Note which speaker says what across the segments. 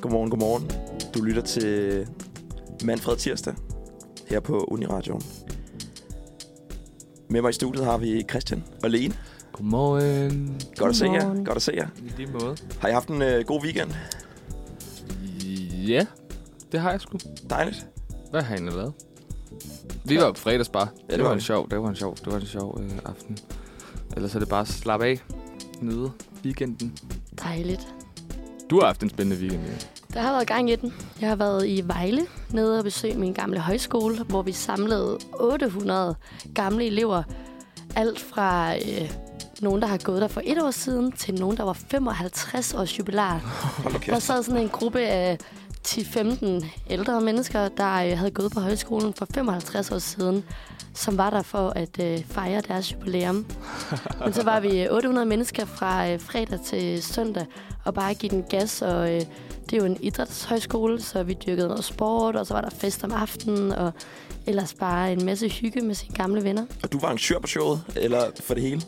Speaker 1: Godmorgen, godmorgen. Du lytter til Manfred Tirsdag her på Uniradioen. Med mig i studiet har vi Christian og Lene.
Speaker 2: Godmorgen.
Speaker 1: Godt at se jer.
Speaker 3: Godmorgen.
Speaker 1: Godt at se jer.
Speaker 2: I lige måde.
Speaker 1: Har I haft en øh, god weekend?
Speaker 2: Ja, det har jeg sgu.
Speaker 1: Dejligt.
Speaker 2: Hvad har I egentlig lavet? Vi var på fredagsbar. Ja, det,
Speaker 1: var
Speaker 2: det var en
Speaker 1: vi.
Speaker 2: sjov, det var en sjov, det var en sjov øh, aften. Ellers er det bare at slappe af, nyde weekenden.
Speaker 3: Dejligt.
Speaker 2: Du har haft en spændende weekend, ja.
Speaker 3: Der har været gang i den. Jeg har været i Vejle, nede og besøge min gamle højskole, hvor vi samlede 800 gamle elever. Alt fra øh, nogen, der har gået der for et år siden, til nogen, der var 55 års jubilar.
Speaker 1: Hold nu
Speaker 3: Der
Speaker 1: kæft.
Speaker 3: sad sådan en gruppe af 10-15 ældre mennesker, der øh, havde gået på højskolen for 55 år siden, som var der for at øh, fejre deres jubilæum. Men så var vi øh, 800 mennesker fra øh, fredag til søndag, og bare give den gas, og øh, det er jo en idrætshøjskole, så vi dyrkede noget sport, og så var der fest om aftenen, og ellers bare en masse hygge med sine gamle venner.
Speaker 1: Og du var arrangør på showet, eller for det hele?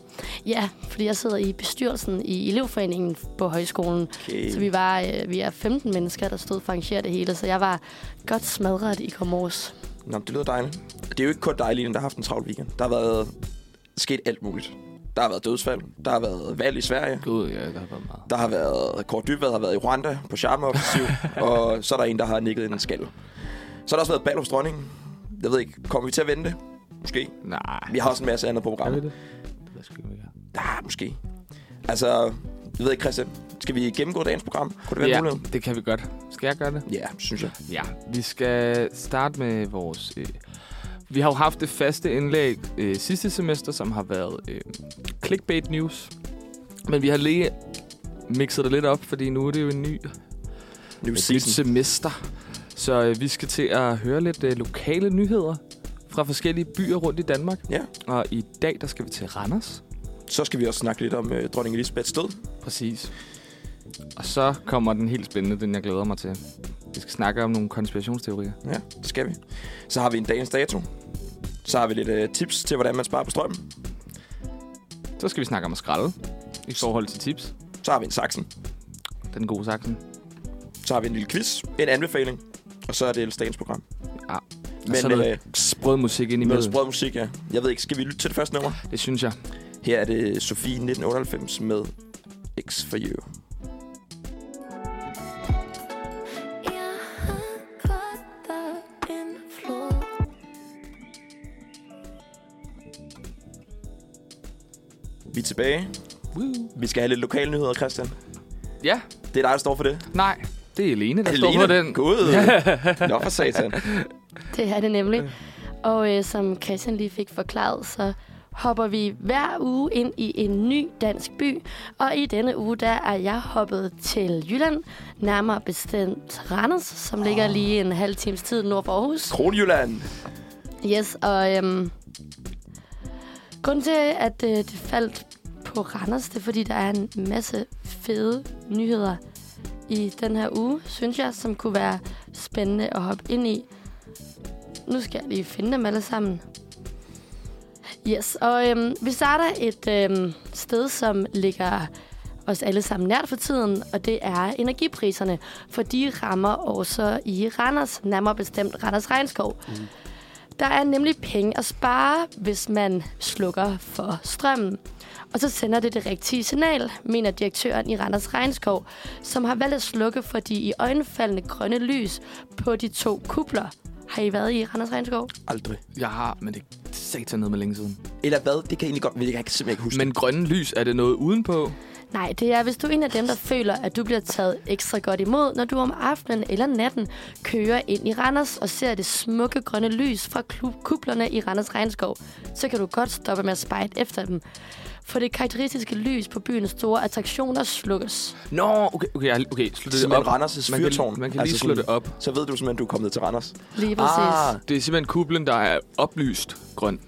Speaker 3: Ja, fordi jeg sidder i bestyrelsen i elevforeningen på højskolen.
Speaker 1: Okay.
Speaker 3: Så vi var øh, vi er 15 mennesker, der stod for at arrangere det hele, så jeg var godt smadret i går morges.
Speaker 1: Nå, det lyder dejligt. Det er jo ikke kun dig, Line, der har haft en travl weekend. Der har været sket alt muligt. Der har været dødsfald. Der har været valg i Sverige.
Speaker 2: Gud, ja, der har været meget.
Speaker 1: Der har været Kåre Dybvad har været i Rwanda på charmeoffensiv, og så er der en, der har nikket en skal. Så har der også været ball hos dronningen. Jeg ved ikke, kommer vi til at vente? det? Måske.
Speaker 2: Nej.
Speaker 1: Vi har også en masse andet på
Speaker 2: Er vi
Speaker 1: programmet.
Speaker 2: det? Hvad skal vi gøre?
Speaker 1: Ah, måske. Altså, jeg ved ikke, Christian. Skal vi gennemgå dagens program? Kunne det være ja.
Speaker 2: Ja,
Speaker 1: en mulighed?
Speaker 2: det kan vi godt. Skal jeg gøre det?
Speaker 1: Ja, synes jeg.
Speaker 2: Ja, vi skal starte med vores... Øh, vi har jo haft det faste indlæg øh, sidste semester, som har været øh, clickbait news. Men vi har lige mixet det lidt op, fordi nu er det jo en ny,
Speaker 1: New
Speaker 2: et nyt
Speaker 1: season.
Speaker 2: semester. Så øh, vi skal til at høre lidt øh, lokale nyheder fra forskellige byer rundt i Danmark.
Speaker 1: Ja,
Speaker 2: Og i dag, der skal vi til Randers.
Speaker 1: så skal vi også snakke lidt om øh, dronning Elisabeths død.
Speaker 2: Præcis. Og så kommer den helt spændende, den jeg glæder mig til. Vi skal snakke om nogle konspirationsteorier.
Speaker 1: Ja, det skal vi. Så har vi en dagens dato. Så har vi lidt øh, tips til, hvordan man sparer på strømmen.
Speaker 2: Så skal vi snakke om at skralde i forhold til tips.
Speaker 1: Så har vi en saksen.
Speaker 2: Den gode saksen.
Speaker 1: Så har vi en lille quiz. En anbefaling. Og så er det ellers dagens program.
Speaker 2: Ja. Men,
Speaker 1: Men,
Speaker 2: og så noget
Speaker 1: øh,
Speaker 2: sprød musik ind
Speaker 1: Noget
Speaker 2: imellem.
Speaker 1: sprød musik, ja. Jeg ved ikke, skal vi lytte til det første nummer?
Speaker 2: Det synes jeg.
Speaker 1: Her er det Sofie 1998 med X for You.
Speaker 4: Jeg har godt været en flod.
Speaker 1: Vi er tilbage.
Speaker 2: Woo.
Speaker 1: Vi skal have lidt lokale nyheder, Christian.
Speaker 2: Ja,
Speaker 1: Det er dig, der står for det.
Speaker 2: nej. Det er Elene, der står på den.
Speaker 1: God. Nå for satan.
Speaker 3: Det er det nemlig. Og øh, som Christian lige fik forklaret, så hopper vi hver uge ind i en ny dansk by. Og i denne uge, der er jeg hoppet til Jylland, nærmere bestemt Randers, som ligger lige en halv times tid nord for Aarhus.
Speaker 1: Kronjylland.
Speaker 3: Yes, og øhm, grunden til, at øh, det faldt på Randers, det er, fordi der er en masse fede nyheder i den her uge, synes jeg, som kunne være spændende at hoppe ind i. Nu skal jeg lige finde dem alle sammen. Yes, og øhm, vi starter et øhm, sted, som ligger os alle sammen nært for tiden, og det er energipriserne, for de rammer også i Randers, nærmere bestemt Randers Regnskov. Der er nemlig penge at spare, hvis man slukker for strømmen. Og så sender det det rigtige signal, mener direktøren i Randers Regnskov, som har valgt at slukke for de i øjenfaldende grønne lys på de to kubler. Har I været i Randers Regnskov?
Speaker 1: Aldrig.
Speaker 2: Jeg har, men det er satan ned med længe siden.
Speaker 1: Eller hvad? Det kan jeg egentlig godt, men jeg kan simpelthen ikke huske.
Speaker 2: Men grønne lys, er det noget udenpå?
Speaker 3: Nej, det er, hvis du er en af dem, der føler, at du bliver taget ekstra godt imod, når du om aftenen eller natten kører ind i Randers og ser det smukke grønne lys fra klub- kuplerne i Randers Regnskov, så kan du godt stoppe med at spejde efter dem. For det karakteristiske lys på byens store attraktioner slukkes.
Speaker 2: Nå, okay, okay, jeg- okay slå det,
Speaker 1: det
Speaker 2: op.
Speaker 1: er Randers'
Speaker 2: man
Speaker 1: fyrtårn. Altså
Speaker 2: kan, man kan lige slå
Speaker 1: sådan-
Speaker 2: det op.
Speaker 1: Så ved du
Speaker 2: Ah.
Speaker 1: simpelthen, du er kommet til Randers.
Speaker 3: Lige præcis.
Speaker 2: Det er simpelthen kublen, der er oplyst grøn.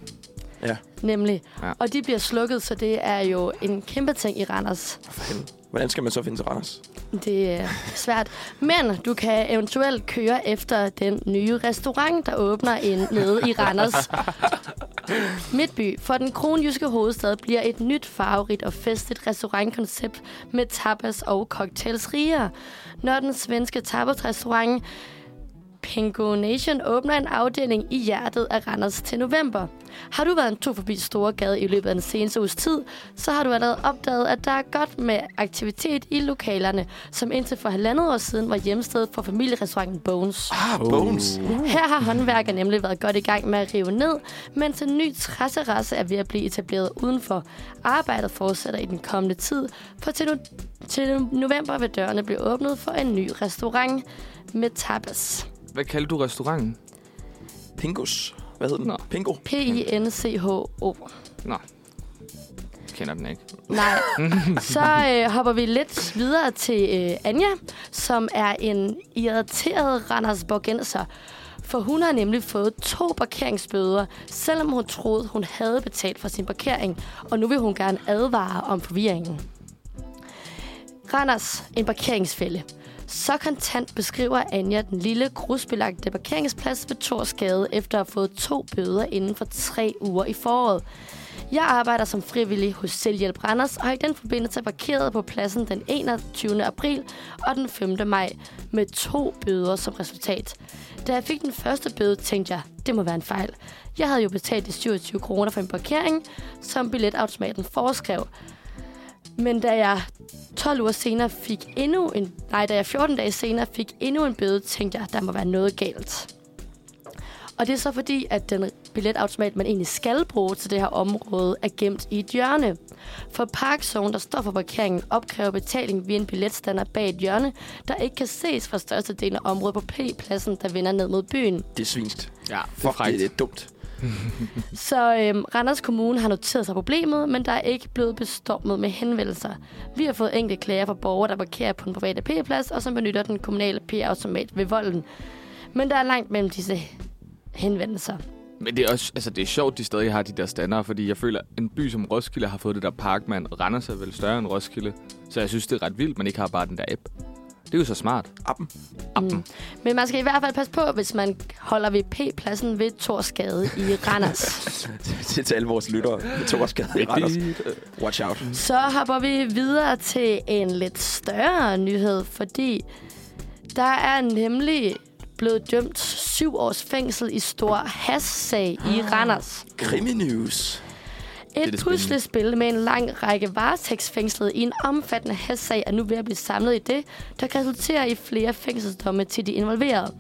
Speaker 1: Ja.
Speaker 3: nemlig.
Speaker 2: Ja.
Speaker 3: Ja. Og de bliver slukket, så det er jo en kæmpe ting i Randers.
Speaker 1: For helvede. Hvordan skal man så finde til Randers?
Speaker 3: Det er svært. Men du kan eventuelt køre efter den nye restaurant, der åbner ind nede i Randers. Midtby. For den kronjyske hovedstad bliver et nyt farverigt og festligt restaurantkoncept med tapas og cocktails rigere. Når den svenske tapasrestaurant Pingo Nation åbner en afdeling i hjertet af Randers til november. Har du været en tur forbi Storegade i løbet af den seneste uges tid, så har du allerede opdaget, at der er godt med aktivitet i lokalerne, som indtil for halvandet år siden var hjemsted for familierestauranten Bones.
Speaker 1: Ah, Bones.
Speaker 3: Her har håndværker nemlig været godt i gang med at rive ned, mens en ny træserasse er ved at blive etableret udenfor. Arbejdet fortsætter i den kommende tid, for til, no- til november vil dørene blive åbnet for en ny restaurant med tapas.
Speaker 2: Hvad kaldte du restauranten?
Speaker 1: Pingos. Hvad hed den?
Speaker 2: Nå.
Speaker 1: Pingo.
Speaker 3: P-I-N-C-H-O.
Speaker 2: Nå, kender den ikke.
Speaker 3: Nej. Så øh, hopper vi lidt videre til øh, Anja, som er en irriteret Randersborgenser. For hun har nemlig fået to parkeringsbøder, selvom hun troede, hun havde betalt for sin parkering. Og nu vil hun gerne advare om forvirringen. Randers, en parkeringsfælde. Så kontant beskriver Anja den lille grusbelagte parkeringsplads ved Torsgade efter at have fået to bøder inden for tre uger i foråret. Jeg arbejder som frivillig hos Selvhjælp Randers og har i den forbindelse parkeret på pladsen den 21. april og den 5. maj med to bøder som resultat. Da jeg fik den første bøde, tænkte jeg, det må være en fejl. Jeg havde jo betalt de 27 kroner for en parkering, som billetautomaten foreskrev. Men da jeg 12 uger senere fik endnu en... Nej, da jeg 14 dage senere fik endnu en bøde, tænkte jeg, der må være noget galt. Og det er så fordi, at den billetautomat, man egentlig skal bruge til det her område, er gemt i et hjørne. For Parkzone, der står for parkeringen, opkræver betaling via en billetstander bag et hjørne, der ikke kan ses fra størstedelen af området på P-pladsen, der vender ned mod byen.
Speaker 1: Det er svinst.
Speaker 2: Ja, det er
Speaker 1: Fuck,
Speaker 2: frækt.
Speaker 1: det, det er dumt.
Speaker 3: Så øhm, Randers Kommune har noteret sig problemet, men der er ikke blevet bestormet med henvendelser. Vi har fået enkelte klager fra borgere, der parkerer på den private P-plads, og som benytter den kommunale P-automat ved volden. Men der er langt mellem disse henvendelser.
Speaker 2: Men det er også, altså det er sjovt, de stadig har de der standarder, fordi jeg føler, en by som Roskilde har fået det der parkmand. Randers er vel større end Roskilde, så jeg synes, det er ret vildt, man ikke har bare den der app. Det er jo så smart.
Speaker 1: Appen.
Speaker 2: Appen.
Speaker 3: Men man skal i hvert fald passe på, hvis man holder ved P-pladsen ved Torsgade i Randers.
Speaker 1: Det er til alle vores lyttere. Jeg tog også i Randers. Watch out.
Speaker 3: Så hopper vi videre til en lidt større nyhed, fordi der er nemlig blevet dømt syv års fængsel i stor has-sag i Randers.
Speaker 1: Kriminews.
Speaker 2: er det
Speaker 3: Et
Speaker 2: spændende.
Speaker 3: puslespil med en lang række varetægtsfængslede i en omfattende has-sag er nu ved at blive samlet i det, der kan resultere i flere fængselsdomme til de involverede.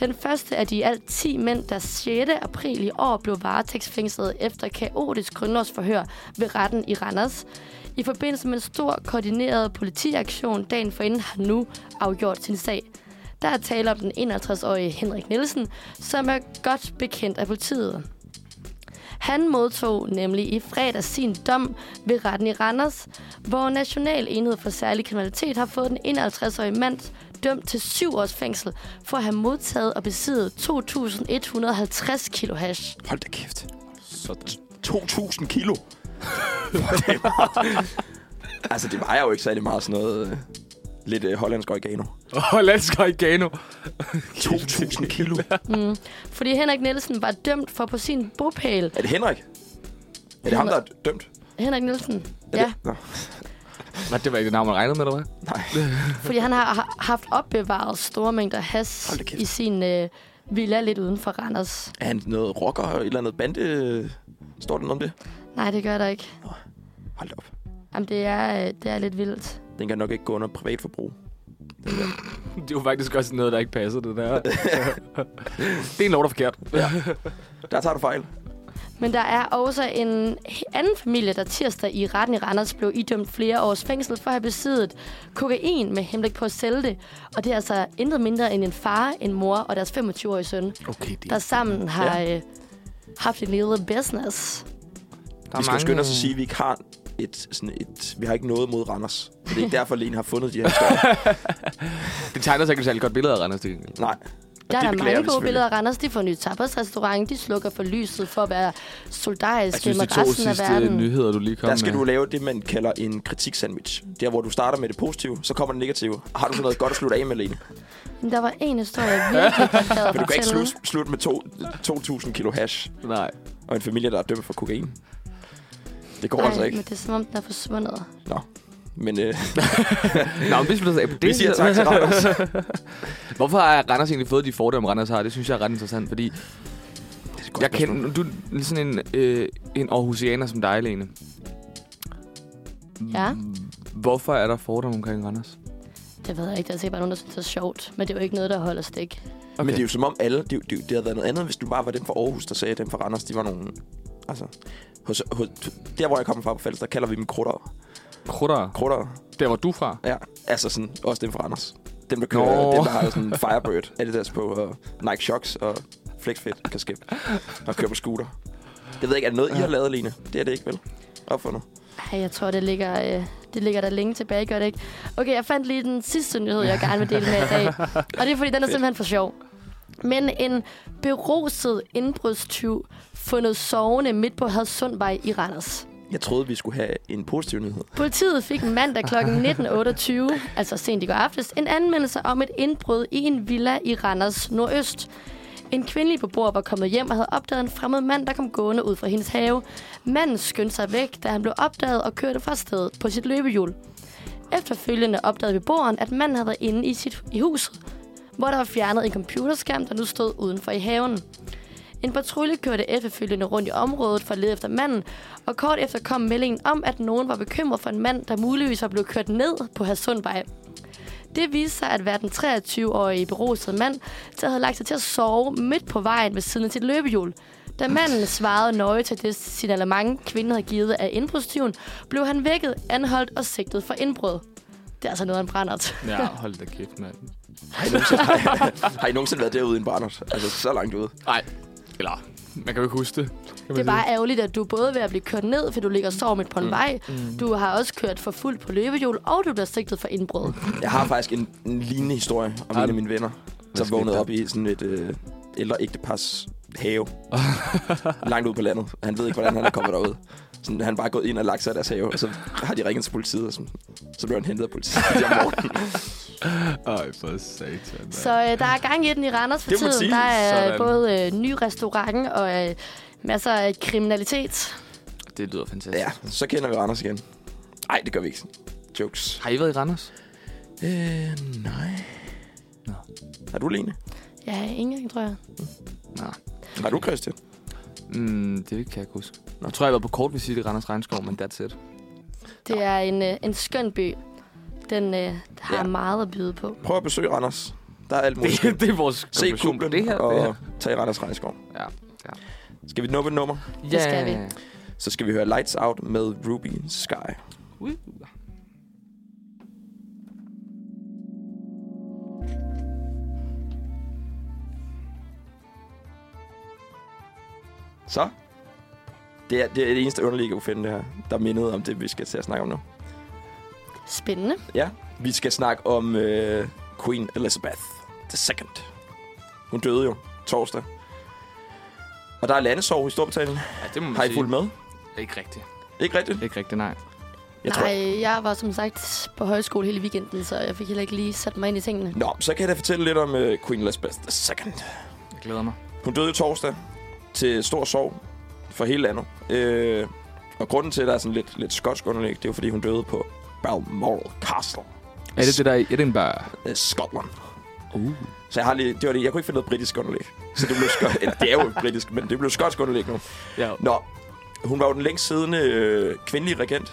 Speaker 3: Den første af de i alt 10 mænd, der 6. april i år blev varetægtsfængslet efter kaotisk grundlovsforhør ved retten i Randers. I forbindelse med en stor koordineret politiaktion dagen forinden har nu afgjort sin sag. Der er tale om den 51-årige Henrik Nielsen, som er godt bekendt af politiet. Han modtog nemlig i fredag sin dom ved retten i Randers, hvor National Enhed for Særlig Kriminalitet har fået den 51-årige mand dømt til syv års fængsel for at have modtaget og besiddet 2.150 kilo hash.
Speaker 1: Hold da kæft.
Speaker 2: Sådan.
Speaker 1: 2.000 kilo. Det var- altså, det vejer jo ikke særlig meget sådan noget... øh, Lidt øh, hollandsk oregano.
Speaker 2: Åh, let's go Gano.
Speaker 1: 2.000 kilo.
Speaker 3: Fordi Henrik Nielsen var dømt for på sin bopæl.
Speaker 1: Er det Henrik? Er det ham, der er dømt?
Speaker 3: Henrik Nielsen,
Speaker 1: Er
Speaker 3: ja.
Speaker 1: Det? Nå,
Speaker 2: Nå, det var ikke det navn, man regnede med, eller hvad?
Speaker 1: nej.
Speaker 3: Fordi han har har haft opbevaret store mængder hash
Speaker 1: Hold da kæft.
Speaker 3: i sin øh, villa lidt uden for Randers.
Speaker 1: Er han noget rocker eller et eller andet bande? Står der noget om det?
Speaker 3: Nej, det gør der ikke.
Speaker 1: Hold da op.
Speaker 3: Jamen, det er, øh, det er lidt vildt.
Speaker 1: Den kan nok ikke gå under privatforbrug.
Speaker 2: Det er jo faktisk også noget, der ikke passer, det der. det er en lov, der er forkert.
Speaker 1: Der tager du fejl.
Speaker 3: Men der er også en anden familie, der tirsdag i retten i Randers blev idømt flere års fængsel for at have besiddet kokain med henblik på at sælge det. Og det er altså intet mindre end en far, en mor og deres 25-årige søn,
Speaker 2: Okay, det
Speaker 3: der sammen har øh, haft en lille business.
Speaker 2: der
Speaker 1: vi skal mange... skynde os at sige, at vi ikke har et, sådan et, vi har ikke noget mod Randers. Og det er ikke derfor, Lene har fundet de her historier.
Speaker 2: Det tegner sig ikke et særlig godt billede af Randers, til gengæld.
Speaker 1: Nej.
Speaker 3: Der er
Speaker 1: det
Speaker 3: der
Speaker 1: beklager vi
Speaker 3: mange gode
Speaker 1: selvfølgelig.
Speaker 3: billeder af Randers. De får ny tapasrestaurant. De slukker for lyset for at være
Speaker 2: Jeg
Speaker 3: soldatiske
Speaker 2: synes, de
Speaker 3: med
Speaker 2: to
Speaker 3: resten af
Speaker 2: sidste
Speaker 3: verden.
Speaker 2: nyheder, du lige kom
Speaker 1: Der skal
Speaker 2: med.
Speaker 1: du lave det, man kalder en kritiksandwich. Der, hvor du starter med det positive, så kommer det negative. Har du sådan noget godt at slutte af med, Lene?
Speaker 3: Men der var en historie, jeg virkelig godt gad at
Speaker 1: Men du kan ikke
Speaker 3: fortælle.
Speaker 1: slutte slut med to- 2.000 kilo hash
Speaker 2: Nej.
Speaker 1: og en familie, der er dømt for kokain. Det går
Speaker 3: Nej,
Speaker 1: altså ikke.
Speaker 3: men det er som om, den er forsvundet.
Speaker 1: Men øh,
Speaker 2: Nå, men hvis vi så af på det...
Speaker 1: vi siger tak til Randers.
Speaker 2: Hvorfor har Randers egentlig fået de fordomme, Randers har? Det synes jeg er ret interessant, fordi
Speaker 1: Godt
Speaker 2: jeg
Speaker 1: spørgsmål.
Speaker 2: kender, du er sådan en, øh, en Aarhusianer som dig, Lene.
Speaker 3: Ja.
Speaker 2: Hvorfor er der fordomme omkring Randers?
Speaker 3: Det ved jeg ikke. Der er sikkert bare nogen, der synes, det er sjovt. Men det er jo ikke noget, der holder stik.
Speaker 1: Okay. Men det er jo som om alle, det, er jo- det, er jo- det havde været noget andet, hvis du bare var dem fra Aarhus, der sagde, at dem fra Randers, de var nogle... Altså, hos, hos, der hvor jeg kommer fra på Fals, der kalder vi dem krutter.
Speaker 2: Krutter.
Speaker 1: Krutter,
Speaker 2: Der var du fra.
Speaker 1: ja. Altså sådan, også dem fra Randers. Dem, der kører,
Speaker 2: Nå.
Speaker 1: dem, der har sådan en Firebird, Adidas på, og Nike Shocks og Flexfit kasket, og kører på scooter. Det ved jeg ikke, er det noget, I har lavet, Line? Det er det ikke, vel? Opfundet.
Speaker 3: Ej, jeg tror, det ligger, øh, det ligger der længe tilbage, gør det ikke? Okay, jeg fandt lige den sidste nyhed, jeg gerne vil dele med i dag. Og det er, fordi den er simpelthen for sjov. Men en beruset indbrudstyv fundet sovende midt på Hadsundvej i Randers.
Speaker 1: Jeg troede, vi skulle have en positiv nyhed.
Speaker 3: Politiet fik mandag kl. 19.28, altså sent i går aftes, en anmeldelse om et indbrud i en villa i Randers Nordøst. En kvindelig beboer var kommet hjem og havde opdaget en fremmed mand, der kom gående ud fra hendes have. Manden skyndte sig væk, da han blev opdaget og kørte fra stedet på sit løbehjul. Efterfølgende opdagede beboeren, at manden havde været inde i, sit, i huset, hvor der var fjernet en computerskærm, der nu stod udenfor i haven. En patrulje kørte efterfølgende rundt i området for at lede efter manden, og kort efter kom meldingen om, at nogen var bekymret for en mand, der muligvis var blevet kørt ned på Hasundvej. Det viste sig at være den 23-årige berusede mand, der havde lagt sig til at sove midt på vejen ved siden af sit løbehjul. Da manden svarede nøje til det signalement, kvinden havde givet af indbrudstyven, blev han vækket, anholdt og sigtet for indbrud. Det er altså noget af en brændert.
Speaker 2: Ja, hold da kæft, mand.
Speaker 1: Har I nogensinde, har, I, har I nogensinde været derude i en Randers? Altså, så langt ude.
Speaker 2: Nej, eller man kan jo ikke huske det. kan man
Speaker 3: Det er
Speaker 2: sige.
Speaker 3: bare ærgerligt, at du er både ved at blive kørt ned, fordi du ligger og sover midt på en mm. vej. Du har også kørt for fuldt på løbehjul, og du bliver sigtet for indbrud.
Speaker 1: Jeg har faktisk en, en lignende historie om en af mine venner, der
Speaker 2: skete
Speaker 1: vågnede
Speaker 2: der?
Speaker 1: op i sådan et øh, ældre ægtepars have. langt ud på landet. Han ved ikke, hvordan han er kommet derud. Sådan, han er bare gået ind og lagt sig i deres have, og så har de ringet til politiet, og sådan, så blev han hentet af politiet. Det, om morgenen.
Speaker 2: Ej, for satan. mand.
Speaker 3: Så øh, der er gang i den i Randers for
Speaker 1: Det må
Speaker 3: tiden.
Speaker 1: siges.
Speaker 3: Der er
Speaker 2: Sådan.
Speaker 3: øh, både øh, ny restaurant og øh, masser af kriminalitet.
Speaker 2: Det lyder fantastisk.
Speaker 1: ja, så kender vi Randers igen. Nej, det gør vi ikke. Jokes.
Speaker 2: Har I været i Randers?
Speaker 1: Øh, nej.
Speaker 2: Nå.
Speaker 1: Har du, Lene?
Speaker 3: Ja, ingen gang, tror jeg.
Speaker 2: Nej.
Speaker 1: Har du, Christian?
Speaker 2: Mm, det kan jeg ikke huske. Nå. Jeg tror, jeg var på kort visit i Randers Regnskov, men that's it.
Speaker 3: Det er en, øh, en skøn by. Den øh, har
Speaker 1: Ja.
Speaker 3: ja. meget at byde på.
Speaker 1: Prøv at besøge Randers. Der er alt muligt.
Speaker 2: det er vores
Speaker 1: Se
Speaker 2: konklusion på
Speaker 1: kublen
Speaker 2: det her.
Speaker 1: og
Speaker 2: det her.
Speaker 1: tag Randers Regnskov.
Speaker 2: Ja.
Speaker 1: Skal vi nuppe et nummer?
Speaker 2: ja.
Speaker 3: Det skal vi.
Speaker 1: Så skal vi høre Lights Out med Ruby Sky.
Speaker 2: Ui.
Speaker 1: Så? Det er, det er det eneste underlige, jeg kunne finde det her, der mindede om det, vi skal til at snakke om nu.
Speaker 3: Spændende.
Speaker 1: Ja, vi skal snakke om øh, Queen Elizabeth II. Hun døde jo torsdag. Og der er landesorg i Storbritannien.
Speaker 2: Ja, det må man
Speaker 1: Har I
Speaker 2: sige.
Speaker 1: fulgt med?
Speaker 2: Ikke rigtigt.
Speaker 1: Ikke rigtigt?
Speaker 2: Ikke rigtigt, nej.
Speaker 1: Jeg tror-
Speaker 3: Nej, jeg var som sagt på højskole hele weekenden, så jeg fik heller ikke lige sat mig ind i tingene.
Speaker 1: Nå, så kan jeg da fortælle lidt om øh, Queen Elizabeth II.
Speaker 2: Jeg glæder mig.
Speaker 1: Hun døde torsdag til stor sorg for hele landet. Øh, og grunden til, at der er sådan lidt, lidt skotsk underlæg, det er jo, fordi hun døde på Balmoral Castle,
Speaker 2: Er det det der i Edinburgh?
Speaker 1: øh, Skotland.
Speaker 2: Uh.
Speaker 1: Så jeg, har lige, det var det, jeg kunne ikke finde noget britisk underlæg. Så det blev skot, eller, det er jo britisk, men det blev skotsk underlæg nu.
Speaker 2: Ja.
Speaker 1: Nå, hun var jo den længst siddende øh, kvindelige regent.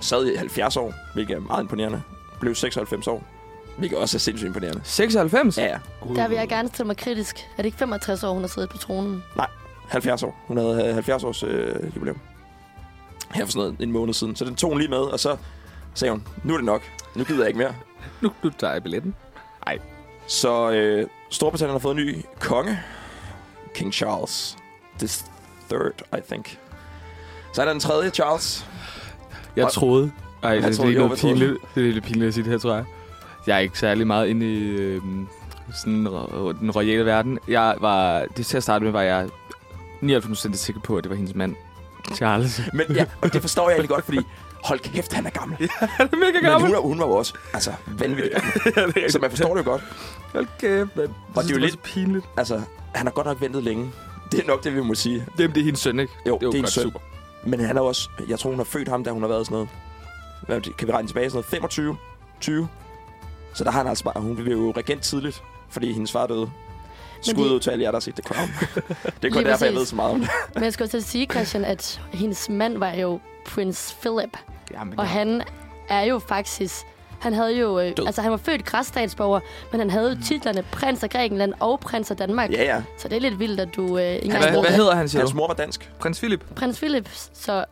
Speaker 1: Sad i 70 år, hvilket er meget imponerende. Blev 96 år, hvilket også er sindssygt imponerende.
Speaker 2: 96?
Speaker 1: Ja, ja.
Speaker 3: Der vil jeg gerne stille mig kritisk. Er det ikke 65 år, hun har siddet på tronen?
Speaker 1: 70 år. Hun havde øh, 70 års øh, jubilæum. Her for sådan noget, en måned siden. Så den tog hun lige med, og så sagde hun, nu er det nok. Nu gider jeg ikke mere.
Speaker 2: Nu, nu tager jeg billetten.
Speaker 1: Så øh, Storbritannien har fået en ny konge. King Charles. The third, I think. Så er der den tredje, Charles.
Speaker 2: Jeg
Speaker 1: Og-
Speaker 2: troede... Ej, det,
Speaker 1: troede,
Speaker 2: er
Speaker 1: jo,
Speaker 2: lidt
Speaker 1: hvad troede du?
Speaker 2: pinligt. Det er lidt pinligt at sige det her, tror jeg. Jeg er ikke særlig meget inde i øh, sådan ro- den royale verden. Jeg var, det til at starte med var jeg 99% sikker på, at det var hendes mand, Charles. Han
Speaker 1: Men ja, og det forstår jeg egentlig godt, fordi hold kæft, han er gammel.
Speaker 2: er mega
Speaker 1: Men hun,
Speaker 2: gammel.
Speaker 1: er- hun var jo også altså, vanvittig gammel. Så man forstår det jo godt.
Speaker 2: Hold kæft, man.
Speaker 1: Og det er jo lidt-
Speaker 2: så pinligt.
Speaker 1: Altså, han har godt nok ventet længe. Det er nok det, vi må sige.
Speaker 2: Jamen, det er hendes søn, ikke?
Speaker 1: Jo,
Speaker 2: jo
Speaker 1: det er hendes søn.
Speaker 2: godt, Super.
Speaker 1: Men han er jo også... Jeg tror, hun har født ham, da hun har været sådan noget... Hvad er det, kan vi regne tilbage? Sådan noget 25? 20? Så der har han altså bare... Hun blev jo regent tidligt, fordi hendes far døde. Skud
Speaker 3: det-
Speaker 1: ud til alle jer, der har set The Crown. det er kun
Speaker 3: Lige
Speaker 1: derfor, jeg
Speaker 3: præcis.
Speaker 1: ved så meget om det.
Speaker 3: Men jeg skal også til at sige, Christian, at hendes mand var jo prins Philip.
Speaker 2: Jamen,
Speaker 3: Og han er jo faktisk... Han havde jo... Øh,
Speaker 1: Død.
Speaker 3: altså, han var født græsstatsborger, men han havde jo titlerne prins af Grækenland og prins af Danmark.
Speaker 1: Ja, ja.
Speaker 3: Så det er lidt vildt, at du øh, ikke engang
Speaker 2: Hvad,
Speaker 3: ved
Speaker 2: hvad
Speaker 3: det.
Speaker 2: hedder han, siger
Speaker 1: Hans
Speaker 2: du?
Speaker 1: mor var dansk.
Speaker 2: Prins Philip.
Speaker 3: Prins Philip, så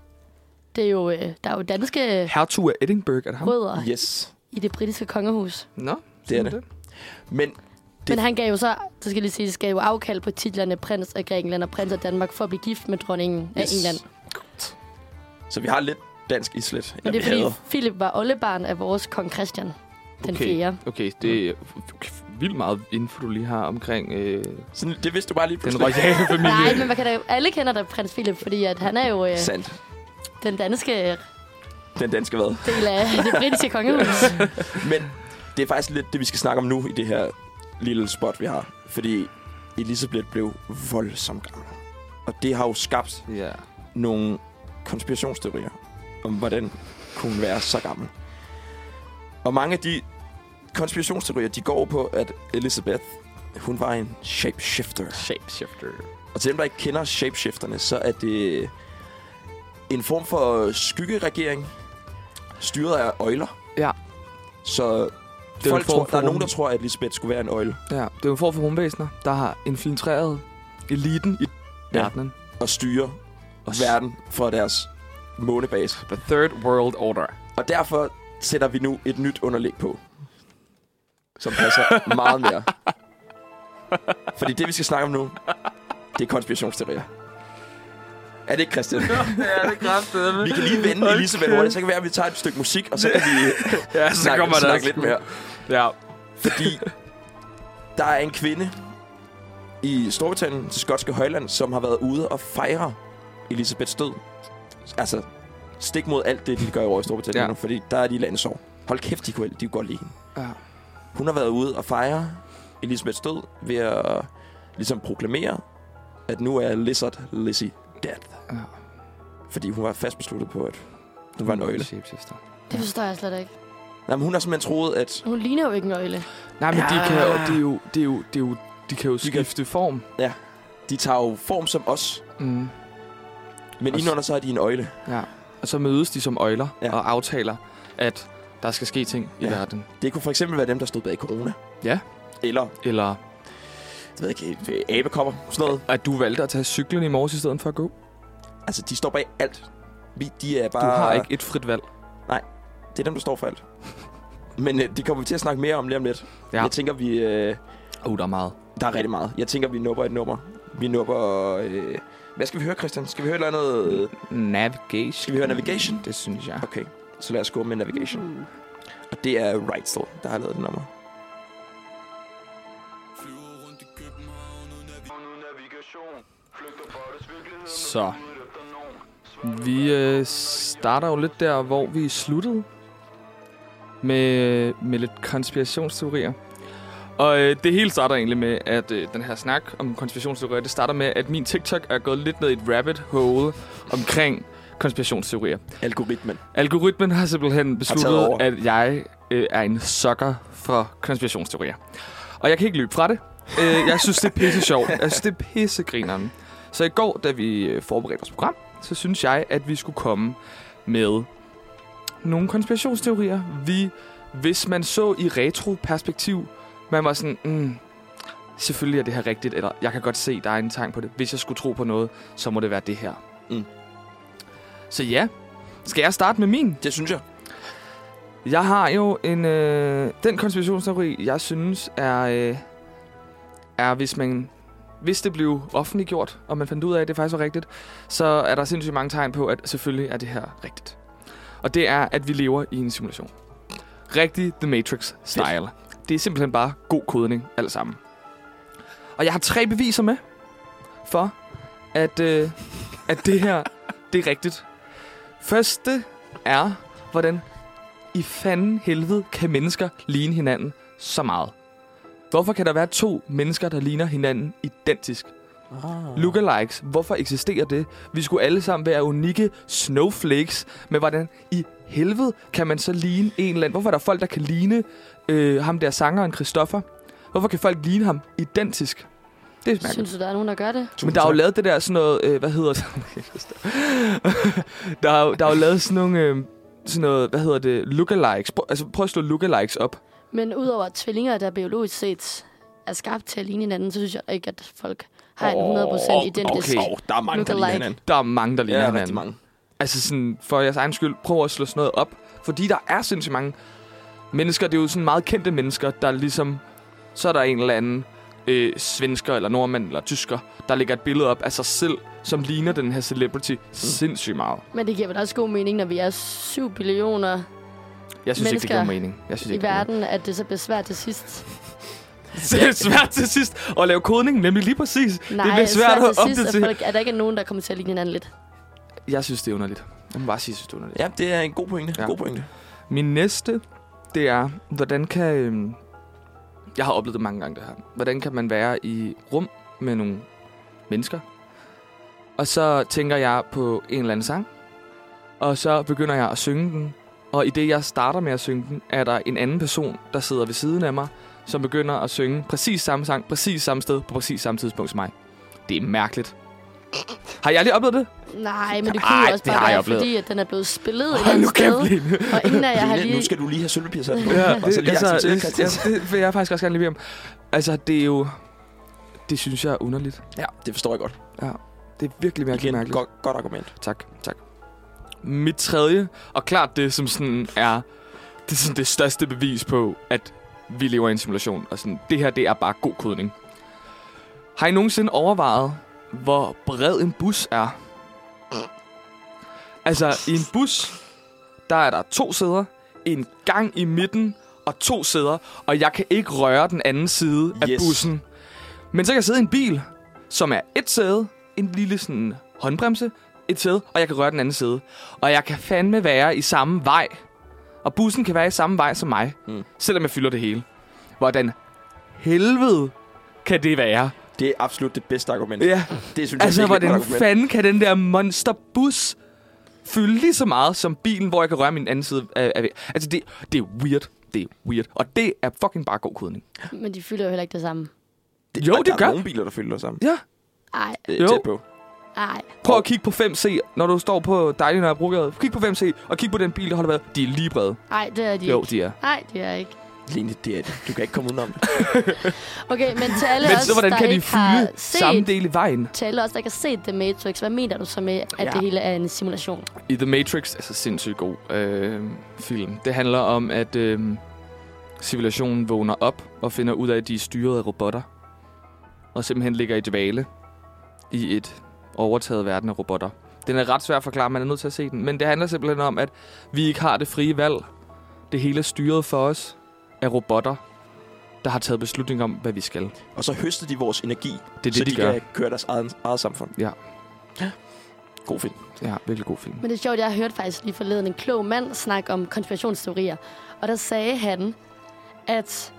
Speaker 3: det er jo, øh, der er jo danske øh,
Speaker 2: Hertug af Edinburgh, er det ham?
Speaker 3: rødder
Speaker 1: Yes.
Speaker 3: i det britiske kongehus.
Speaker 2: Nå,
Speaker 1: Det er
Speaker 2: sådan
Speaker 1: det. Men Det-
Speaker 3: Det. Men han gav jo så, det skal lige sige, gav jo afkald på titlerne prins af Grækenland og prins af Danmark for at blive gift med dronningen yes. af
Speaker 1: Yes.
Speaker 3: England.
Speaker 1: Så vi har lidt dansk islet.
Speaker 3: Men det er
Speaker 1: vi
Speaker 3: fordi,
Speaker 1: havde.
Speaker 3: Philip var oldebarn af vores kong Christian den
Speaker 2: okay.
Speaker 3: fjerde.
Speaker 2: Okay, det er vildt meget info, du lige har omkring øh,
Speaker 1: Sådan, det vidste du bare lige
Speaker 2: den
Speaker 1: pludselig.
Speaker 2: royale
Speaker 3: Nej,
Speaker 2: familie.
Speaker 3: men man kan da, alle kender da prins Philip, fordi at han er jo øh,
Speaker 1: Sandt.
Speaker 3: den danske
Speaker 1: Den danske hvad?
Speaker 3: del af det britiske kongehus.
Speaker 1: Men det er faktisk lidt det, vi skal snakke om nu i det her lille spot, vi har. Fordi Elisabeth blev voldsomt gammel. Og det har jo skabt
Speaker 2: Ja.
Speaker 1: nogle konspirationsteorier om, hvordan kunne hun være så gammel. Og mange af de konspirationsteorier, de går på, at Elizabeth, hun var en shapeshifter.
Speaker 2: Shapeshifter.
Speaker 1: Og til dem, der ikke kender shapeshifterne, så er det en form for skyggeregering, styret af øjler.
Speaker 2: Ja.
Speaker 1: Så
Speaker 2: er
Speaker 1: folk
Speaker 2: en form
Speaker 1: tror,
Speaker 2: for
Speaker 1: der er nogen,
Speaker 2: rum.
Speaker 1: der tror, at Lisbeth skulle være en øjle.
Speaker 2: Ja, det er jo en form for rumvæsener, der har infiltreret eliten i
Speaker 1: Ja.
Speaker 2: verdenen.
Speaker 1: Og styre
Speaker 2: Og s-
Speaker 1: verden fra deres månebase.
Speaker 2: The Third World Order.
Speaker 1: Og derfor sætter vi nu et nyt underlæg på. Som passer meget mere. Fordi det, vi skal snakke om nu, det er konspirationsteorier. Er det ikke, Christian?
Speaker 2: ja, det er kraftedeme.
Speaker 1: Vi kan lige vende Elisabeth hurtigt. Så kan det være, at vi tager et stykke musik, og så kan vi
Speaker 2: Ja, så
Speaker 1: snakke,
Speaker 2: kommer der
Speaker 1: snakke
Speaker 2: sgu-
Speaker 1: lidt mere.
Speaker 2: Ja.
Speaker 1: Fordi der er en kvinde i Storbritannien, det skotske højland, som har været ude og fejre Elisabeths død. Altså, stik mod alt det, de gør over i Storbritannien
Speaker 2: Ja.
Speaker 1: ja. nu, fordi der er de landsår. Hold kæft, de kunne, de kunne godt lide hende.
Speaker 2: ja.
Speaker 1: Hun har været ude og fejre Elisabeths død ved at ligesom proklamere, at nu er Lizard Lizzie dead.
Speaker 2: Ja.
Speaker 1: Fordi hun var fast besluttet på, at hun var en øjle.
Speaker 2: Shapeshifter.
Speaker 3: Det forstår jeg slet ikke.
Speaker 1: Nej, men hun har simpelthen troet, at...
Speaker 3: Hun ligner jo ikke en øjle.
Speaker 2: Nej, men de
Speaker 1: Ja.
Speaker 2: kan jo, det er jo, det er jo, det er jo, de kan jo
Speaker 1: De kan-
Speaker 2: skifte form.
Speaker 1: De tager jo form som os,
Speaker 2: Mm.
Speaker 1: men
Speaker 2: Og s-
Speaker 1: indenunder så er de en øjle.
Speaker 2: Ja. Og så mødes de som øjler ja.
Speaker 1: Ja.
Speaker 2: og aftaler, at der skal ske ting ja. i
Speaker 1: Ja.
Speaker 2: verden.
Speaker 1: Det kunne for eksempel være dem, der stod bag corona.
Speaker 2: Ja.
Speaker 1: Eller,
Speaker 2: Eller
Speaker 1: jeg ved ikke, øh, abekopper, sådan noget.
Speaker 2: at du valgte at tage cyklen i morges i stedet for at gå.
Speaker 1: Altså, de står bag alt. Vi- De er bare...
Speaker 2: Du har ikke et frit valg.
Speaker 1: Det er dem, der står for alt. Men øh, det kommer vi til at snakke mere om lige om lidt.
Speaker 2: Ja.
Speaker 1: Jeg tænker, vi... Øh,
Speaker 2: Åh, oh, der er meget.
Speaker 1: der er rigtig meget. Jeg tænker, vi nupper et nummer. Vi nupper... Øh, hvad skal vi høre, Christian? Skal vi høre et eller andet... øh,
Speaker 2: Navigation.
Speaker 1: Skal vi høre Navigation?
Speaker 2: Det synes jeg.
Speaker 1: Okay, så lad os gå med Navigation. Og det er Rightstall, der har lavet det nummer.
Speaker 2: Så. Vi øh, starter jo lidt der, hvor vi sluttede. Med, med lidt konspirationsteorier. Og øh, det hele starter egentlig med, at øh, den her snak om konspirationsteorier, det starter med, at min TikTok er gået lidt ned i et rabbit hole omkring konspirationsteorier.
Speaker 1: Algoritmen.
Speaker 2: Algoritmen har simpelthen
Speaker 1: taget
Speaker 2: besluttet,
Speaker 1: over.
Speaker 2: at jeg øh, er en sokker for konspirationsteorier. Og jeg kan ikke løbe fra det. Øh, jeg synes, det er pisse sjovt. Jeg synes, det er pissegrineren. Så i går, da vi øh, forberedte vores program, så synes jeg, at vi skulle komme med nogle konspirationsteorier. Vi, hvis man så i retroperspektiv, man var sådan, mm, selvfølgelig er det her rigtigt, eller jeg kan godt se, der er en tegn på det. Hvis jeg skulle tro på noget, så må det være det her.
Speaker 1: Mm.
Speaker 2: Så ja, skal jeg starte med min?
Speaker 1: Det synes jeg.
Speaker 2: Jeg har jo en... Øh, den konspirationsteori, jeg synes, er... Øh, er, hvis man... Hvis det blev offentliggjort, og man fandt ud af, at det faktisk var rigtigt, så er der sindssygt mange tegn på, at selvfølgelig er det her rigtigt. Og det er, at vi lever i en simulation. Rigtig The Matrix-style. Det er simpelthen bare god kodning, alt sammen. Og jeg har tre beviser med for, at, øh, at det her det er rigtigt. Første er, hvordan i fanden helvede kan mennesker ligne hinanden så meget? Hvorfor kan der være to mennesker, der ligner hinanden identisk?
Speaker 1: Ah.
Speaker 2: Lookalikes, hvorfor eksisterer det? Vi skulle alle sammen være unikke snowflakes, men hvordan i helvede kan man så ligne en eller anden? Hvorfor er der folk, der kan ligne øh, ham der sangeren Christoffer? Hvorfor kan folk ligne ham identisk? Det er mærkeligt.
Speaker 3: Synes du, der er nogen, der gør det?
Speaker 2: Men der er jo lavet det der sådan noget, øh, hvad hedder det? der, er, jo- der er jo lavet sådan nogle, øh, sådan noget, hvad hedder det, lookalikes. Prøv, altså prøv at slå lookalikes op.
Speaker 3: Men udover at tvillinger, der biologisk set er skabt til at ligne hinanden, så synes jeg ikke, at folk har en 100% identisk.
Speaker 1: Okay, oh, der er mange, der ligner
Speaker 3: Lookalike.
Speaker 1: hinanden.
Speaker 2: Der er mange, der ligner
Speaker 1: Ja,
Speaker 2: hinanden.
Speaker 1: rigtig mange.
Speaker 2: Altså sådan, for jeres egen skyld, prøv at slå sådan noget op. Fordi der er sindssygt mange mennesker, det er jo sådan meget kendte mennesker, der ligesom, så er der en eller anden øh, svensker, eller nordmand, eller tysker, der lægger et billede op af sig selv, som ligner den her celebrity
Speaker 1: Mm.
Speaker 2: sindssygt meget.
Speaker 3: Men det giver vel også god mening, når vi er 7 billioner
Speaker 2: Jeg synes ikke, det
Speaker 3: Mennesker
Speaker 2: giver mening. Jeg synes
Speaker 3: i
Speaker 2: ikke, det giver
Speaker 3: verden, at det så bliver svært til sidst.
Speaker 2: Det er svært til sidst at lave kodning, nemlig lige præcis.
Speaker 3: Nej,
Speaker 2: det bliver svært,
Speaker 3: svært
Speaker 2: at
Speaker 3: til sidst, at
Speaker 2: opdatere.
Speaker 3: folk, er der ikke nogen, der kommer til at ligne hinanden lidt.
Speaker 2: Jeg synes, det er underligt. Jeg må bare sige, jeg synes, det er underligt.
Speaker 1: Ja, det er en god pointe.
Speaker 2: Ja.
Speaker 1: Ja. God pointe.
Speaker 2: Min næste, det er, hvordan kan... øhm, Jeg har oplevet det mange gange, det her. Hvordan kan man være i rum med nogle mennesker? Og så tænker jeg på en eller anden sang. Og så begynder jeg at synge den. Og i det, jeg starter med at synge den, er der en anden person, der sidder ved siden af mig, som begynder at synge præcis samme sang, præcis samme sted, på præcis samme tidspunkt som mig. Det er mærkeligt. Har jeg aldrig oplevet det?
Speaker 3: Nej, men det
Speaker 2: Ej,
Speaker 3: kunne jo også
Speaker 2: det
Speaker 3: bare
Speaker 2: har jeg
Speaker 3: være,
Speaker 2: oplevet.
Speaker 3: fordi at den er blevet spillet et eller
Speaker 2: Hold nu
Speaker 3: andet sted.
Speaker 2: kæft, Line.
Speaker 3: Og ingen af jer har
Speaker 1: Line,
Speaker 3: lige...
Speaker 1: Nu skal du lige have sølvpirser.
Speaker 2: Ja,
Speaker 1: Og så
Speaker 2: det,
Speaker 1: lige
Speaker 2: altså,
Speaker 1: acceptere
Speaker 2: det,
Speaker 1: Christian.
Speaker 2: ja, det vil jeg faktisk også gerne lige bede om. Altså, det er jo... Det synes jeg er underligt.
Speaker 1: Ja, det forstår jeg godt.
Speaker 2: Det er virkelig virkelig
Speaker 1: Igen,
Speaker 2: mærkeligt.
Speaker 1: godt, godt argument.
Speaker 2: Tak, tak. Mit tredje, og klart det, som sådan er... Det er sådan det største bevis på, at vi lever i en simulation. Og sådan, det her, det er bare god kodning. Har I nogensinde overvejet, hvor bred en bus er? Altså, i en bus, der er der to sæder, en gang i midten og to sæder, og jeg kan ikke røre den anden side af
Speaker 1: Yes.
Speaker 2: bussen. Men så kan jeg sidde i en bil, som er et sæde, en lille sådan håndbremse, et sæde, og jeg kan røre den anden side. Og jeg kan fandme være i samme vej. Og bussen kan være i samme vej som mig, mm.
Speaker 1: Mm.
Speaker 2: selvom jeg fylder det hele. Hvordan helvede kan det være?
Speaker 1: Det er absolut det bedste argument.
Speaker 2: Ja,
Speaker 1: Det synes
Speaker 2: altså
Speaker 1: jeg virkelig er et
Speaker 2: hvordan
Speaker 1: godt argument.
Speaker 2: fanden kan den der monsterbus fylde lige så meget som bilen, hvor jeg kan røre min anden side af, af Altså det, det er weird. Det er weird. Og det er fucking bare god kodning.
Speaker 3: Men de fylder jo heller ikke det samme.
Speaker 1: Det,
Speaker 2: Jo,
Speaker 1: og
Speaker 2: det
Speaker 1: der
Speaker 2: gør-
Speaker 1: er nogle biler, der fylder sammen.
Speaker 2: Ja.
Speaker 3: Ej,
Speaker 1: Det
Speaker 2: Jo.
Speaker 1: er tæt på.
Speaker 3: ej.
Speaker 2: Prøv at kigge på 5C, når du står på dejlig Nørre Brogade. Kig på 5C, og kig på den bil, der holder været. De er lige brede.
Speaker 3: Ej, det er de
Speaker 2: Jo,
Speaker 3: ikke.
Speaker 2: de er.
Speaker 3: Nej, det er ikke.
Speaker 1: Line, det er det. Du kan ikke komme udenom det.
Speaker 3: Okay, men til alle
Speaker 2: Men
Speaker 3: os,
Speaker 2: så hvordan
Speaker 3: der
Speaker 2: kan de
Speaker 3: ikke har
Speaker 2: fylde
Speaker 3: set,
Speaker 2: samme del i vejen?
Speaker 3: til alle os, der ikke har set The Matrix, hvad mener du så med, at
Speaker 2: Ja.
Speaker 3: det hele er en simulation?
Speaker 2: I The Matrix, altså sindssygt god øh, film. Det handler om, at øh, civilisationen vågner op og finder ud af, at de er styret af robotter. Og simpelthen ligger i dvale i et overtaget verden af robotter. Den er ret svær at forklare, man er nødt til at se den. Men det handler simpelthen om, at vi ikke har det frie valg. Det hele er styret for os af robotter, der har taget beslutning om, hvad vi skal. Det er
Speaker 1: Og så høster de vores energi,
Speaker 2: det,
Speaker 1: så
Speaker 2: de,
Speaker 1: de,
Speaker 2: gør.
Speaker 1: kan køre deres eget, eget samfund.
Speaker 2: Ja.
Speaker 1: God film.
Speaker 2: Ja, virkelig god film.
Speaker 3: Men det er sjovt, jeg hørte faktisk lige forleden en klog mand snakke om konspirationsteorier. Og der sagde han, at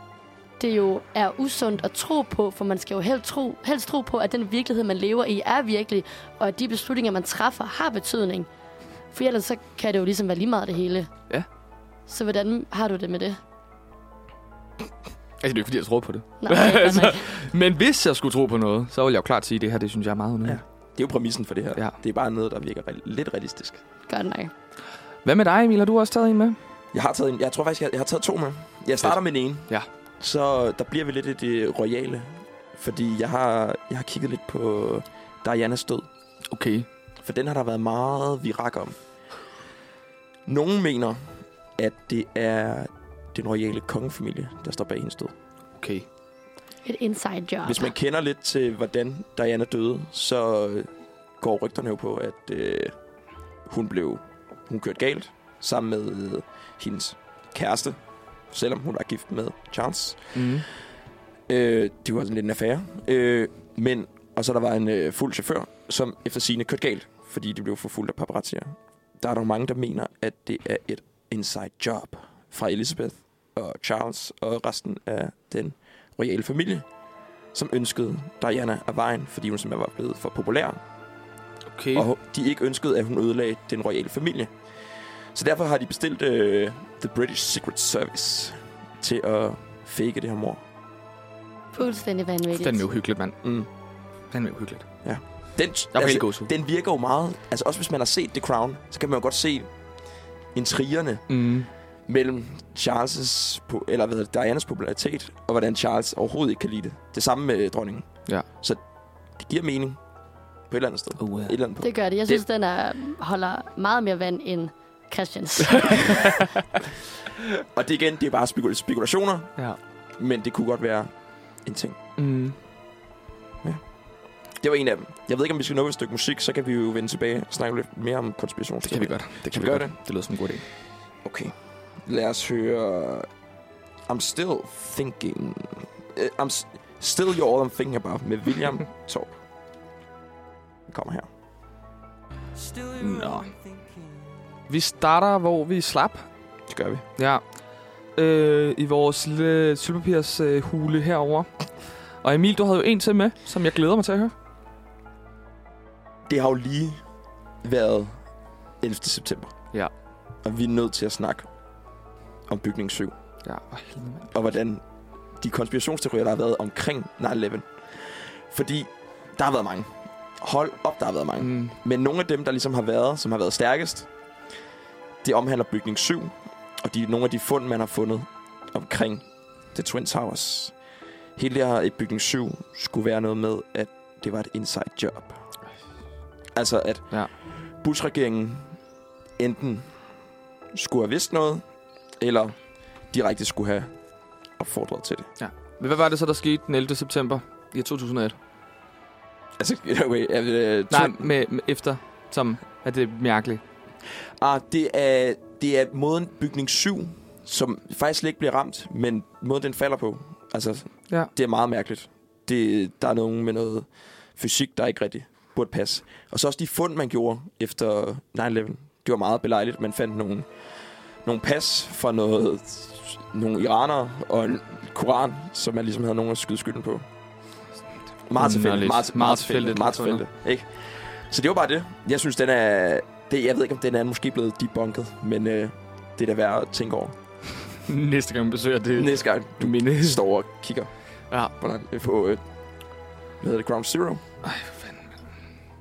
Speaker 3: det jo er usundt at tro på, for man skal jo helst tro, helst tro på, at den virkelighed, man lever i, er virkelig, og at de beslutninger, man træffer, har betydning. For ellers så kan det jo ligesom være lige meget det hele.
Speaker 2: Ja.
Speaker 3: Så hvordan har du det med det?
Speaker 2: Altså, det er jo ikke, fordi jeg tror på det.
Speaker 3: Nej, godt nok.
Speaker 2: Men hvis jeg skulle tro på noget, så ville jeg jo klart sige, at det her, det synes jeg er meget underligt.
Speaker 1: Ja. Det er jo præmissen for det her.
Speaker 2: Ja.
Speaker 1: Det er bare noget, der virker re- lidt realistisk.
Speaker 3: godt nok.
Speaker 2: Hvad med dig, Emil? Har du også taget en med?
Speaker 1: Jeg har taget en, jeg tror faktisk, jeg, jeg har taget to med. Jeg starter med den ene.
Speaker 2: Ja.
Speaker 1: Så der bliver vi lidt i det royale. Fordi jeg har, jeg har kigget lidt på Dianas død.
Speaker 2: Okay.
Speaker 1: For den har der været meget virak om. Nogen mener, at det er den royale kongefamilie, der står bag hendes død.
Speaker 2: Okay.
Speaker 3: Et inside job.
Speaker 1: Hvis man kender lidt til, hvordan Diana døde, så øh, går rygterne jo på, at øh, hun blev hun kørte galt sammen med hendes øh, kæreste, selvom hun var gift med Charles.
Speaker 2: Mm.
Speaker 1: Øh, det var sådan lidt en affære. Øh, men, og så der var en øh, fuld chauffør, som efter sine kørte galt, fordi de blev forfulgt af paparazzier. Der er dog mange, der mener, at det er et inside job fra Elizabeth og Charles og resten af den royale familie, som ønskede Diana af vejen, fordi hun simpelthen var blevet for populær
Speaker 2: Okay.
Speaker 1: og de ikke ønskede, at hun ødelagde den royale familie. Så derfor har de bestilt øh, The British Secret Service til at fake det her mor.
Speaker 3: Fuldstændig vanvittigt.
Speaker 2: Den er uhyggeligt, mand.
Speaker 1: Mm.
Speaker 2: Den er uhyggeligt.
Speaker 1: Altså, Den,
Speaker 2: Jeg er helt
Speaker 1: altså,
Speaker 2: gåsehud.
Speaker 1: den virker jo meget... Altså også hvis man har set The Crown, så kan man jo godt se intrigerne
Speaker 2: Mm.
Speaker 1: mellem Charles' po- eller hvad hedder det, Dianas popularitet, og hvordan Charles overhovedet ikke kan lide det. Det samme med dronningen.
Speaker 2: Ja.
Speaker 1: Så det giver mening på et eller andet sted. Et
Speaker 2: Uh,
Speaker 1: eller andet punkt.
Speaker 3: Det gør det. Jeg
Speaker 1: Det-
Speaker 3: synes, den er, holder meget mere vand end Christians.
Speaker 1: Og det igen, det er bare spekul- spekulationer,
Speaker 2: ja.
Speaker 1: men det kunne godt være en ting.
Speaker 2: Mm.
Speaker 1: Det var en af dem. Jeg ved ikke, om vi skal nå et stykke musik, så kan vi jo vende tilbage og snakke lidt mere om konspiration.
Speaker 2: Det kan vi godt. Det
Speaker 1: Skal vi gøre
Speaker 2: Det lyder som en god idé.
Speaker 1: Okay. Lad os høre... I'm still thinking... Uh, I'm s- still you're all I'm thinking about med William Torp. Den kommer her.
Speaker 2: Nå. Vi starter, hvor vi slap.
Speaker 1: Det gør vi.
Speaker 2: Ja. Øh, I vores lille sølvpapirs øh, hule herover. Og Emil, du havde jo en til med, som jeg glæder mig til at høre.
Speaker 1: Det har jo lige været 11. september.
Speaker 2: Ja.
Speaker 1: Og vi er nødt til at snakke om bygning 7.
Speaker 2: Ja, for helvede, mand.
Speaker 1: og hvordan de konspirationsteorier, der har været omkring 9-11. Fordi der har været mange. Hold op, der har været mange. Mm.
Speaker 2: Mm.
Speaker 1: Men nogle af dem, der ligesom har været, som har været stærkest, det omhandler bygning 7, og de er nogle af de fund, man har fundet omkring The Twin Towers. Hele det her i bygning 7 skulle være noget med, at det var et inside job. Altså, at
Speaker 2: Ja.
Speaker 1: Bush-regeringen enten skulle have vidst noget, eller direkte skulle have opfordret til det.
Speaker 2: Men hvad var det så, der skete den 11. september i 2001?
Speaker 1: Altså, okay, øh,
Speaker 2: Nej, med, med efter, som er det mærkeligt.
Speaker 1: Ah, det er, det er måden bygning 7, som faktisk slet ikke bliver ramt, men måden den falder på. Altså,
Speaker 2: Ja.
Speaker 1: det er meget mærkeligt. Det, der er nogen med noget fysik, der ikke rigtig burde passe. Og så også de fund, man gjorde efter 9-11. Det var meget belejligt. Man fandt nogle, nogle pas fra noget, nogle iranere og en koran, som man ligesom havde nogen at skyde skylden på. Meget tilfældigt.
Speaker 2: Underligt.
Speaker 1: Meget,
Speaker 2: Meget
Speaker 1: meget tilfældigt.
Speaker 2: tilfældigt,
Speaker 1: Meget
Speaker 2: tror jeg.
Speaker 1: tilfældigt. Ikke? Så det var bare det. Jeg synes, den er... Det, jeg ved ikke, om den er måske blevet debunket, men øh, det er da værd at tænke over.
Speaker 2: Næste gang vi besøger det.
Speaker 1: Næste gang, du
Speaker 2: minde.
Speaker 1: står og kigger
Speaker 2: Ja.
Speaker 1: på, dig, på øh, hvad hedder det, Ground Zero.
Speaker 2: Ej, for fanden.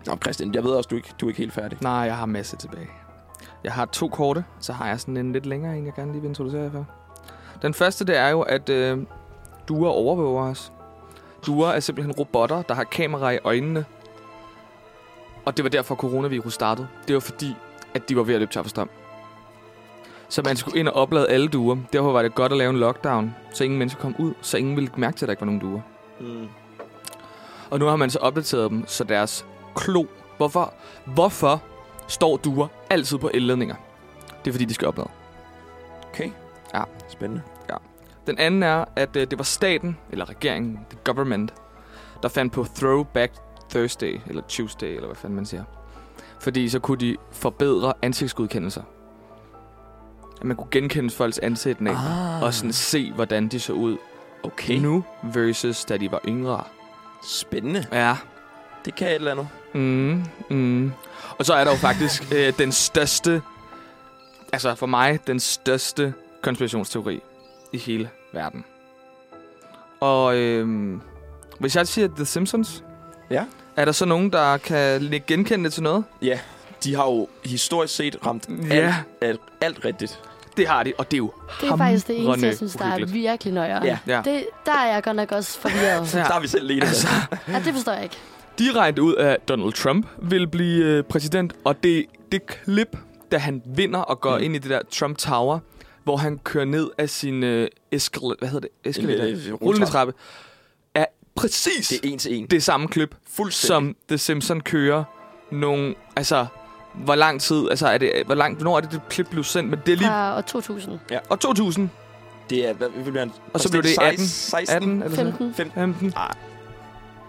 Speaker 1: Nå, Christian, jeg ved også, du er ikke, du er ikke helt færdig.
Speaker 2: Nej, jeg har masse tilbage. Jeg har to korte, så har jeg sådan en lidt længere en, jeg gerne lige vil introducere jer for. Den første, det er jo, at øh, duer overvåger os. Duer er simpelthen robotter, der har kamera i øjnene. Og det var derfor, coronavirus startede. Det var fordi, at de var ved at løbe tør for strøm. Så man skulle ind og oplade alle duer. Derfor var det godt at lave en lockdown, så ingen mennesker kom ud, så ingen ville mærke til, at der ikke var nogen duer.
Speaker 1: Mm.
Speaker 2: Og nu har man så opdateret dem, så deres klo... Hvorfor, hvorfor står duer altid på elledninger? Det er, fordi de skal oplade.
Speaker 1: Okay.
Speaker 2: Ja.
Speaker 1: Spændende.
Speaker 2: Den anden er, at øh, det var staten, eller regeringen, the government, der fandt på Throwback Thursday, eller Tuesday, eller hvad fanden man siger. Fordi så kunne de forbedre ansigtsgodkendelser. At man kunne genkende folks ansigt ah.
Speaker 1: Ah,
Speaker 2: og sådan se, hvordan de så ud
Speaker 1: okay.
Speaker 2: nu versus da de var yngre.
Speaker 1: Spændende.
Speaker 2: Ja,
Speaker 1: Det kan et eller andet.
Speaker 2: Mm, mm. Og så er der jo faktisk øh, den største, altså for mig, den største konspirationsteori i hele verden. Og øh, hvis jeg siger The Simpsons,
Speaker 1: Ja.
Speaker 2: er der så nogen, der kan lægge genkende det til noget?
Speaker 1: De har jo historisk set ramt alt,
Speaker 2: Ja.
Speaker 1: alt, alt rigtigt.
Speaker 2: Det har de, og det er jo
Speaker 3: Det er faktisk det eneste,
Speaker 2: hamrende
Speaker 3: jeg synes, der er
Speaker 2: uhyggeligt.
Speaker 3: virkelig nøjere.
Speaker 1: Ja.
Speaker 2: Ja.
Speaker 3: Det, der er jeg godt nok også forvirret.
Speaker 2: Ja.
Speaker 1: Der er vi selv lige altså.
Speaker 3: ja, det forstår jeg ikke.
Speaker 2: direkte ud af Donald Trump vil blive øh, præsident, og det, det klip, da han vinder og går
Speaker 1: Mm.
Speaker 2: mm. ind i det der Trump Tower, hvor han kører ned af sin øh, eskal... Hvad hedder det? Eskalator?
Speaker 1: lille
Speaker 2: Rullende trappe. Er præcis
Speaker 1: øh, Det
Speaker 2: det,
Speaker 1: er en til en.
Speaker 2: det samme klip,
Speaker 1: Fuldstændig.
Speaker 2: som The Simpsons kører nogle... Altså, hvor lang tid... Altså, er det, hvor langt, hvornår er det, det klip blev sendt? Men det er lige...
Speaker 3: Fra år 2000.
Speaker 2: Og 2000.
Speaker 1: Det er, hvad, hvad bliver han?
Speaker 2: Og så blev det 18,
Speaker 1: 16?
Speaker 2: 18 eller sådan
Speaker 3: 15.
Speaker 1: 15?
Speaker 2: 15.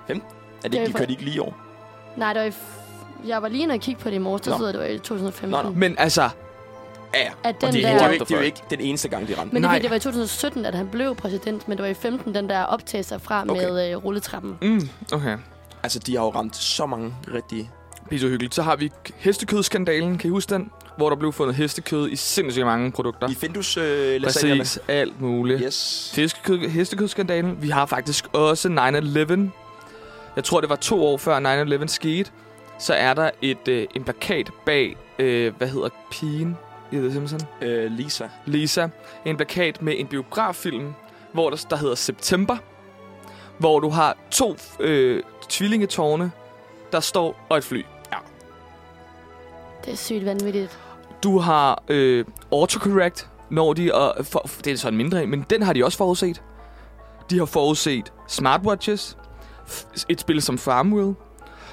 Speaker 1: Er det
Speaker 3: Det er
Speaker 1: ikke, de
Speaker 3: for-
Speaker 1: kørte ikke lige i år?
Speaker 3: Nej, det var i f- jeg var lige inde og kigge på det i morges, der
Speaker 1: Nå.
Speaker 3: sidder det var i 2015.
Speaker 1: Nå, nå.
Speaker 2: Men altså,
Speaker 1: Ja, ja.
Speaker 3: At
Speaker 1: Og
Speaker 3: den
Speaker 1: det,
Speaker 3: der,
Speaker 1: det, er jo
Speaker 2: What
Speaker 1: ikke, det er jo
Speaker 2: the
Speaker 1: ikke den eneste gang, de ramte.
Speaker 3: men det, er
Speaker 2: Nej.
Speaker 3: fordi, det var i 2017, at han blev præsident, men det var i 15, den der optagelser fra
Speaker 1: Okay.
Speaker 3: med øh, rulletrappen.
Speaker 2: mm, okay.
Speaker 1: Altså, de har jo ramt så mange rigtige...
Speaker 2: Det er så hyggeligt. Så har vi hestekødskandalen. Kan I huske den? Hvor der blev fundet hestekød i sindssygt mange produkter.
Speaker 1: I Findus øh, lasagnerne.
Speaker 2: Præcis. Alt muligt.
Speaker 1: Yes.
Speaker 2: Fiskekød, hestekødskandalen. Vi har faktisk også 9-11. Jeg tror, det var to år før 9-11 skete. Så er der et øh, en plakat bag, øh, hvad hedder pigen i The Simpsons?
Speaker 1: Øh, Lisa.
Speaker 2: Lisa. En plakat med en biograffilm, hvor der, der hedder September. Hvor du har to øh, tvillingetårne, der står, og et fly.
Speaker 3: Det er sygt vanvittigt.
Speaker 2: Du har øh, autocorrect, når de... Og for, det er sådan mindre, en, men den har de også forudset. De har forudset smartwatches, f- et spil som Farmville,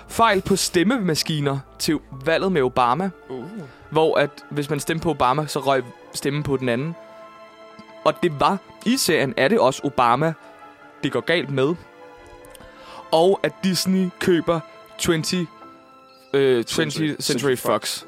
Speaker 2: fejl på stemmemaskiner til valget med Obama,
Speaker 1: Uh.
Speaker 2: hvor at hvis man stemte på Obama, så røg stemmen på den anden. Og det var i serien, er det også Obama, det går galt med. Og at Disney køber 20, øh, 20
Speaker 1: Century-
Speaker 2: Century,
Speaker 1: Century
Speaker 2: Fox.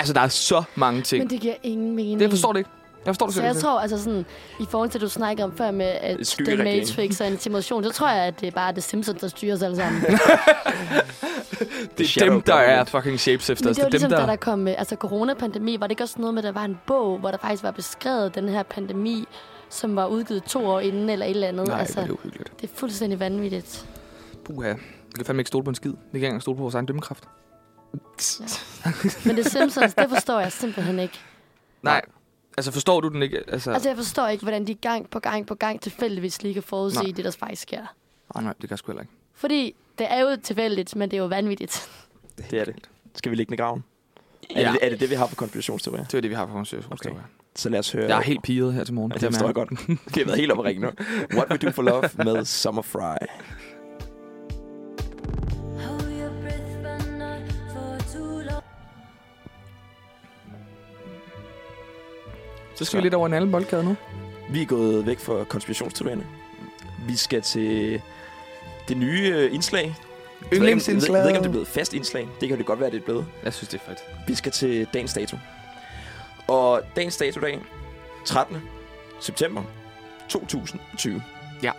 Speaker 2: Altså, der er så mange ting.
Speaker 3: Men det giver ingen mening.
Speaker 2: Det jeg forstår det ikke. Jeg forstår det
Speaker 3: Så jeg
Speaker 2: simpelthen
Speaker 3: tror, altså sådan, i forhold til, at du snakkede om før med at The
Speaker 1: Skyggeregering.
Speaker 3: Matrix og intimidation, så tror jeg, at det er bare The Simpsons, der styrer os alle sammen.
Speaker 2: ikke.
Speaker 1: The
Speaker 2: Det er
Speaker 1: shadow
Speaker 2: dem, der er
Speaker 1: government.
Speaker 2: fucking shapeshifters.
Speaker 3: Men det var
Speaker 2: Det er dem,
Speaker 3: ligesom, da
Speaker 2: der...
Speaker 3: der kom øh, altså, coronapandemi, var det ikke også noget med, at der var en bog, hvor der faktisk var beskrevet den her pandemi, som var udgivet to år inden eller et eller andet.
Speaker 2: Nej,
Speaker 3: altså,
Speaker 2: altså... det er uhyggeligt.
Speaker 3: det er fuldstændig vanvittigt.
Speaker 2: Puha. Vi kan fandme ikke stole på en skid. Vi kan ikke engang stole på vores egen dømmekraft.
Speaker 3: Men The Simpsons, det forstår jeg simpelthen ikke.
Speaker 2: Nej. Altså, forstår du den ikke? Altså,
Speaker 3: Altså, jeg forstår ikke, hvordan de gang på gang på gang tilfældigvis lige kan forudse
Speaker 2: Nej.
Speaker 3: det, der faktisk sker.
Speaker 2: nej, nej, det kan jeg sgu heller ikke.
Speaker 3: Fordi det er jo tilfældigt, men det er jo vanvittigt.
Speaker 1: Det er det. Skal vi lægge den i graven? Ja. Er,
Speaker 2: Ja.
Speaker 1: det, er det det, vi har på konspirationsteorier?
Speaker 2: Det var det, vi har for vores okay.
Speaker 1: Så lad os høre...
Speaker 2: Jeg er helt piget her til morgen.
Speaker 1: Øh, Ja, det forstår jeg godt. Det har været helt op at ringe nu. What We Do For Love med Summer Fry.
Speaker 4: Hold your breath, but not for too long.
Speaker 2: Så skal vi lidt over en anden boldgade nu.
Speaker 1: Vi er gået væk fra konspirationsteorierne. Vi skal til det nye øh, indslag. Jeg ved ikke, om- Jeg ved ikke, om det er blevet et fast indslag. Det kan det godt være, det er blevet.
Speaker 2: Jeg synes, det er fedt.
Speaker 1: Vi skal til dagens dato. Og dagens dato dag, 13. september 2020.
Speaker 2: Ja.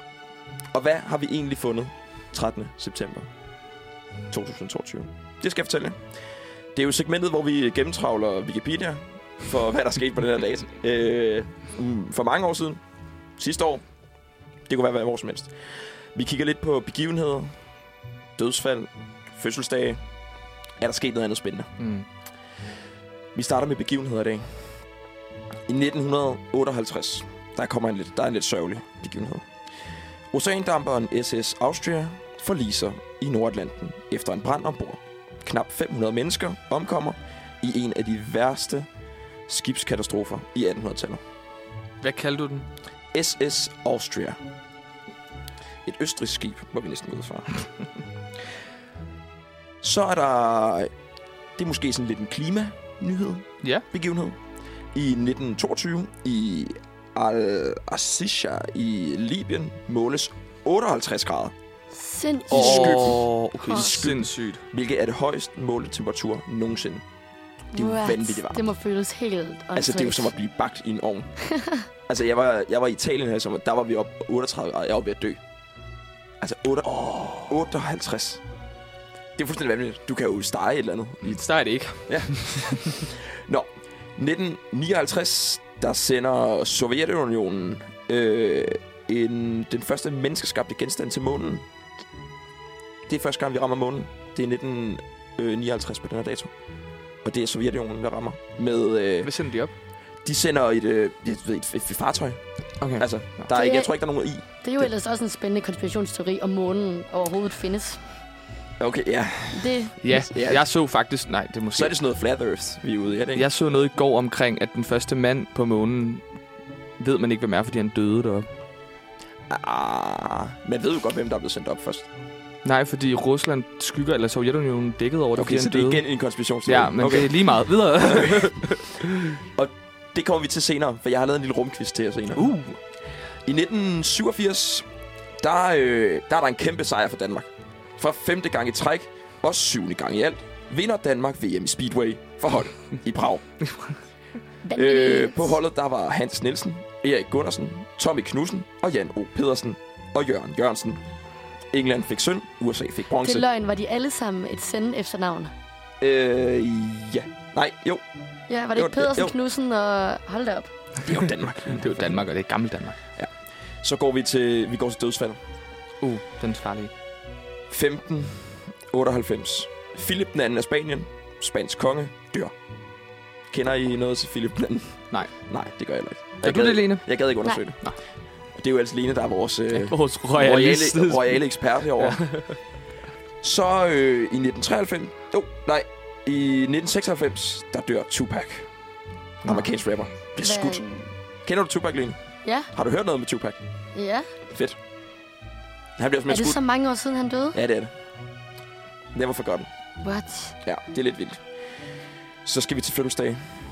Speaker 1: Og hvad har vi egentlig fundet 13. september 2022? Det skal jeg fortælle jer. Det er jo segmentet, hvor vi gennemtravler Wikipedia for, hvad der skete på den her dato. Øh, mm, for mange år siden. Sidste år. Det kunne være hvad år som helst. Vi kigger lidt på begivenheder, dødsfald, fødselsdage. Er der sket noget andet spændende?
Speaker 2: Mm.
Speaker 1: Vi starter med begivenheder i dag. I 1958, der kommer en lidt, der er en lidt sørgelig begivenhed. Oceandamperen SS Austria forliser i Nordatlanten efter en brand ombord. Knap 500 mennesker omkommer i en af de værste skibskatastrofer i 1800-tallet.
Speaker 2: Hvad kaldte du den?
Speaker 1: SS Austria. Et østrigsk skib, må vi næsten gå ud fra. Så er der... Det er måske sådan lidt en klimanyhed.
Speaker 2: Ja.
Speaker 1: Begivenhed. I 1922 i Al-Asisha i Libyen måles 58 grader,
Speaker 3: Sindssygt.
Speaker 1: I skyggen.
Speaker 2: Åh, okay.
Speaker 3: Åh.
Speaker 2: Sindssygt.
Speaker 1: hvilket er det højst målte temperatur nogensinde. det er jo
Speaker 3: What?
Speaker 1: vanvittigt varmt.
Speaker 3: Det må føles helt åndssvagt.
Speaker 1: Altså, det er jo som at blive bagt i en ovn. altså, jeg var, jeg var i Italien her i sommer. Der var vi op 38 grader. Jeg var ved at dø. Altså, 8, oh. 58. Det er fuldstændig vanvittigt. Du kan jo stege et eller andet.
Speaker 2: Der er det ikke.
Speaker 1: Nå, 1959, der sender Sovjetunionen øh, en, den første menneskeskabte genstand til månen. Det er første gang, vi rammer månen. Det er 1959 på den her dato. Og det er Sovjetunionen, der rammer. Med, øh,
Speaker 2: Hvad sender de op?
Speaker 1: de sender et, øh, et, et, et, et fartøj
Speaker 2: Okay.
Speaker 1: Altså, der er
Speaker 3: Det-
Speaker 1: ikke, jeg tror ikke, der er nogen i.
Speaker 3: Det er jo ellers også en spændende konspirationsteori, om månen overhovedet findes.
Speaker 1: Okay, ja.
Speaker 3: Det,
Speaker 2: ja,
Speaker 1: ja.
Speaker 2: jeg så faktisk... Nej, det er måske...
Speaker 1: Så er det sådan noget flat earth, vi er ude i, er det ikke?
Speaker 2: Jeg så noget i går omkring, at den første mand på månen ved man ikke, hvem er, fordi han døde deroppe.
Speaker 1: Ah, man ved jo godt, hvem der er blevet sendt op først.
Speaker 2: Nej, fordi Rusland skygger, eller Sovjetunionen dækkede over det,
Speaker 1: Okay,
Speaker 2: fordi
Speaker 1: så
Speaker 2: han
Speaker 1: det er
Speaker 2: døde.
Speaker 1: igen en konspirationsteori.
Speaker 2: Ja, men okay.
Speaker 1: okay.
Speaker 2: det er lige meget. Videre.
Speaker 1: det... det kommer vi til senere, for jeg har lavet en lille rumquiz til jer senere.
Speaker 2: Uh,
Speaker 1: I 1987, der, øh, der er der en kæmpe sejr for Danmark. For femte gang i træk, og syvende gang i alt, vinder Danmark VM i Speedway for hold i Prag. Øh, på holdet, der var Hans Nielsen, Erik Gunnarsen, Tommy Knudsen og Jan O. Pedersen og Jørgen Jørgensen. England fik sølv, USA fik
Speaker 3: Det er
Speaker 1: bronze.
Speaker 3: løgn, var de alle sammen et sende efternavn.
Speaker 1: Øh, ja. Nej, jo.
Speaker 3: Ja, var det
Speaker 1: Jo,
Speaker 3: ikke Pedersen,
Speaker 1: jo.
Speaker 3: Knudsen og... Hold da op.
Speaker 1: Det er jo Danmark.
Speaker 2: det er jo Danmark, og det er gammel Danmark.
Speaker 1: Så går vi til, vi går til dødsfald.
Speaker 2: Uh, den er farlig.
Speaker 1: 15, 98. Philip den anden af Spanien, spansk konge, dør. Kender I noget til Philip den anden?
Speaker 2: Nej.
Speaker 1: Nej, det gør jeg heller ikke.
Speaker 2: Er
Speaker 1: Jeg
Speaker 2: du
Speaker 1: gad-
Speaker 2: det, Lene?
Speaker 1: Jeg gad ikke undersøge det.
Speaker 2: Nej.
Speaker 1: Det er jo altså Lene, der er vores øh,
Speaker 2: Vores
Speaker 1: royale,
Speaker 2: royale.
Speaker 1: royale ekspert herovre. Så øh, i 1993... Jo, nej. I 1996, der dør Tupac. Amerikansk rapper. Bliver skudt.
Speaker 3: Hvad-
Speaker 1: Kender du Tupac, Lene?
Speaker 3: Ja,
Speaker 1: Har du hørt noget med Tupac?
Speaker 3: ja.
Speaker 1: Fedt. Han bliver
Speaker 3: Men er
Speaker 1: simpelthen
Speaker 3: det
Speaker 1: skudt.
Speaker 3: så mange år siden, han døde?
Speaker 1: Ja, det er det. Never forgotten.
Speaker 3: What?
Speaker 1: Ja, det er lidt vildt. Så skal vi til fødselsdag.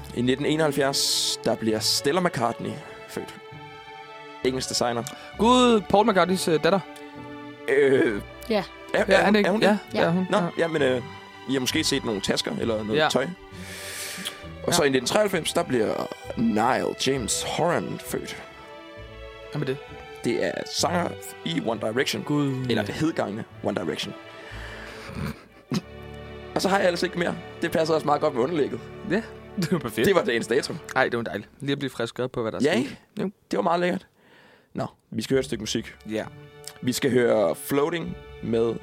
Speaker 1: I 1971, der bliver Stella McCartney født. Engelsk designer.
Speaker 2: Gud, Paul McCartneys øh, datter.
Speaker 1: Øh,
Speaker 3: Ja.
Speaker 1: Er,
Speaker 2: Ja,
Speaker 1: er,
Speaker 2: er
Speaker 1: hun, er
Speaker 2: det ikke?
Speaker 1: hun
Speaker 2: Ja,
Speaker 1: det?
Speaker 2: ja,
Speaker 3: Ja.
Speaker 2: hun.
Speaker 1: Nå,
Speaker 2: ja.
Speaker 1: ja. jamen, øh, I har måske set nogle tasker eller noget
Speaker 2: Ja.
Speaker 1: ja. tøj. Og så i 1993, der bliver Nile James Horan født.
Speaker 2: Hvad med det?
Speaker 1: Det er sanger i One Direction.
Speaker 2: Gud.
Speaker 1: Eller det hedgangende One Direction. og så har jeg altså ikke mere. Det passer også meget godt med underlægget.
Speaker 2: Ja, det var perfekt.
Speaker 1: Det var dagens dato.
Speaker 2: Nej, det var dejligt. Lige at blive frisk op på, hvad der er
Speaker 1: Ja,
Speaker 2: sket.
Speaker 1: ikke?
Speaker 2: Jo.
Speaker 1: Det var meget lækkert. Nå, vi skal høre et stykke musik.
Speaker 2: Ja.
Speaker 1: Vi skal høre Floating med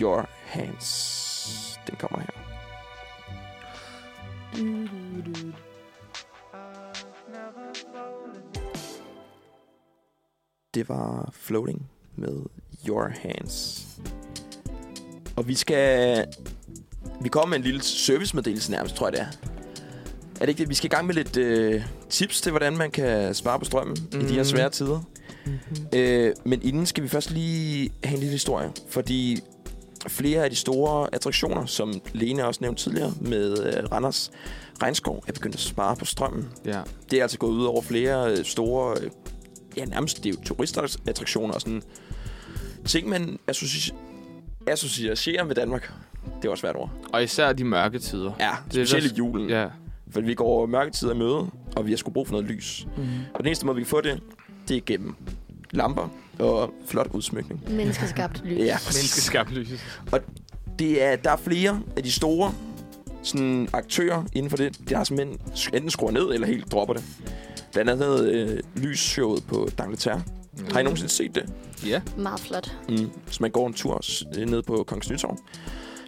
Speaker 1: Your Hands. Den kommer her. Det var Floating med Your Hands. Og vi skal... Vi kommer med en lille servicemeddelelse nærmest, tror jeg det er. Er det ikke det? Vi skal i gang med lidt øh, tips til, hvordan man kan spare på strømmen mm. i de her
Speaker 2: Mhm.
Speaker 1: svære tider. Øh, men inden skal vi først lige have en lille historie, fordi flere af de store attraktioner, som Lene også nævnte tidligere med øh, Randers Regnskov, er begyndt at spare på strømmen.
Speaker 2: Ja.
Speaker 1: Det er altså gået ud over flere øh, store, øh, ja nærmest det er jo turistattraktioner og sådan ting, man associ- associerer med Danmark. Det var svært ord.
Speaker 2: Og især de mørke tider.
Speaker 1: Ja,
Speaker 2: Det er
Speaker 1: specielt
Speaker 2: der-
Speaker 1: i julen.
Speaker 2: Ja.
Speaker 1: For vi går mørketid af møde, og vi har sgu brug for noget lys.
Speaker 2: Mhm.
Speaker 1: Og den eneste måde, vi kan få det, det er gennem lamper og flot udsmykning.
Speaker 3: Menneskeskabt lys.
Speaker 1: Ja, præcis.
Speaker 2: Menneskeskabt lys.
Speaker 1: Det er, der er flere af de store sådan, aktører inden for det, der simpelthen enten skruer ned eller helt dropper det. Blandt andet øh, lysshowet på Dangleterre. Mm. Har I nogensinde set det?
Speaker 2: Ja.
Speaker 3: Meget flot.
Speaker 1: Mm. Hvis man går en tur s- øh, ned på Kongens Nytorv,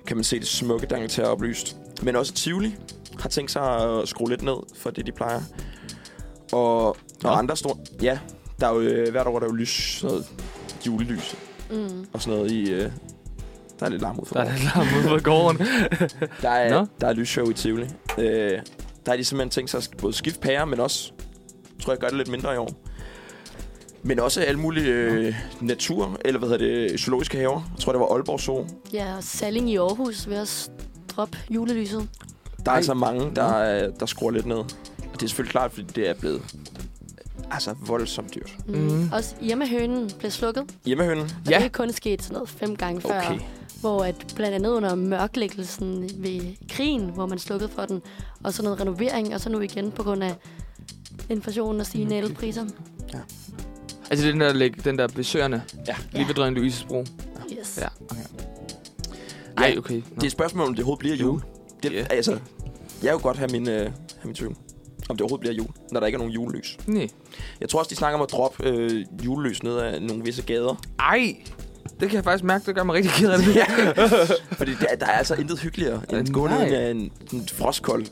Speaker 1: kan man se det smukke Dangleterre oplyst. Men også Tivoli har tænkt sig at skrue lidt ned for det, de plejer. Og,
Speaker 2: Nå.
Speaker 1: og andre store... Ja, der er jo, øh, hvert år der er jo lys, sådan noget julelys
Speaker 3: Mm.
Speaker 1: og sådan noget i... Øh, der er lidt larm ud for
Speaker 2: Der er lidt larm ude på gården.
Speaker 1: Der er,
Speaker 2: Nå.
Speaker 1: der er lysshow i Tivoli. Øh, der har de simpelthen tænkt sig at både skifte pærer, men også, tror jeg, gør det lidt mindre i år. Men også alle mulige øh, natur, eller hvad hedder det, zoologiske haver. Jeg tror, det var Aalborg Zoo.
Speaker 3: Ja, og Salling i Aarhus ved at droppe julelyset.
Speaker 1: Der er
Speaker 2: Ej.
Speaker 1: altså mange, der, øh, der skruer lidt ned. Og det er selvfølgelig klart, fordi det er blevet altså voldsomt dyrt.
Speaker 3: Mm.
Speaker 2: Mhm.
Speaker 3: Mm. Også hjemmehønen blev slukket.
Speaker 1: Hjemmehønnen?
Speaker 3: Og
Speaker 2: Ja.
Speaker 3: det er kun sket sådan noget fem gange før.
Speaker 1: Okay.
Speaker 3: Hvor at blandt andet under mørklæggelsen ved krigen, hvor man slukkede for den. Og så noget renovering, og så nu igen på grund af inflationen og stigende elpriser.
Speaker 2: Altså det er den der, læg- den der besøgerne.
Speaker 1: Ja.
Speaker 2: Lige ved Drønne Louise's bro.
Speaker 3: Yes.
Speaker 2: Ja, okay. Ej,
Speaker 1: Ja,
Speaker 2: okay.
Speaker 1: Det er et spørgsmål, om det overhovedet bliver jul. Det,
Speaker 2: Ja.
Speaker 1: yeah. altså, jeg vil godt have min, øh, have min tvivl, om det overhovedet bliver jul, når der ikke er nogen julelys.
Speaker 2: Nej.
Speaker 1: Jeg tror også, de snakker om at droppe øh, julelys ned ad nogle visse gader.
Speaker 2: Ej, det kan jeg faktisk mærke, det gør mig rigtig ked af det.
Speaker 1: Ja. Fordi der, der er altså intet hyggeligere end at gå ned
Speaker 2: Nej.
Speaker 1: ad en, en frostkold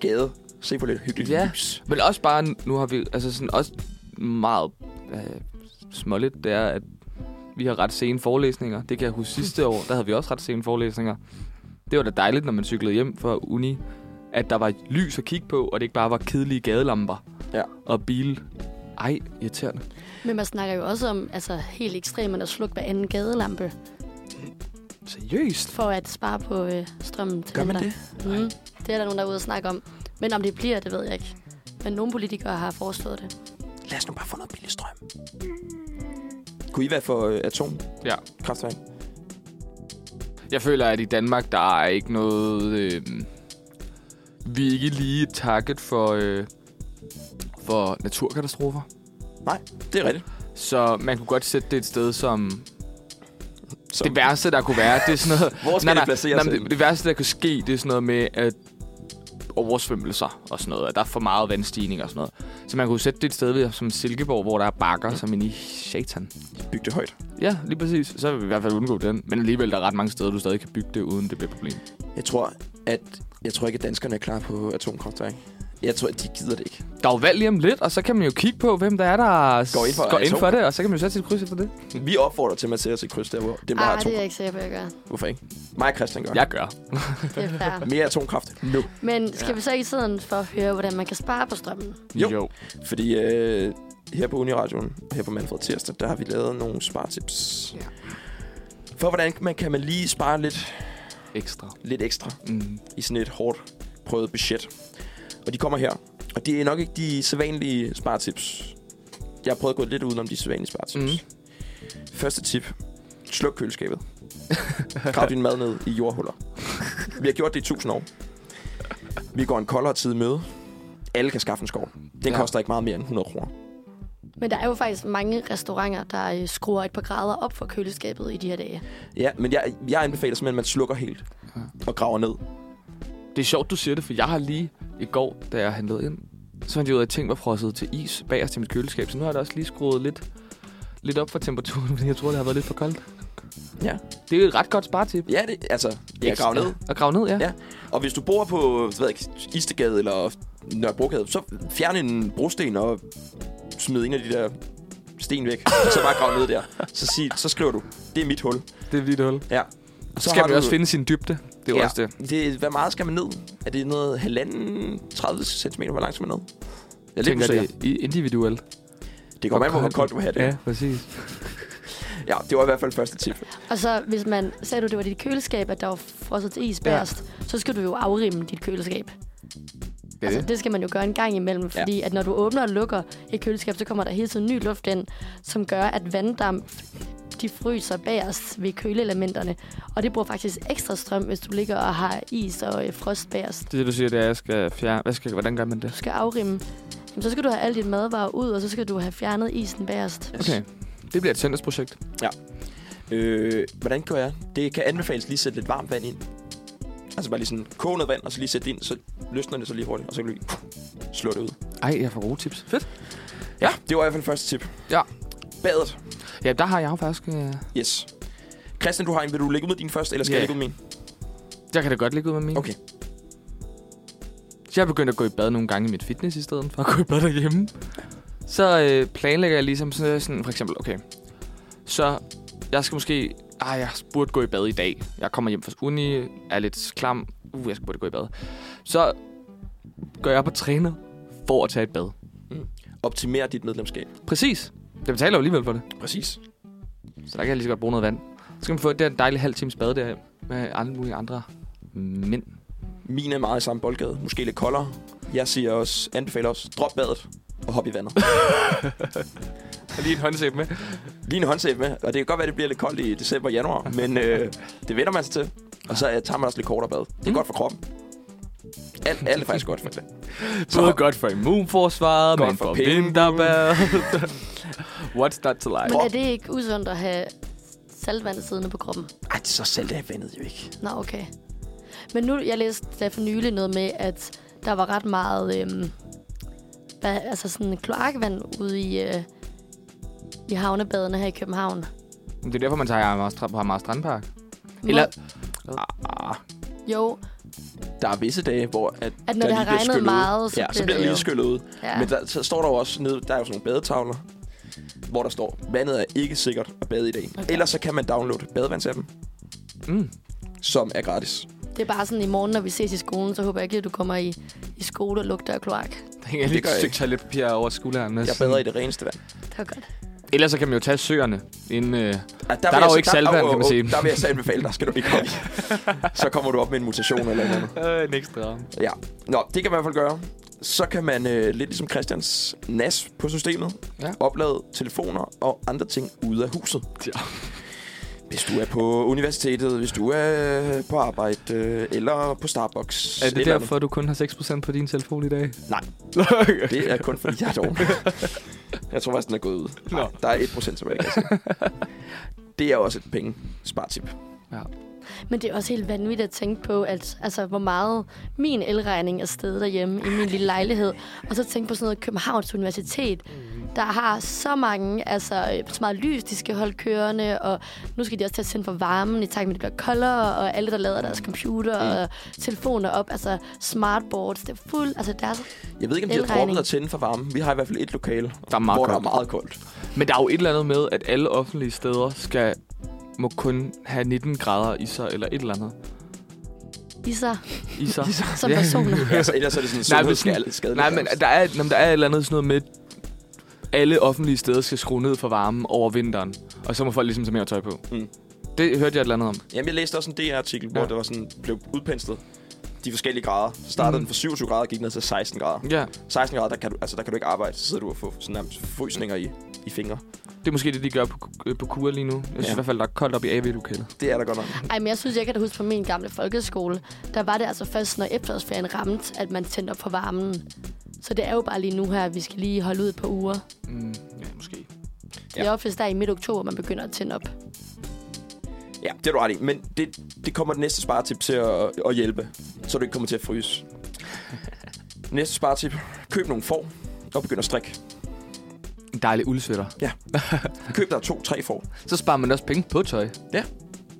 Speaker 1: gade. Se på lidt hyggeligt
Speaker 2: Ja.
Speaker 1: ja. lys.
Speaker 2: Men også bare, nu har vi, altså sådan også meget øh, småligt, det er, at vi har ret sene forelæsninger. Det kan jeg huske sidste år, der havde vi også ret sene forelæsninger. Det var da dejligt, når man cyklede hjem fra uni, at der var lys at kigge på, og det ikke bare var kedelige gadelamper
Speaker 1: Ja.
Speaker 2: og bil. Ej, irriterende.
Speaker 3: Men man snakker jo også om altså, helt ekstremt at slukke hver anden gadelampe,
Speaker 2: Seriøst?
Speaker 3: for at spare på øh, strømmen til
Speaker 1: Gør man
Speaker 3: vinter.
Speaker 1: det?
Speaker 3: Mm. Det er der nogen, der er ude og snakke om. Men om det bliver, det ved jeg ikke. Men nogle politikere har foreslået det.
Speaker 1: Lad os nu bare få noget billig strøm. Kunne I være for øh, atomkraftværk?
Speaker 2: Ja. Jeg føler, at i Danmark, der er ikke noget... Øh, vi er ikke lige et target for, øh, for naturkatastrofer.
Speaker 1: Nej, det er rigtigt.
Speaker 2: Så man kunne godt sætte det et sted som...
Speaker 1: Så,
Speaker 2: Det værste, der kunne være, det er sådan noget...
Speaker 1: Hvor skal det placeres øh,
Speaker 2: men
Speaker 1: henne?
Speaker 2: det, det værste, der kunne ske, det er sådan noget med, at oversvømmelser og sådan noget. At der er for meget vandstigning og sådan noget. Så man kunne sætte det et sted ved, som Silkeborg, hvor der er bakker, som ind i satan.
Speaker 1: Byg det højt.
Speaker 2: Ja, lige præcis. Så vil vi i hvert fald undgå den. Men alligevel, der er ret mange steder, du stadig kan bygge det, uden det bliver et problem.
Speaker 1: Jeg tror, at jeg tror ikke, at danskerne er klar på atomkraftværk. Jeg tror, at de gider det ikke.
Speaker 2: Der er jo valg lige om lidt, og så kan man jo kigge på, hvem der er, der
Speaker 1: Går ind for
Speaker 2: går ind
Speaker 1: atom.
Speaker 2: for det, og så kan man jo sætte sit kryds efter det.
Speaker 1: Vi opfordrer til, at man sætter sit kryds der, hvor dem, der har
Speaker 3: Ah, det er jeg
Speaker 1: atomkraft.
Speaker 3: ikke sikker på, at jeg gør.
Speaker 1: Hvorfor ikke? Mig og Christian gør.
Speaker 2: Jeg gør.
Speaker 3: Det er fair.
Speaker 1: Mere atomkraft nu.
Speaker 3: Men skal vi så ikke sidde for at høre, hvordan man kan spare på strømmen?
Speaker 1: Jo. Fordi øh, her på Uniradioen, her på Manfred Tirsdag, der har vi lavet nogle spartips.
Speaker 2: Ja.
Speaker 1: Ja. For hvordan man, kan man lige spare lidt,
Speaker 2: Ekstra.
Speaker 1: lidt ekstra
Speaker 2: Mm.
Speaker 1: i sådan et hårdt prøvet budget. Og de kommer her. Og det er nok ikke de sædvanlige spartips. Jeg har prøvet at gå lidt udenom de sædvanlige spartips.
Speaker 2: Mhm.
Speaker 1: Mm. Første tip. Sluk køleskabet. Grav din mad ned i jordhuller. Vi har gjort det i tusind år. Vi går en koldere tid i møde. Alle kan skaffe en skov. Den
Speaker 2: Ja.
Speaker 1: ja. koster ikke meget mere end 100 kroner.
Speaker 3: Men der er jo faktisk mange restauranter, der øh, skruer et par grader op for køleskabet i de her dage.
Speaker 1: Ja, men jeg, jeg anbefaler simpelthen, at man slukker helt
Speaker 2: Ja.
Speaker 1: og graver ned.
Speaker 2: Det er sjovt, du siger det, for jeg har lige i går, da jeg handlede ind, så fandt jeg ud af, at ting var frosset til is bagerst i mit køleskab, så nu har jeg da også lige skruet lidt, lidt op for temperaturen, fordi jeg tror, det har været lidt for koldt.
Speaker 1: Ja.
Speaker 2: Det er et ret godt sparetip.
Speaker 1: Ja, det, altså, jeg graver ned.
Speaker 2: Og grave ned, ja.
Speaker 1: Ja. Og hvis du bor på hvad ved jeg, Istegade eller Nørrebrogade, så fjern en brosten og smid en af de der sten væk. og så bare grav ned der. Så, sig, så skriver du, det er mit hul.
Speaker 2: Det er dit hul.
Speaker 1: Ja.
Speaker 2: Og så
Speaker 1: Så
Speaker 2: skal
Speaker 1: har
Speaker 2: man jo
Speaker 1: du-
Speaker 2: også finde sin dybde. Det er ja. også det.
Speaker 1: det. Hvad meget skal man ned? Er det noget halvanden, 30 cm? Hvor langt skal man ned? Jeg er
Speaker 2: Jeg
Speaker 1: lidt
Speaker 2: tænker,
Speaker 1: usikker.
Speaker 2: det er individuelt.
Speaker 1: Det kommer an på, hvor koldt du har det.
Speaker 2: Ja,
Speaker 1: Ja.
Speaker 2: præcis.
Speaker 1: ja, det var i hvert fald første tip.
Speaker 3: Og så hvis man sagde, du, det var dit køleskab, at der var frosset til is bagerst, ja. så skal du jo afrime dit køleskab. Det,
Speaker 2: er
Speaker 3: altså,
Speaker 2: det.
Speaker 3: det skal man jo gøre en gang imellem, fordi ja. at når du åbner og lukker et køleskab, så kommer der hele tiden ny luft ind, som gør, at vanddamp de fryser bagerst ved køleelementerne. Og det bruger faktisk ekstra strøm, hvis du ligger og har is og øh, frost bagerst.
Speaker 2: Det, du siger, det er, at jeg skal fjerne... Hvad skal, hvordan gør man det?
Speaker 3: du skal afrimme, jamen, så skal du have alle dine madvarer ud, og så skal du have fjernet isen bagerst.
Speaker 2: Okay. Det bliver et søndagsprojekt.
Speaker 1: Øh, hvordan gør jeg? Det kan anbefales lige at sætte lidt varmt vand ind. Altså bare lige sådan koge noget vand, og så lige sætte det ind, så løsner det så lige hurtigt, og så kan du lige slå det ud.
Speaker 2: Ej, jeg får gode tips. Fedt.
Speaker 1: Ja, det var i hvert fald første tip.
Speaker 2: Ja.
Speaker 1: Badet.
Speaker 2: Ja, der har jeg jo faktisk... Øh...
Speaker 1: Yes. Christian, du har en. Vil du lægge ud med din først, eller skal
Speaker 2: Ja.
Speaker 1: jeg lægge ud med min?
Speaker 2: Jeg kan da godt ligge ud med min.
Speaker 1: Okay.
Speaker 2: Jeg er begyndt at gå i bad nogle gange i mit fitness i stedet for at gå i bad derhjemme. Så øh, planlægger jeg ligesom sådan, sådan, for eksempel, okay, så jeg skal måske, ah, jeg burde gå i bad i dag. Jeg kommer hjem fra uni, er lidt klam, uh, jeg skal burde gå i bad. Så går jeg op og træner for at tage et bad.
Speaker 1: Optimer dit medlemskab.
Speaker 2: Præcis. Jeg betaler jo alligevel for det,
Speaker 1: Præcis.
Speaker 2: så der kan jeg lige så godt bruge noget vand. Så kan man få den dejlige halv times bad der med alle mulige andre mænd.
Speaker 1: Min er meget i samme boldgade. Måske lidt koldere. Jeg siger også, anbefaler også, drop badet og hop i vandet.
Speaker 2: Og lige et håndsæb med.
Speaker 1: Lige en håndsæb med, og det kan godt være, det bliver lidt koldt i december og januar, men øh, det vender man sig til. Og så øh, tager man også lidt kortere bad. Det er
Speaker 2: Mm.
Speaker 1: mm. godt for kroppen. Alt, alt er faktisk godt for det.
Speaker 2: Så Både godt for immunforsvaret,
Speaker 1: Godt
Speaker 2: men
Speaker 1: for
Speaker 2: for
Speaker 1: pengene.
Speaker 2: vinterbad. What's not to like?
Speaker 3: Men er det ikke usundt at have saltvand siddende på kroppen?
Speaker 1: Ej, så salt er vandet jo ikke.
Speaker 3: Nå, okay. Men nu, jeg læste der for nylig noget med, at der var ret meget øhm, hvad, altså sådan kloakvand ude i, øh, i havnebadene her i København.
Speaker 2: Det er derfor, man tager Amager Strand- på Amager Strandpark.
Speaker 3: Hvor-
Speaker 2: Eller,
Speaker 3: Ah. Jo,
Speaker 1: Der er visse dage, hvor... At, der
Speaker 3: når det
Speaker 1: lige
Speaker 3: har
Speaker 1: bliver
Speaker 3: regnet
Speaker 1: skyllet ud.
Speaker 3: meget, så
Speaker 1: ja,
Speaker 3: bliver
Speaker 1: så bliver det
Speaker 3: det
Speaker 1: lige
Speaker 3: jo-
Speaker 1: skyllet ud.
Speaker 3: ja.
Speaker 1: Ja. Men der, så står der jo også nede, der er jo sådan nogle badetavler, hvor der står, vandet er ikke sikkert at bade i dag. Okay. Ellers så kan man downloade badevandsappen,
Speaker 2: mm,
Speaker 1: som er gratis.
Speaker 3: det er bare sådan i morgen, når vi ses i skolen, så håber jeg ikke, at du kommer i, i skole og lugter af kloak.
Speaker 2: der hænger lige
Speaker 1: gør
Speaker 2: et
Speaker 1: jeg
Speaker 2: stykke
Speaker 1: ikke.
Speaker 2: toiletpapir over skulderen. med
Speaker 1: Jeg
Speaker 2: sådan-
Speaker 1: bader i det reneste vand. Ah,
Speaker 3: Det var godt.
Speaker 2: Ellers så kan man jo tage søerne. Inden, øh,
Speaker 1: Ah, vil
Speaker 2: er
Speaker 1: jeg
Speaker 2: jo
Speaker 1: så-
Speaker 2: ikke saltvand,
Speaker 1: åh, åh,
Speaker 2: kan man
Speaker 1: åh,
Speaker 2: sige.
Speaker 1: Der vil jeg så anbefale, der skal du ikke komme i. Så kommer du op med en mutation eller noget.
Speaker 2: øh, en ekstra ramme.
Speaker 1: Ja. Nå, det kan man i hvert fald gøre. så kan man, øh, lidt ligesom Christians nas på systemet,
Speaker 2: Ja.
Speaker 1: ja. oplade telefoner og andre ting ude af huset.
Speaker 2: Ja.
Speaker 1: Hvis du er på universitetet, hvis du er på arbejde, øh, eller på Starbucks.
Speaker 2: Er
Speaker 1: et
Speaker 2: det
Speaker 1: eller andet.
Speaker 2: derfor, du kun har 6% på din telefon i dag?
Speaker 1: Nej. Det er kun fordi, jeg er dog. jeg tror faktisk, den er gået ud.
Speaker 2: Nå.
Speaker 1: Nej, der er 1% tilbage. Altså. Det er også et penge spartip.
Speaker 2: Ja.
Speaker 3: Men det er også helt vanvittigt at tænke på, at, altså, hvor meget min elregning er stedet derhjemme i min lille lejlighed. Og så tænke på sådan noget Københavns Universitet, der har så mange, altså øh, så meget lys, de skal holde kørende, og nu skal de også til at tænde for varmen i takt med, at det bliver koldere, og alle, der lader deres computer og telefoner op, altså smartboards, det er fuld, altså deres...
Speaker 1: Jeg ved ikke, om de har
Speaker 3: Elregning.
Speaker 1: droppet at tænde for varme. Vi har i hvert fald et lokale,
Speaker 2: Der er meget
Speaker 1: hvor
Speaker 2: koldt.
Speaker 1: der er meget koldt.
Speaker 2: Men der er jo et eller andet med, at alle offentlige steder skal må kun have 19 grader i sig, eller et eller andet
Speaker 3: I sig,
Speaker 2: i sig.
Speaker 3: som
Speaker 2: Ja.
Speaker 3: personer.
Speaker 1: Altså, ellers er det sådan en
Speaker 2: Nej, men,
Speaker 1: sundhedsskade. skadeligt,
Speaker 2: nej, men
Speaker 1: altså.
Speaker 2: der er, jamen, der er et eller andet sådan noget med, alle offentlige steder skal skrue ned for varmen over vinteren, og så må folk ligesom tage mere tøj på.
Speaker 1: Mm.
Speaker 2: Det hørte jeg et eller andet om.
Speaker 1: Jamen, jeg læste også en DR-artikel, hvor
Speaker 2: Ja.
Speaker 1: ja. det var sådan, blev udpenslet de forskellige grader. Så startede
Speaker 2: Mm.
Speaker 1: mm. den fra 27 grader og gik ned til 16 grader.
Speaker 2: Ja,
Speaker 1: 16 grader, der kan du, altså, der kan du ikke arbejde. Så sidder du og får sådan nærmest frysninger i, i fingre.
Speaker 2: det er måske det, de gør på, øh, på kur lige nu. Jeg synes
Speaker 1: Ja.
Speaker 2: i hvert fald, der er koldt op i AV-lokalet.
Speaker 1: Det er der godt nok.
Speaker 3: Ej, men jeg synes, jeg kan da huske fra min gamle folkeskole, der var det altså først, når efterårsferien ramte, at man tændte op for varmen. Så det er jo bare lige nu her, at vi skal lige holde ud et par uger. Ja.
Speaker 2: Mm, ja, måske.
Speaker 3: Det er oftest der i midt oktober, man begynder at tænde op.
Speaker 1: Ja, det er du ret i. Men det, det kommer det næste sparetip til at, at hjælpe, så du ikke kommer til at fryse. næste sparetip. Køb nogle får og begynd at strikke.
Speaker 2: En dejlig uldsvætter.
Speaker 1: Køb dig to-tre får.
Speaker 2: Så sparer man også penge på tøj.
Speaker 1: Ja.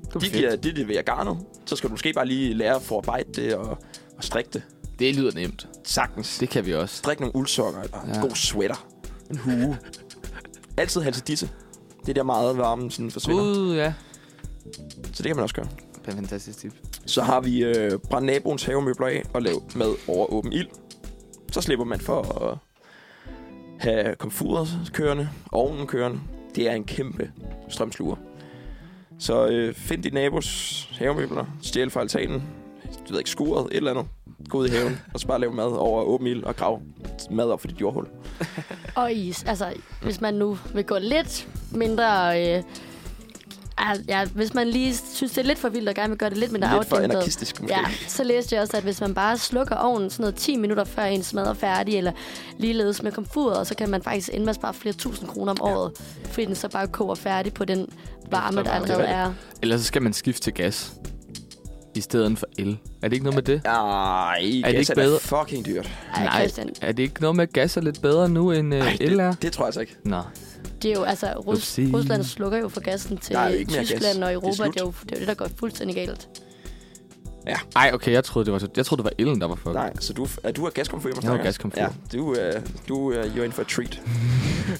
Speaker 2: Det,
Speaker 1: De
Speaker 2: de
Speaker 1: giver det, de vil garnet. Så skal du måske bare lige lære at forarbejde det og, og strikke det.
Speaker 2: det lyder nemt.
Speaker 1: Sagtens.
Speaker 2: Det kan vi også.
Speaker 1: Strik nogle uldsokker eller ja.
Speaker 2: Ja.
Speaker 1: en god sweater. En hue. Altid halse disse. Det der meget varme sådan forsvinder. Uh.
Speaker 2: Gud, ja.
Speaker 1: Så det kan man også gøre.
Speaker 2: Det er en fantastisk tip.
Speaker 1: Så har vi øh, brændt naboens havemøbler af og lavet med over åben ild. Så slipper man for at have komfuret kørende, ovnen kørende. Det er en kæmpe strømsluger. Så øh, find dit nabos havemøbler, stjæl fra altanen, du ved ikke, skuret, et eller andet. Gå ud i haven, og så bare lave mad over åben ild og grav mad op for dit jordhul.
Speaker 3: Og is. Altså, hvis man nu vil gå lidt mindre... Øh, ah, ja, hvis man lige synes, det er lidt for vildt og gerne vil gøre det lidt mindre
Speaker 1: Lidt for
Speaker 3: afdæmpet.
Speaker 1: anarkistisk, måske.
Speaker 3: Ja, så læste jeg også, at hvis man bare slukker ovnen sådan noget 10 minutter før ens mad er færdig, eller ligeledes med komfuret, så kan man faktisk ende med at spare flere tusind kroner om året, fordi den så bare koger færdig på den varme, der allerede er.
Speaker 2: Ellers så skal man skifte til gas. I stedet for el. Er det ikke noget med det?
Speaker 1: Ej,
Speaker 2: Er det ikke
Speaker 1: gas er da
Speaker 2: bedre? Øh,
Speaker 1: fucking dyrt.
Speaker 3: Ej, Christian,
Speaker 2: Er det ikke noget med, at gas er lidt bedre nu, end øh,
Speaker 1: Ej,
Speaker 2: el er?
Speaker 1: det, det tror jeg altså ikke.
Speaker 2: Nå.
Speaker 3: det er jo altså, Rus-
Speaker 2: Upsi.
Speaker 3: Rusland slukker jo for gassen til
Speaker 1: Der er jo ikke mere gas.
Speaker 3: Tyskland og
Speaker 1: Det er
Speaker 3: Europa. Det er,
Speaker 1: slut.
Speaker 3: jo, det er jo det, der går fuldstændig galt.
Speaker 2: Ej, okay, jeg troede, det var, jeg troede, det var elen, der var fuck.
Speaker 1: Nej, så du er du er gaskomfur, jeg
Speaker 2: Jeg er gaskomfur.
Speaker 1: Ja, du er du er you're in for a treat.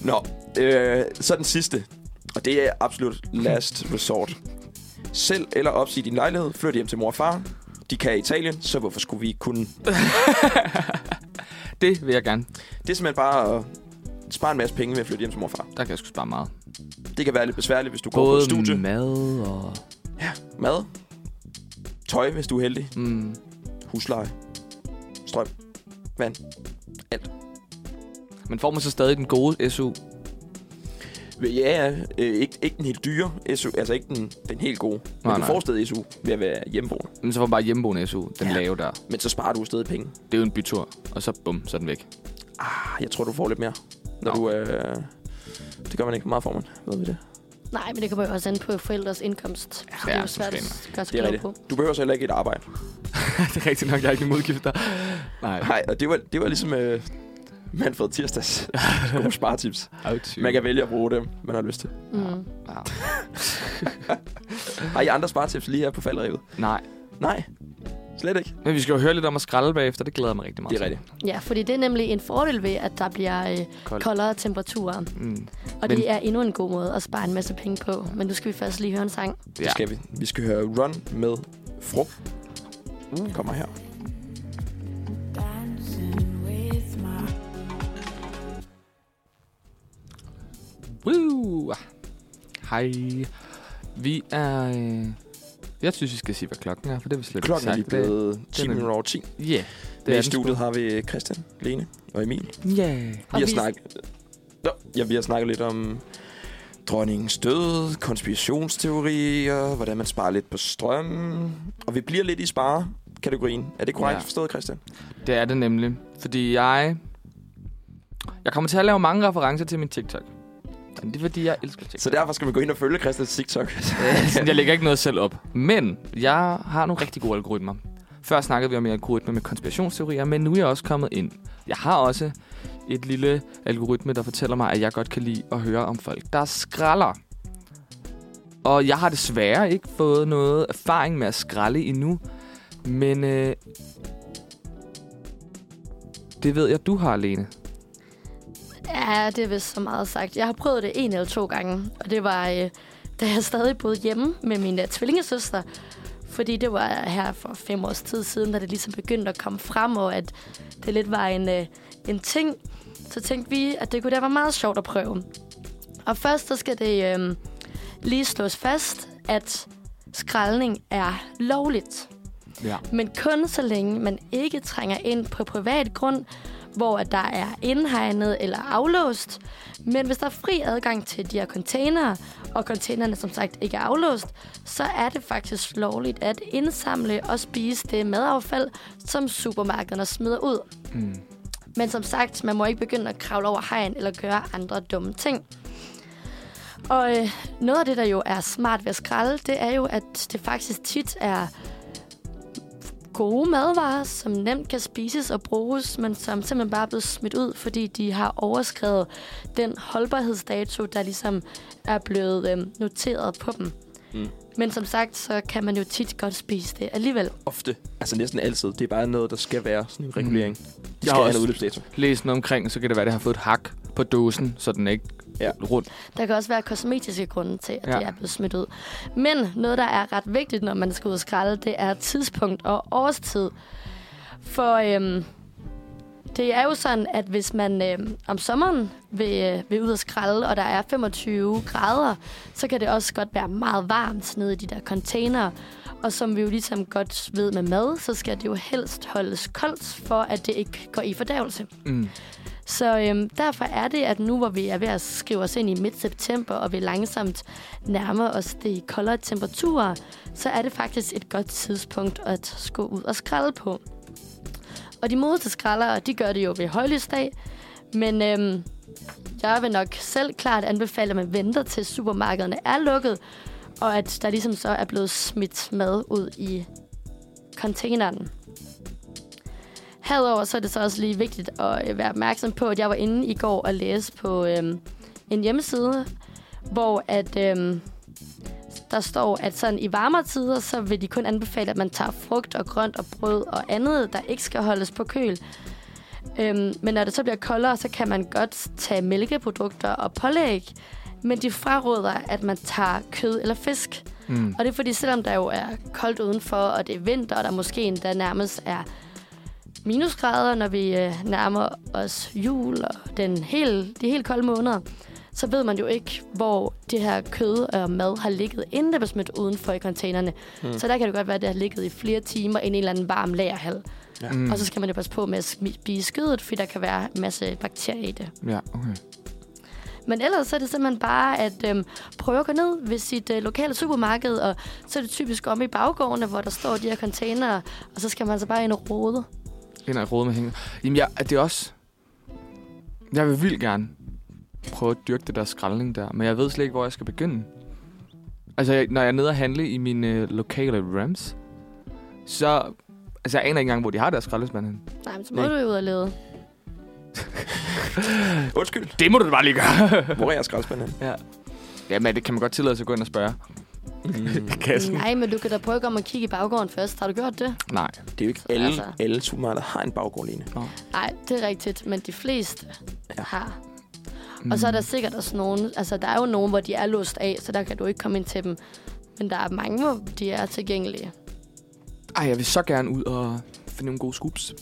Speaker 1: Nå, øh, så den sidste, og det er absolut last resort. Selv eller opsige din lejlighed, flyt hjem til mor og far. De kan i Italien, så hvorfor skulle vi ikke kunne?
Speaker 2: Det vil jeg gerne.
Speaker 1: Det er simpelthen bare at spare en masse penge ved at flytte hjem til mor og far.
Speaker 2: Der kan jeg sgu spare meget.
Speaker 1: Det kan være lidt besværligt, hvis du går på
Speaker 2: Både
Speaker 1: et studie.
Speaker 2: mad og...
Speaker 1: Mad. Tøj, hvis du er heldig.
Speaker 2: Mm,
Speaker 1: Husleje. Strøm. Vand.
Speaker 2: men får man så stadig den gode SU?
Speaker 1: Ja, ja. Øh, ikke, ikke den helt dyre SU, altså ikke den, den helt gode. Men
Speaker 2: Nej,
Speaker 1: nej, du
Speaker 2: nej.
Speaker 1: får stadig SU ved at være hjemmeboende.
Speaker 2: Men så får man bare hjemmeboende SU, den ja.
Speaker 1: Ja.
Speaker 2: lave der.
Speaker 1: Men så sparer du stadig penge.
Speaker 2: Det er jo en bytur, og så bum, så er den væk.
Speaker 1: Ah, jeg tror, du får lidt mere. Når
Speaker 2: Nå.
Speaker 1: du, øh, det gør man ikke. Hvor meget får man? Ved vi det?
Speaker 3: Nej, men det kommer jo også an på forældres indkomst. Så det
Speaker 2: Ja,
Speaker 3: er jo svært
Speaker 2: måske
Speaker 3: at gøre sig
Speaker 1: Det er
Speaker 3: klog på.
Speaker 1: rigtigt. Du behøver så heller ikke et arbejde.
Speaker 2: det er rigtigt nok, jeg er ikke nogen udgifter. Nej.
Speaker 1: Nej, og det var, det var ligesom øh, Manfred Tirsdags gode sparetips.
Speaker 2: Ouch.
Speaker 1: Man kan vælge at bruge dem, man har lyst til.
Speaker 3: Mm.
Speaker 2: Ja.
Speaker 1: Har I andre sparetips lige her på faldrevet?
Speaker 2: Nej.
Speaker 1: Nej, slet ikke.
Speaker 2: Men vi skal jo høre lidt om at skralde bagefter, det glæder jeg mig rigtig meget
Speaker 1: Det er rigtigt.
Speaker 3: Ja, fordi det er nemlig en fordel ved, at der bliver øh,
Speaker 2: Koldt.
Speaker 3: koldere temperaturer.
Speaker 2: til. Mm.
Speaker 3: Og
Speaker 2: Men-
Speaker 3: det er endnu en god måde at spare en masse penge på. Men nu skal vi først lige høre en sang.
Speaker 1: Det skal vi. Vi skal høre Run med Frugt.
Speaker 2: Uh.
Speaker 1: Kommer her.
Speaker 2: Woo! Hej. Vi er... Øh... Jeg synes, vi skal sige, hvad klokken er, for det er vi slet
Speaker 1: Klokken er lige
Speaker 2: ikke sagt.
Speaker 1: blevet 10
Speaker 2: Den er-
Speaker 1: minutter over 10.
Speaker 2: Ja. Yeah.
Speaker 1: Det Med
Speaker 2: er
Speaker 1: i studiet har vi Christian, Lene og Emil.
Speaker 2: Ja.
Speaker 3: Og
Speaker 1: Vi har, snak... Nå, ja, vi har snakket lidt om dronningens død, konspirationsteorier, hvordan man sparer lidt på strøm. Og vi bliver lidt i sparekategorien. Er det korrekt
Speaker 2: Ja.
Speaker 1: ja. forstået, Christian?
Speaker 2: Det er det nemlig. Fordi jeg... Jeg kommer til at lave mange referencer til min TikTok. Men det er fordi, jeg elsker TikTok.
Speaker 1: Så derfor skal man gå ind og følge Christians TikTok.
Speaker 2: Sådan, Altså, jeg lægger ikke noget selv op. Men jeg har nogle rigtig gode algoritmer. Før snakkede vi om algoritmer med konspirationsteorier, men nu er jeg også kommet ind. Jeg har også et lille algoritme, der fortæller mig, at jeg godt kan lide at høre om folk, der skralder. Og jeg har desværre ikke fået noget erfaring med at skralde endnu, men øh, det ved jeg, du har, alene.
Speaker 3: Ja, det er vist så meget sagt. Jeg har prøvet det en eller to gange, og det var, øh, da jeg stadig boede hjemme med min øh, tvillingesøster. Fordi det var her for fem års tid siden, da det ligesom begyndte at komme frem, og at det lidt var en, øh, en ting. Så tænkte vi, at det kunne da være meget sjovt at prøve. Og først så skal det øh, lige slås fast, at skraldning er lovligt.
Speaker 2: Ja.
Speaker 3: Men kun så længe man ikke trænger ind på privat grund, hvor at der er indhegnet eller aflåst. Men hvis der er fri adgang til de her containere, og containerne som sagt ikke er aflåst, så er det faktisk lovligt at indsamle og spise det madaffald, som supermarkederne smider ud.
Speaker 2: Mm.
Speaker 3: Men som sagt, man må ikke begynde at kravle over hegn eller gøre andre dumme ting. Og øh, noget af det, der jo er smart ved at skralde, det er jo, at det faktisk tit er gode madvarer, som nemt kan spises og bruges, men som simpelthen bare er blevet smidt ud, fordi de har overskrevet den holdbarhedsdato, der ligesom er blevet øh, noteret på dem.
Speaker 1: Mm.
Speaker 3: Mm. Men som sagt, så kan man jo tit godt spise det alligevel.
Speaker 1: Ofte. Altså næsten altid. Det er bare noget, der skal være sådan en regulering. Mm. De skal
Speaker 2: har
Speaker 1: have
Speaker 2: også-
Speaker 1: en udløbsdato.
Speaker 2: Læs den omkring, så kan det være, at det har fået et hak på dåsen, så den er ikke
Speaker 1: Ja.
Speaker 2: ja. rundt.
Speaker 3: Der kan også være kosmetiske grunde til, at
Speaker 2: Ja.
Speaker 3: ja. det er blevet smidt ud. Men noget, der er ret vigtigt, når man skal ud og skralde, det er tidspunkt og årstid. For øhm, det er jo sådan, at hvis man øhm, om sommeren vil, øh, vil ud og skralde, og der er 25 grader, så kan det også godt være meget varmt nede i de der containere. Og som vi jo ligesom godt ved med mad, så skal det jo helst holdes koldt, for at det ikke går i fordærvelse.
Speaker 2: Mm.
Speaker 3: Så øhm, derfor er det, at nu hvor vi er ved at skrive os ind i midt-september, og vi langsomt nærmer os de koldere temperaturer, så er det faktisk et godt tidspunkt at gå ud og skralde på. Og de modeste skraldere, de gør det jo ved højlysdag, men øhm, jeg vil nok selv klart anbefale, at man venter til supermarkederne er lukket, og at der ligesom så er blevet smidt mad ud i containeren. Herudover så er det så også lige vigtigt at øh, være opmærksom på, at jeg var inde i går og læse på øhm, en hjemmeside, hvor at, øhm, der står, at sådan i varmere tider, så vil de kun anbefale, at man tager frugt og grønt og brød og andet, der ikke skal holdes på køl. Øhm, men når det så bliver koldere, så kan man godt tage mælkeprodukter og pålæg, men de fraråder, at man tager kød eller fisk.
Speaker 2: Mm.
Speaker 3: Og det er fordi, selvom der jo er koldt udenfor, og det er vinter, og der måske endda nærmest er minusgrader, når vi øh, nærmer os jul og den helt, de helt kolde måneder, så ved man jo ikke, hvor det her kød og mad har ligget, inden det blev smidt udenfor i containerne. Mm. Så der kan det godt være, at det har ligget i flere timer i en eller anden varm lagerhal.
Speaker 1: Ja.
Speaker 2: Ja. Mm.
Speaker 3: Mm. Og så skal man jo passe på med at smi- spise kødet, fordi der kan være en masse bakterier i det.
Speaker 2: Ja, okay.
Speaker 3: Men ellers så er det simpelthen bare at øhm, prøve at gå ned ved sit øh, lokale supermarked, og så er det typisk om i baggårdene, hvor der står de her containere, og så skal man så bare ind og rode.
Speaker 2: Ind og rode med hængen. Jamen, jeg, det er også... Jeg vil vildt gerne prøve at dyrke det der skraldning der, men jeg ved slet ikke, hvor jeg skal begynde. Altså, jeg, når jeg er nede og handle i mine øh, lokale rams, så... Altså, jeg aner ikke engang, hvor de har deres skraldespand hen.
Speaker 3: Nej, men så må
Speaker 1: Nej.
Speaker 3: du jo ud og lede.
Speaker 1: Undskyld.
Speaker 2: Det må du da bare lige gøre!
Speaker 1: Hvor er jeg skraldspanden?
Speaker 2: Jamen, det kan man godt tillade sig at gå ind og spørge.
Speaker 1: Mm.
Speaker 2: Kassen.
Speaker 3: Nej, men du kan da prøve at komme og kigge i baggården først. Har du gjort det?
Speaker 2: Nej.
Speaker 1: Det er jo ikke alle,
Speaker 3: Altså.
Speaker 1: alle supermarkeder har en baggård, Lene.
Speaker 3: Nej, det er rigtigt, men de fleste
Speaker 1: Ja.
Speaker 3: ja. har. Og så er der sikkert også nogen, altså der er jo nogen, hvor de er låst af, så der kan du ikke komme ind til dem. Men der er mange, hvor de er tilgængelige.
Speaker 2: Ej, jeg vil så gerne ud og finde nogle gode scoops.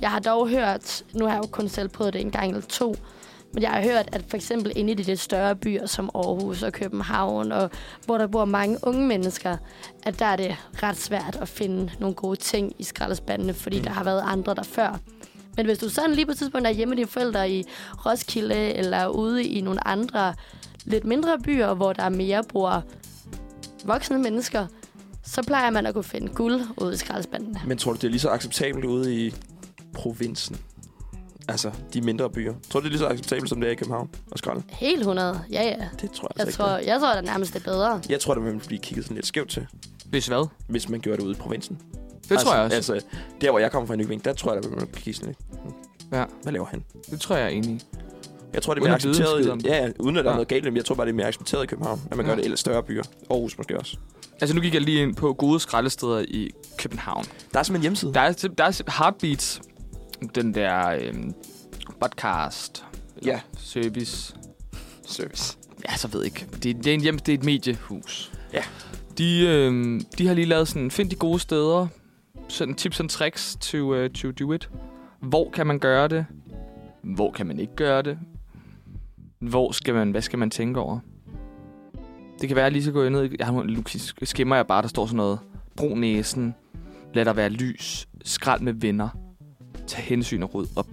Speaker 3: Jeg har dog hørt, nu har jeg jo kun selv prøvet det en gang eller to, Men jeg har hørt, at for eksempel inde i de lidt større byer som Aarhus og København, og hvor der bor mange unge mennesker, at der er det ret svært at finde nogle gode ting i skraldespandene, fordi mm. der har været andre der før. Men hvis du sådan lige på et tidspunkt er hjemme med dine forældre i Roskilde, eller ude i nogle andre lidt mindre byer, hvor der mere bor voksne mennesker, så plejer man at kunne finde guld ude i skraldespandene.
Speaker 1: Men tror du, det er lige så acceptabelt ude i provinsen? Altså, de mindre byer. Tror du, det er lige så acceptabelt, som det er i København og skralde?
Speaker 3: Helt 100, ja ja.
Speaker 1: Det tror jeg, altså
Speaker 3: Jeg
Speaker 1: ikke.
Speaker 3: tror,
Speaker 1: det
Speaker 3: jeg tror, der nærmest er bedre.
Speaker 1: er. Jeg tror, det vil blive kigget sådan lidt skævt til,
Speaker 2: Hvis hvad?
Speaker 1: hvis man gjorde det ude i provinsen.
Speaker 2: Det
Speaker 1: altså,
Speaker 2: tror jeg også. Altså.
Speaker 1: Altså, der hvor jeg kommer fra i Nykøbing, der tror jeg, der vil man kigge sådan lidt.
Speaker 2: Ja,
Speaker 1: Hvad laver han?
Speaker 2: det tror jeg er enig i.
Speaker 1: Jeg tror, det er
Speaker 2: Uden
Speaker 1: mere
Speaker 2: at vide en skid om
Speaker 1: accepteret.
Speaker 2: det.
Speaker 1: Ja, ja, uden at der
Speaker 2: Ja.
Speaker 1: er noget galt i dem. Jeg tror bare, det er mere accepteret i København, at man
Speaker 2: Ja.
Speaker 1: gør det i større byer. Aarhus måske også.
Speaker 2: Altså, nu gik jeg lige ind på gode skraldesteder i København.
Speaker 1: Der er simpelthen en hjemmeside.
Speaker 2: Der er, sim- der er sim- Heartbeats, den der øhm, podcast,
Speaker 1: Ja,
Speaker 2: service.
Speaker 1: service.
Speaker 2: Ja, så ved jeg ikke. Det, det, er en hjem, det er et mediehus.
Speaker 1: Ja.
Speaker 2: De, øhm, de har lige lavet sådan, find de gode steder, sådan tips and tricks to, uh, to do it. Hvor kan man gøre det? Hvor kan man ikke gøre det? Hvor skal man, hvad skal man tænke over? Det kan være, at jeg lige så gå ned. i- Jeg har nu skimmer jeg bare, der står sådan noget. Brug næsen. Lad der være lys. Skrald med venner. Tag hensyn og ryd op.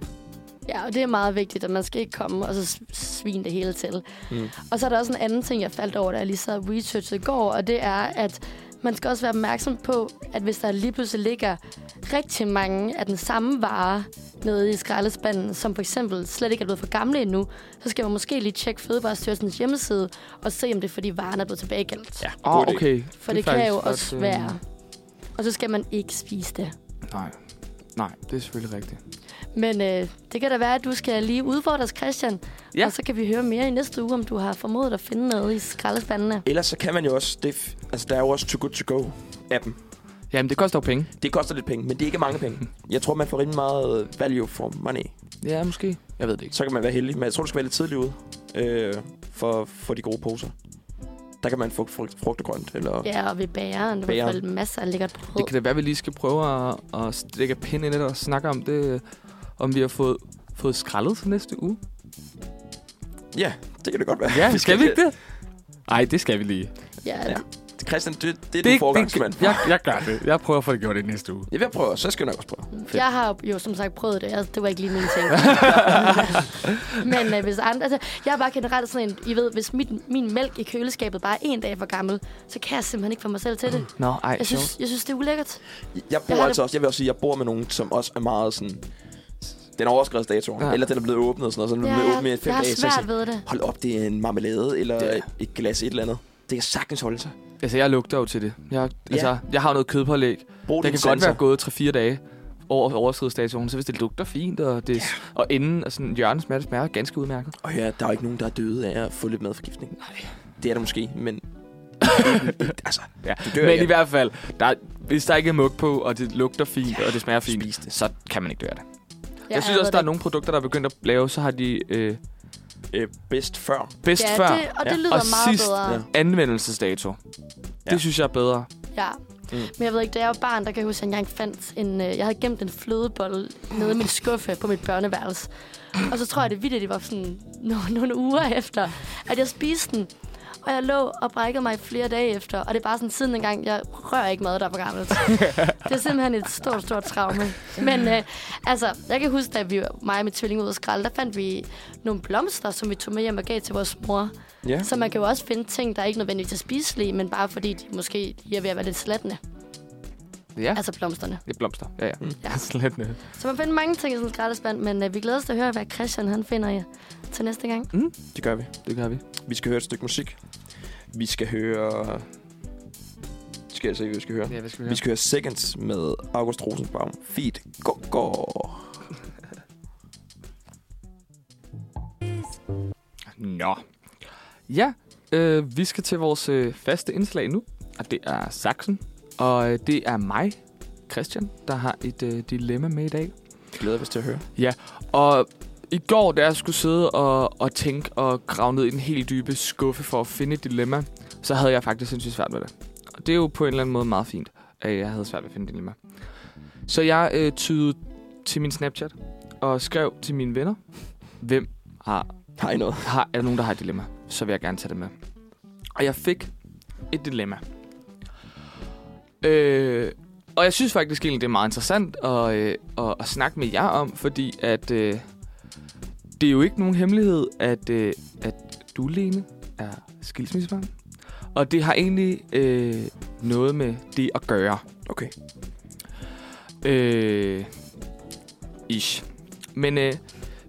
Speaker 3: Ja, og det er meget vigtigt, at man skal ikke komme og så s- svine det hele til.
Speaker 1: Mm.
Speaker 3: Mm. Og så er der også en anden ting, jeg faldt over, da jeg lige sad og researchede i går, og det er, at man skal også være opmærksom på, at hvis der lige pludselig ligger rigtig mange af den samme vare nede i skraldespanden, som for eksempel slet ikke er blevet for gamle endnu, så skal man måske lige tjekke Fødevarestyrelsens hjemmeside og se, om det er, fordi varen er blevet tilbagegældt.
Speaker 1: Ja,
Speaker 2: Åh,
Speaker 1: god idé.
Speaker 2: Ah, okay.
Speaker 3: For
Speaker 2: er
Speaker 3: det, det kan
Speaker 2: faktisk
Speaker 3: jo
Speaker 2: godt,
Speaker 3: også
Speaker 2: øh,
Speaker 3: være. Og så skal man ikke spise det.
Speaker 2: Nej. Nej, det er selvfølgelig rigtigt.
Speaker 3: Men øh, det kan da være, at du skal lige udfordre os, Christian.
Speaker 2: Ja.
Speaker 3: Ja. Og så kan vi høre mere i næste uge, om du har formået at finde noget i skraldespandene.
Speaker 1: Ellers så kan man jo også... Det, f- altså, der er jo også Too Good To Go appen.
Speaker 2: Jamen, det koster jo penge.
Speaker 1: Det koster lidt penge, men det er ikke mange penge. Jeg tror, man får rimelig meget øh, value for money.
Speaker 2: Ja, måske. Jeg ved det ikke.
Speaker 1: Så kan man være heldig, men jeg tror, du skal være lidt tidlig ude øh, for, for de gode poser. Der kan man få frugt, frugt og grønt, eller...
Speaker 3: Ja, og ved bageren. Du
Speaker 1: Bageren.
Speaker 3: bageren. får masser af lækkert brød.
Speaker 2: Det kan da være, at vi lige skal prøve at, at stikke pind ind i det og snakke om det. øh, Om vi har fået, fået skraldet til næste uge.
Speaker 1: Ja, det kan det godt være.
Speaker 2: Ja, skal vi ikke det? Nej, det skal vi lige.
Speaker 3: Ja,
Speaker 1: Ja.
Speaker 3: ja.
Speaker 1: Christian, det, det er det, din forgangsmand.
Speaker 2: jeg, jeg gør det. Jeg prøver at få det gjort i næste uge.
Speaker 1: Jeg vil prøve, så skal jeg nok også prøve.
Speaker 3: Jeg har jo som sagt prøvet det. Jeg, det var ikke lige min ting. Men øh, hvis andre... Altså, jeg er bare generelt sådan en... I ved, hvis mit, min mælk i køleskabet bare er en dag for gammel, så kan jeg simpelthen ikke få mig selv til det.
Speaker 2: Nå, ej,
Speaker 3: Jeg
Speaker 2: sjovt.
Speaker 3: synes, jeg synes det er ulækkert.
Speaker 1: Jeg bor
Speaker 3: har
Speaker 1: altså
Speaker 3: det-
Speaker 1: også, jeg vil også sige, jeg bor med nogen, som også er meget sådan... Den er overskrevet datoen,
Speaker 2: Ja.
Speaker 1: ja. eller den er blevet åbnet og sådan noget, så den er
Speaker 3: Jeg,
Speaker 1: blevet åbnet i
Speaker 3: jeg,
Speaker 1: fem
Speaker 3: jeg har
Speaker 1: dage. Så jeg
Speaker 3: svært
Speaker 1: siger,
Speaker 3: ved det.
Speaker 1: hold op, det er en marmelade, eller
Speaker 2: Ja.
Speaker 1: et glas et eller andet. Det kan sagtens holde sig.
Speaker 2: Altså, jeg lugter jo til det. Jeg, altså, jeg har jo noget kødpålæg.
Speaker 1: Brug
Speaker 2: Det
Speaker 1: din
Speaker 2: kan godt
Speaker 1: sensor.
Speaker 2: være gået 3-4 dage over overskridesdatoen, så hvis det lugter fint, og, det, og enden og sådan hjørnet smager, det smager ganske udmærket.
Speaker 1: Og ja, der er jo ikke nogen, der er døde af at få lidt madforgiftning. Nej. Det er der måske, men... altså,
Speaker 2: Ja.
Speaker 1: du dør
Speaker 2: Men
Speaker 1: ikke
Speaker 2: i hvert fald, der, hvis der ikke er mug på, og det lugter fint, ja, og det smager fint,
Speaker 1: spis det.
Speaker 2: så kan man ikke døre det. Jeg,
Speaker 3: hader
Speaker 2: jeg synes også,
Speaker 3: det.
Speaker 2: der er nogle produkter, der er begyndt at lave, så har de øh,
Speaker 1: øh, bedst før.
Speaker 2: bedst
Speaker 3: Ja,
Speaker 2: før
Speaker 3: det, og det
Speaker 1: Ja.
Speaker 3: lyder
Speaker 2: Og
Speaker 3: meget
Speaker 2: sidst-
Speaker 3: bedre.
Speaker 1: Ja.
Speaker 2: anvendelsesdato.
Speaker 1: Ja.
Speaker 2: Det synes jeg er bedre.
Speaker 3: Ja.
Speaker 1: Mm.
Speaker 3: Mm. Men jeg ved ikke, da jeg var barn, der kan jeg huske, at jeg engang fandt en... Øh, jeg havde gemt en flødebolle nede i min skuffe på mit børneværelse. Og så tror jeg, det vildt, det var sådan no- nogle uger efter, at jeg spiste den. Og jeg lå og brækkede mig i flere dage efter. Og det er bare sådan siden engang, jeg rører ikke mad, der er for gammelt. det er simpelthen et stort, stort traume. Men øh, altså, jeg kan huske, da vi, mig og min tvilling ud og skralde, der fandt vi nogle blomster, som vi tog med hjem og gav til vores mor.
Speaker 1: Ja.
Speaker 3: Så man kan jo også finde ting, der ikke nødvendigvis er spiselige, men bare fordi de måske lige er ved at være lidt slattende.
Speaker 2: Ja, altså,
Speaker 3: Altså blomsterne.
Speaker 2: det er blomster. Ja, ja. Mm.
Speaker 3: Ja.
Speaker 2: Slet ned.
Speaker 3: Så man finder mange ting i sådan en skraldespand, men øh, vi glæder os til at høre, hvad Christian han finder ja, til næste gang.
Speaker 1: Det gør vi.
Speaker 2: Det gør vi.
Speaker 1: Vi skal høre et stykke musik. Vi skal høre... Skal jeg se, hvad vi skal høre?
Speaker 2: Ja, hvad skal
Speaker 1: Vi skal høre Seconds med August Rosenbaum. Feed. Go, go.
Speaker 2: Nå. Ja, øh, vi skal til vores øh, faste indslag nu, og det er Saxen. Og øh, det er mig, Christian, der har et øh, dilemma med i dag.
Speaker 1: Glæder vi os til at høre.
Speaker 2: Og i går, da jeg skulle sidde og, og tænke og grave ned i den helt dybe skuffe for at finde et dilemma, så havde jeg faktisk sindssygt svært ved det. Og det er jo på en eller anden måde meget fint, at jeg havde svært ved at finde et dilemma. Så jeg øh, tydede til min Snapchat og skrev til mine venner, hvem har
Speaker 1: Har I noget?
Speaker 2: har, er der nogen, der har et dilemma, så vil jeg gerne tage det med. Og jeg fik et dilemma. Øh, og jeg synes faktisk egentlig, det er meget interessant at, øh, at, at snakke med jer om, fordi at øh, det er jo ikke nogen hemmelighed, at, øh, at du, Lene, er skilsmissebarn. Og det har egentlig øh, noget med det at gøre.
Speaker 1: Okay.
Speaker 2: Øh, ish. Men, øh,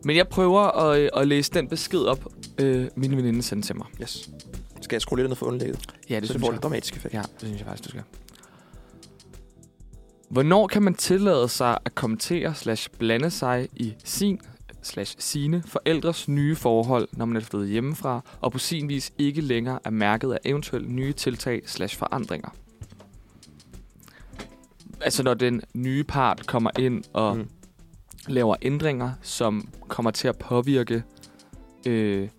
Speaker 2: men jeg prøver at, øh, at læse den besked op, øh, min veninde sendte til mig.
Speaker 1: Yes. Skal jeg skrue lidt ned for underlægget? Det
Speaker 2: Ja, det
Speaker 1: så det får lidt dramatisk effekt.
Speaker 2: Ja, det synes jeg faktisk, du skal. Hvornår kan man tillade sig at kommentere slash blande sig i sin slash sine forældres nye forhold, når man er flyttet hjemmefra, og på sin vis ikke længere er mærket af eventuelle nye tiltag slash forandringer? Altså når den nye part kommer ind og
Speaker 1: Mm.
Speaker 2: mm. laver ændringer, som kommer til at påvirke øh,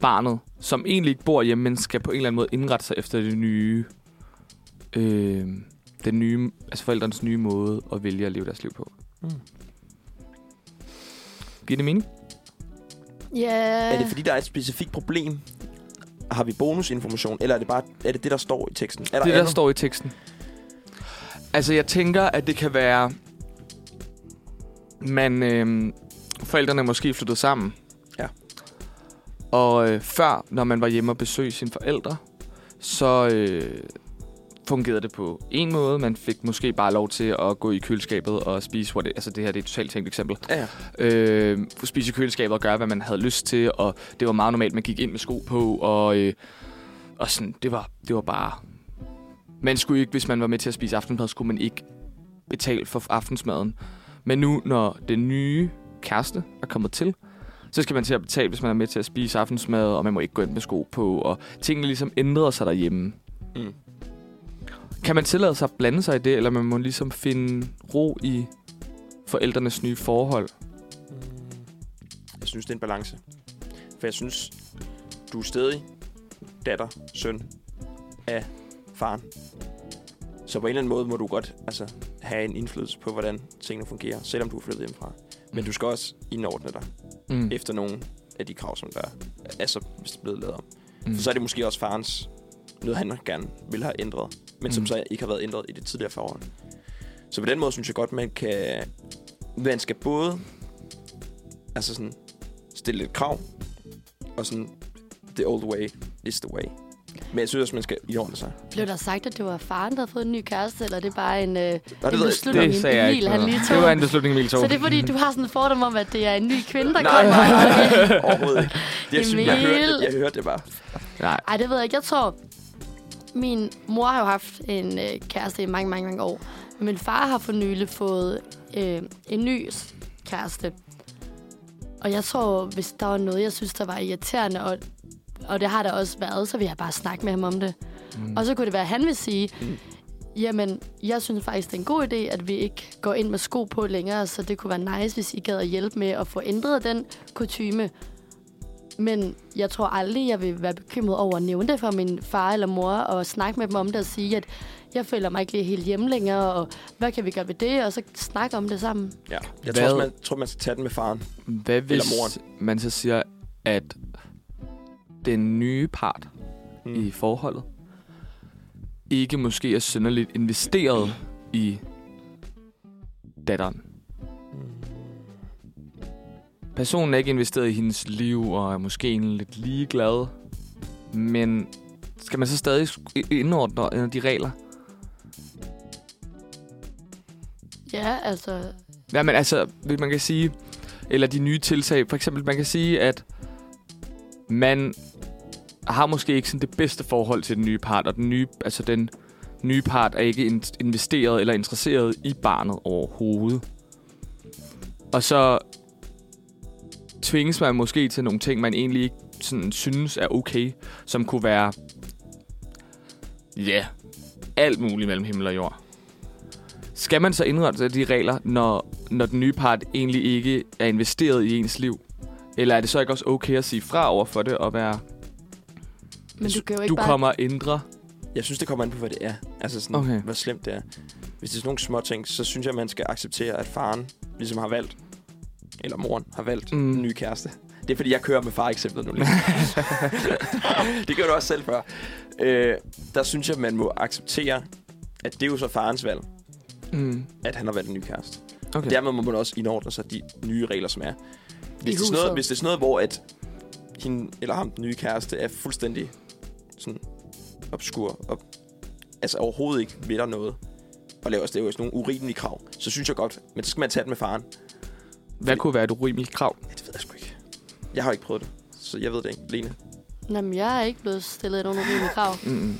Speaker 2: barnet, som egentlig ikke bor hjemme, men skal på en eller anden måde indrette sig efter det nye, øh, den nye, altså forældrens nye måde at vælge at leve deres liv på.
Speaker 1: Mm.
Speaker 2: Giver det mening?
Speaker 3: Ja.
Speaker 1: Er det fordi, der er et specifikt problem? Har vi bonusinformation, eller er det bare er det, det, der står i teksten? Er der
Speaker 2: det, der
Speaker 1: andet?
Speaker 2: står i teksten. Altså, jeg tænker, at det kan være... Man, øh, forældrene er måske flyttet sammen.
Speaker 1: Ja.
Speaker 2: Og øh, før, når man var hjemme og besøgte sine forældre, så øh, fungerede det på en måde. Man fik måske bare lov til at gå i køleskabet og spise... What it, altså, det her det er et totalt tænkt eksempel.
Speaker 1: Ja, ja.
Speaker 2: Øh, spise i køleskabet og gøre, hvad man havde lyst til. Og det var meget normalt, man gik ind med sko på. Og, øh, og sådan, det var, det var bare... Man skulle ikke, hvis man var med til at spise aftensmad, skulle man ikke betale for aftensmaden. Men nu, når den nye kæreste er kommet til, så skal man til at betale, hvis man er med til at spise aftensmad, og man må ikke gå ind med sko på, og tingene ligesom ændrede sig derhjemme.
Speaker 1: Mm.
Speaker 2: Kan man tillade sig at blande sig i det, eller man må ligesom finde ro i forældrenes nye forhold?
Speaker 1: Mm. Jeg synes, det er en balance. For jeg synes, du er stadig datter, søn af faren. Så på en eller anden måde må du godt altså, have en indflydelse på, hvordan tingene fungerer, selvom du er flyttet hjemmefra. Men du skal også indordne dig
Speaker 2: Mm.
Speaker 1: efter nogle af de krav, som der er så blevet lavet om.
Speaker 2: Mm.
Speaker 1: For så er det måske også farens noget, han gerne ville have ændret, men som
Speaker 2: Mm.
Speaker 1: så ikke har været ændret i det tidligere forhold. Så på den måde synes jeg godt, man kan... Man skal både altså sådan, stille lidt krav, og sådan, the old way is the way. Men jeg synes også, man skal indordne sig.
Speaker 3: Blev der sagt, at det var faren, der havde fået en ny kæreste, eller er det bare en, øh,
Speaker 1: Og
Speaker 3: en
Speaker 1: ved jeg,
Speaker 3: beslutning,
Speaker 2: sagde jeg
Speaker 3: Emil, han
Speaker 2: noget
Speaker 3: lige
Speaker 2: om.
Speaker 3: tog?
Speaker 2: Det var en beslutning, Emil tog.
Speaker 3: Så det er fordi, du har sådan en fordom om, at det er en ny kvinde, der
Speaker 1: nej,
Speaker 3: kommer?
Speaker 1: nej, nej, overhovedet ikke. Det, jeg, synes, jeg,
Speaker 3: Emil.
Speaker 1: hørte, det- jeg hørte det bare.
Speaker 2: Nej.
Speaker 3: Ej, det ved jeg ikke. Jeg tror, min mor har jo haft en øh, kæreste i mange, mange, mange år. Men min far har for nylig fået øh, en ny s- kæreste. Og jeg tror, hvis der var noget, jeg synes, der var irriterende, og, og det har der også været, så vil jeg bare snakke med ham om det. Mm. Og så kunne det være, at han vil sige,
Speaker 1: Mm.
Speaker 3: jamen, jeg synes faktisk, det er en god idé, at vi ikke går ind med sko på længere, så det kunne være nice, hvis I gad at hjælpe med at få ændret den kutyme. Men jeg tror aldrig, jeg vil være bekymret over at nævne det for min far eller mor, og snakke med dem om det og sige, at jeg føler mig ikke lige helt hjemme længere, og hvad kan vi gøre ved det, og så snakke om det sammen.
Speaker 1: Ja. Jeg tror,
Speaker 2: Hvad-
Speaker 1: også, man, tror, man skal tage den med faren.
Speaker 2: Hvad hvis
Speaker 1: moren.
Speaker 2: man så siger, at den nye part mm. i forholdet ikke måske er synderligt investeret i datteren?
Speaker 1: Mm.
Speaker 2: Personen er ikke investeret i hendes liv og er måske egentlig lidt ligeglad, men skal man så stadig sk- indordne de regler?
Speaker 3: Ja, altså,
Speaker 2: Ja, men altså, hvis man kan sige, eller de nye tiltag, for eksempel, man kan sige, at man har måske ikke sådan det bedste forhold til den nye part, og den nye, altså den nye part er ikke in- investeret eller interesseret i barnet overhovedet. Og så tvinges man måske til nogle ting, man egentlig ikke sådan synes er okay, som kunne være, ja, yeah, alt muligt mellem himmel og jord. Skal man så indrette sig de regler, når, når den nye part egentlig ikke er investeret i ens liv? Eller er det så ikke også okay at sige fra over for det og være,
Speaker 3: men du kan jo ikke
Speaker 2: du
Speaker 3: bare...
Speaker 2: kommer og ændre?
Speaker 1: Jeg synes, det kommer an på, hvad det er. Altså sådan, okay.
Speaker 2: Okay.
Speaker 1: hvor slemt det er. Hvis det er sådan nogle små ting, så synes jeg, man skal acceptere, at faren ligesom har valgt, eller moren har valgt, mm.
Speaker 2: Mm.
Speaker 1: en ny kæreste. Det er, fordi jeg kører med far-eksemplet nu. lige. det gør du også selv før. Øh, der synes jeg, man må acceptere, at det er jo så farens valg,
Speaker 2: Mm.
Speaker 1: at han har valgt en ny kæreste.
Speaker 2: Okay.
Speaker 1: Dermed må man også indordne sig de nye regler, som er. Hvis det er, sådan
Speaker 3: huset.
Speaker 1: noget, hvis det er sådan noget, hvor at hende eller ham, den nye kæreste, er fuldstændig sådan obskur, og altså overhovedet ikke ved dig noget, og laver seriøst nogle urimelige krav, så synes jeg godt, men så skal man tage det med faren.
Speaker 2: Hvad kunne være et urimeligt krav?
Speaker 1: Ja, det ved jeg sgu ikke. Jeg har ikke prøvet det, så jeg ved det ikke. Lene?
Speaker 3: Jamen, jeg er ikke blevet stillet nogen urimelige krav.
Speaker 2: Mm.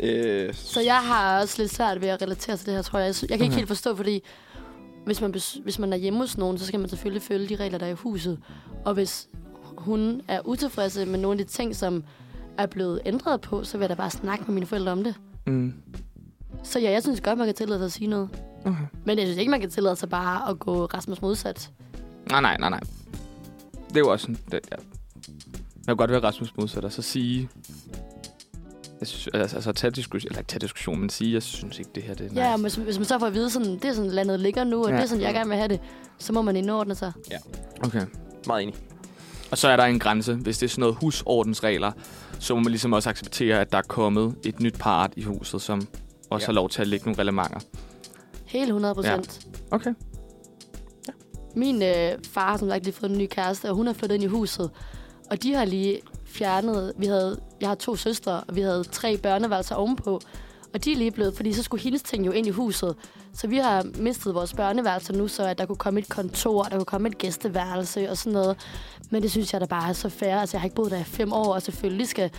Speaker 1: Øh,
Speaker 3: Så jeg har også lidt svært ved at relatere til det her, tror jeg. Jeg sy- Jeg kan ikke helt forstå, fordi hvis man, bes- hvis man er hjemme hos nogen, så skal man selvfølgelig følge de regler, der er i huset. Og hvis hun er utilfreds med nogle af de ting, som er blevet ændret på, så vil jeg da bare snakke med mine forældre om det.
Speaker 2: Mm.
Speaker 3: Så ja, jeg synes godt, man kan tillade sig at sige noget.
Speaker 2: Okay.
Speaker 3: Men jeg synes ikke, man kan tillade sig bare at gå Rasmus modsat.
Speaker 2: Nej, nej, nej, nej. Det er jo også sådan... Det, ja. Man kan godt være Rasmus modsat og så sige... Jeg synes, altså, altså tage diskussion, eller ikke tage diskussion, men sige, jeg synes ikke, det her det er nice.
Speaker 3: Ja, og hvis, hvis man så får at vide, sådan, det er sådan, landet ligger nu, og
Speaker 2: Ja.
Speaker 3: ja. det er sådan, jeg gerne vil have det, så må man indordne sig.
Speaker 2: Okay.
Speaker 1: meget enig.
Speaker 2: Og så er der en grænse. Hvis det er sådan noget husordensregler, så må man ligesom også acceptere, at der er kommet et nyt part i huset, som også
Speaker 1: Ja.
Speaker 2: ja. har lov til at lægge nogle reglementer.
Speaker 3: Helt 100 procent.
Speaker 2: Okay.
Speaker 3: Min øh, far har som sagt lige fået en ny kæreste, og hun er flyttet ind i huset. Og de har lige fjernet... Vi havde, jeg har to søstre, og vi havde tre børneværelser ovenpå. Og de er lige blevet, fordi så skulle hendes ting jo ind i huset. Så vi har mistet vores børneværelse nu, så at der kunne komme et kontor, der kunne komme et gæsteværelse og sådan noget. Men det synes jeg da bare er så fair. Altså, jeg har ikke boet der i fem år, og selvfølgelig skal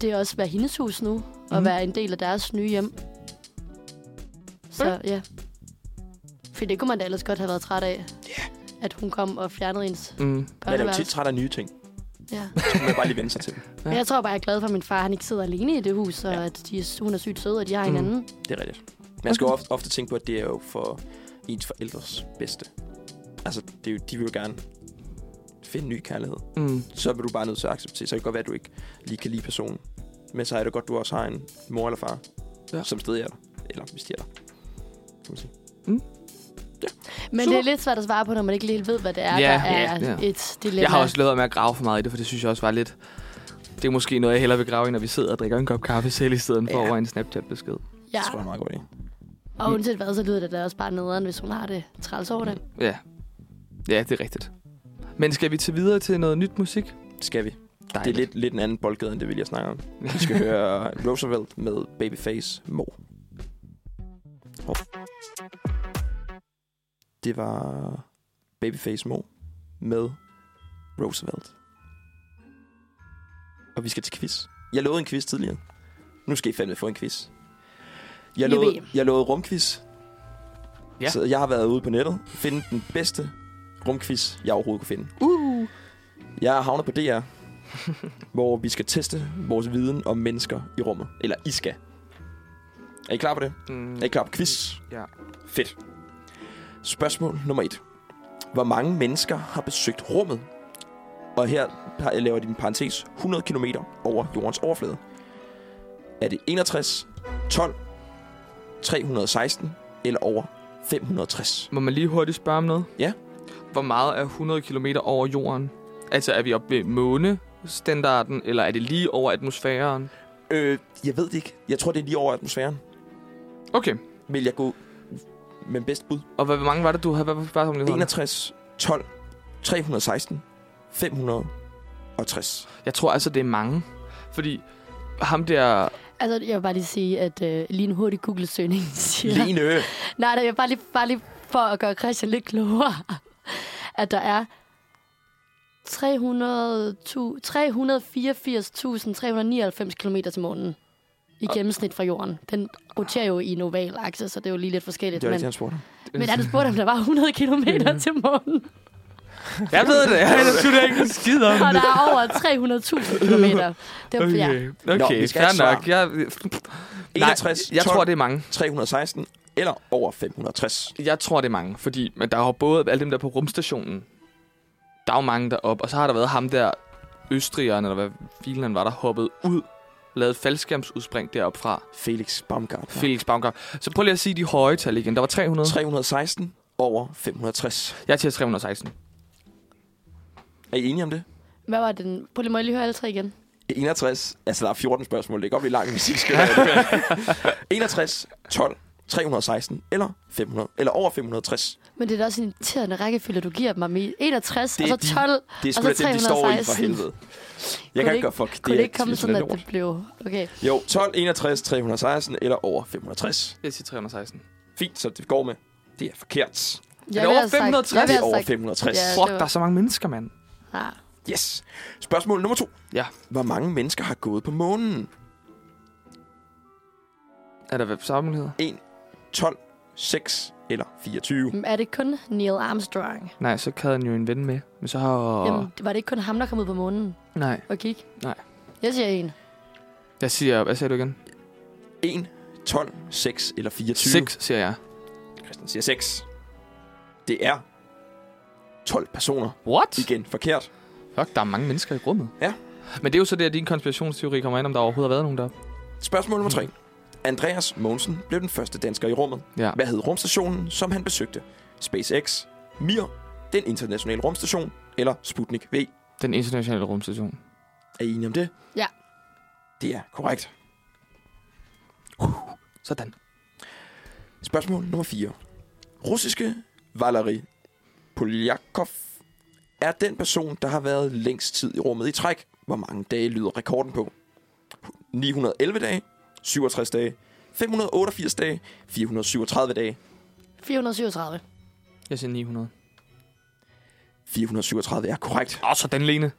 Speaker 3: det også være hendes hus nu, og
Speaker 2: Mhm.
Speaker 3: være en del af deres nye hjem. Så ja. For det kunne man da ellers godt have været træt af at hun kom og fjernede ens
Speaker 2: Mm.
Speaker 1: Man er jo tit
Speaker 3: børneværelse.
Speaker 1: træt af nye ting.
Speaker 3: Ja.
Speaker 1: Så kan man bare lige vende sig til dem.
Speaker 3: Men jeg tror bare, jeg er glad for, at min far han ikke sidder alene i det hus, og ja. at de, er- hun er sygt sød, og de har
Speaker 2: Mm.
Speaker 3: hinanden.
Speaker 1: Det er rigtigt. Man skal jo ofte, ofte tænke på, at det er jo for ens forældres bedste. Altså, det er jo, de vil jo gerne finde ny kærlighed.
Speaker 2: Mm.
Speaker 1: Så vil du bare nødt til at acceptere. Så kan det godt være, at du ikke lige kan lide personen. Men så er det godt, at du også har en mor eller far, ja.
Speaker 2: Ja.
Speaker 1: som steder dig. Eller hvis de er der. Kan man sige.
Speaker 3: Men
Speaker 1: Super.
Speaker 3: det er lidt svært at svare på, når man ikke lige helt ved, hvad det er,
Speaker 2: Ja,
Speaker 3: der er
Speaker 2: ja, ja.
Speaker 3: et dilemma.
Speaker 2: Jeg har også lavet med at grave for meget i det, for det synes jeg også var lidt... Det er måske noget, jeg hellere vil grave i, når vi sidder og drikker en kop kaffe selv, i stedet for
Speaker 1: Ja.
Speaker 2: over en Snapchat-besked.
Speaker 1: Ja.
Speaker 3: ja.
Speaker 1: Det tror jeg er en meget godt idé.
Speaker 3: Og uanset hvad, så lyder det da også bare nederen, hvis hun har det træls over det.
Speaker 2: Ja. Ja, det er rigtigt. Men skal vi til videre til noget nyt musik?
Speaker 1: Skal vi? Det er
Speaker 2: Dejligt.
Speaker 1: lidt, lidt en anden boldgade, end det vil jeg snakke om. Vi skal høre Roosevelt med Babyface Mo. Hov. Det var Babyface Mo med Roosevelt. Og vi skal til quiz. Jeg lovede en quiz tidligere. Nu skal I fandme få en quiz. Jeg
Speaker 3: Yippee.
Speaker 1: lovede, jeg lovede rumquiz.
Speaker 2: Ja.
Speaker 1: Så jeg har været ude på nettet. Finde den bedste rumquiz, jeg overhovedet kunne finde.
Speaker 3: Uh.
Speaker 1: Jeg er havnet på DR, hvor vi skal teste vores viden om mennesker i rummet. Eller I skal. Er I klar på det?
Speaker 2: Mm.
Speaker 1: Er I klar på quiz?
Speaker 2: Ja.
Speaker 1: Fedt. Spørgsmål nummer et. Hvor mange mennesker har besøgt rummet? Og her har- laver de en parentes 100 km over jordens overflade. Er det 61, 12, 316 eller over 560?
Speaker 2: Må man lige hurtigt spørge om noget?
Speaker 1: Ja.
Speaker 2: Hvor meget er 100 km over jorden? Altså, er vi oppe ved månestandarden, eller er det lige over atmosfæren?
Speaker 1: Øh, jeg ved det ikke. Jeg tror, det er lige over atmosfæren.
Speaker 2: Okay.
Speaker 1: Vil jeg gå med bedst bud?
Speaker 2: Og hvad, hvor mange var det, du havde? Hvad var spørgsmålet?
Speaker 1: 61, 12, 316, 560.
Speaker 2: Jeg tror altså, det er mange. Fordi ham der...
Speaker 3: Altså, jeg vil bare lige sige, at øh, lige en hurtig Google-søgning siger...
Speaker 1: Lene!
Speaker 3: Nej, nej, jeg bare lige, bare lige for at gøre Christian lidt klogere, at der er 300 tu- 384.399 km til månen i gennemsnit fra jorden. Den roterer jo i en oval akse, så det er jo lige lidt forskelligt.
Speaker 1: Det var ikke det,
Speaker 3: men,
Speaker 1: han spurgte.
Speaker 3: men er du spurgt, om der var 100 km til månen?
Speaker 2: Jeg ved det. Jeg ved det. Jeg ikke en skid om
Speaker 3: Og der
Speaker 2: det.
Speaker 3: er over 300.000 km. Det var, okay. ja.
Speaker 2: Okay, okay.
Speaker 1: Nå, vi skal have et
Speaker 2: fair
Speaker 1: svar.
Speaker 2: nok. Jeg,
Speaker 1: 61,
Speaker 2: Nej, jeg
Speaker 1: 12,
Speaker 2: tror, det er mange.
Speaker 1: 316 eller over 560.
Speaker 2: Jeg tror, det er mange, fordi men der er jo både alle dem der på rumstationen. Der er jo mange deroppe, og så har der været ham der, østrigeren, eller hvad filen han var, der hoppede ud, lavede faldskærmsudspring deroppe fra.
Speaker 1: Felix Baumgart.
Speaker 2: Ja. Felix Baumgart. Så prøv lige at sige de høje tal igen. Der var 300.
Speaker 1: 316 over 560.
Speaker 2: Jeg er til 316.
Speaker 1: Er I enige om det?
Speaker 3: Hvad var den? Prøv lige, må jeg lige høre alle tre igen.
Speaker 1: 61, altså der er 14 spørgsmål, det kan godt blive langt, hvis I skal have det. 61, 12, 316 eller 500, eller over 560.
Speaker 3: Men det er da også en irriterende rækkefølge, du giver dem i. 61,
Speaker 1: Det
Speaker 3: og
Speaker 1: er
Speaker 3: så 12.
Speaker 1: Det er sgu
Speaker 3: Altså, Og så
Speaker 1: da det, de står i for
Speaker 3: 316.
Speaker 1: helvede. Jeg
Speaker 3: det
Speaker 1: kan ikke
Speaker 3: ikke-
Speaker 1: gøre fuck.
Speaker 3: Kunne det,
Speaker 1: er
Speaker 3: ikke komme sådan,
Speaker 1: simpelthen
Speaker 3: at det blev... Okay.
Speaker 1: lort. Jo, 12, 61, 316 eller over 560.
Speaker 2: Jeg siger 316.
Speaker 1: Fint, så det går med. Det er forkert.
Speaker 3: Jeg
Speaker 2: det
Speaker 3: ville
Speaker 2: over
Speaker 3: have sagt-
Speaker 2: 560?
Speaker 1: Det
Speaker 3: Jeg vil
Speaker 1: er over
Speaker 3: have sagt...
Speaker 1: 560.
Speaker 3: altså Ja, det
Speaker 2: Fuck,
Speaker 3: var-
Speaker 2: der er så mange mennesker, mand.
Speaker 3: Ah,
Speaker 1: Yes. Spørgsmål nummer to.
Speaker 2: Ja.
Speaker 1: Hvor mange mennesker har gået på månen?
Speaker 2: Er der sammenligheder?
Speaker 1: 1, 12, 6 eller 24?
Speaker 3: men Er det kun Neil Armstrong?
Speaker 2: Nej, så havde han jo en ven med. Men så har...
Speaker 3: Jamen, var det ikke kun ham, der kom ud på månen
Speaker 2: Nej.
Speaker 3: og gik?
Speaker 2: Nej.
Speaker 3: Jeg siger en.
Speaker 2: Jeg siger... Hvad sagde du igen?
Speaker 1: 1, 12, 6 eller 24?
Speaker 2: 6, siger jeg.
Speaker 1: Christian siger 6. Det er 12 personer.
Speaker 2: What?
Speaker 1: Igen forkert.
Speaker 2: Fuck, der er mange mennesker i rummet.
Speaker 1: Ja.
Speaker 2: Men det er jo så det, at din konspirationsteori kommer ind, om der overhovedet har været nogen der.
Speaker 1: Spørgsmål nummer 3. Andreas Mogensen blev den første dansker i rummet.
Speaker 2: Ja.
Speaker 1: Hvad hed rumstationen, som han besøgte? SpaceX, Mir, den internationale rumstation eller Sputnik V?
Speaker 2: Den internationale rumstation.
Speaker 1: Er I enige om det?
Speaker 3: Ja.
Speaker 1: Det er korrekt.
Speaker 2: Sådan.
Speaker 1: Spørgsmål nummer 4. Russiske Valery Polyakov er den person, der har været længst tid i rummet i træk. Hvor mange dage lyder rekorden på? 911 dage, 67 dage, 588 dage, 437 dage,
Speaker 3: 437.
Speaker 2: Jeg siger 900.
Speaker 1: 437 er korrekt.
Speaker 2: Åh, sådan, Lene.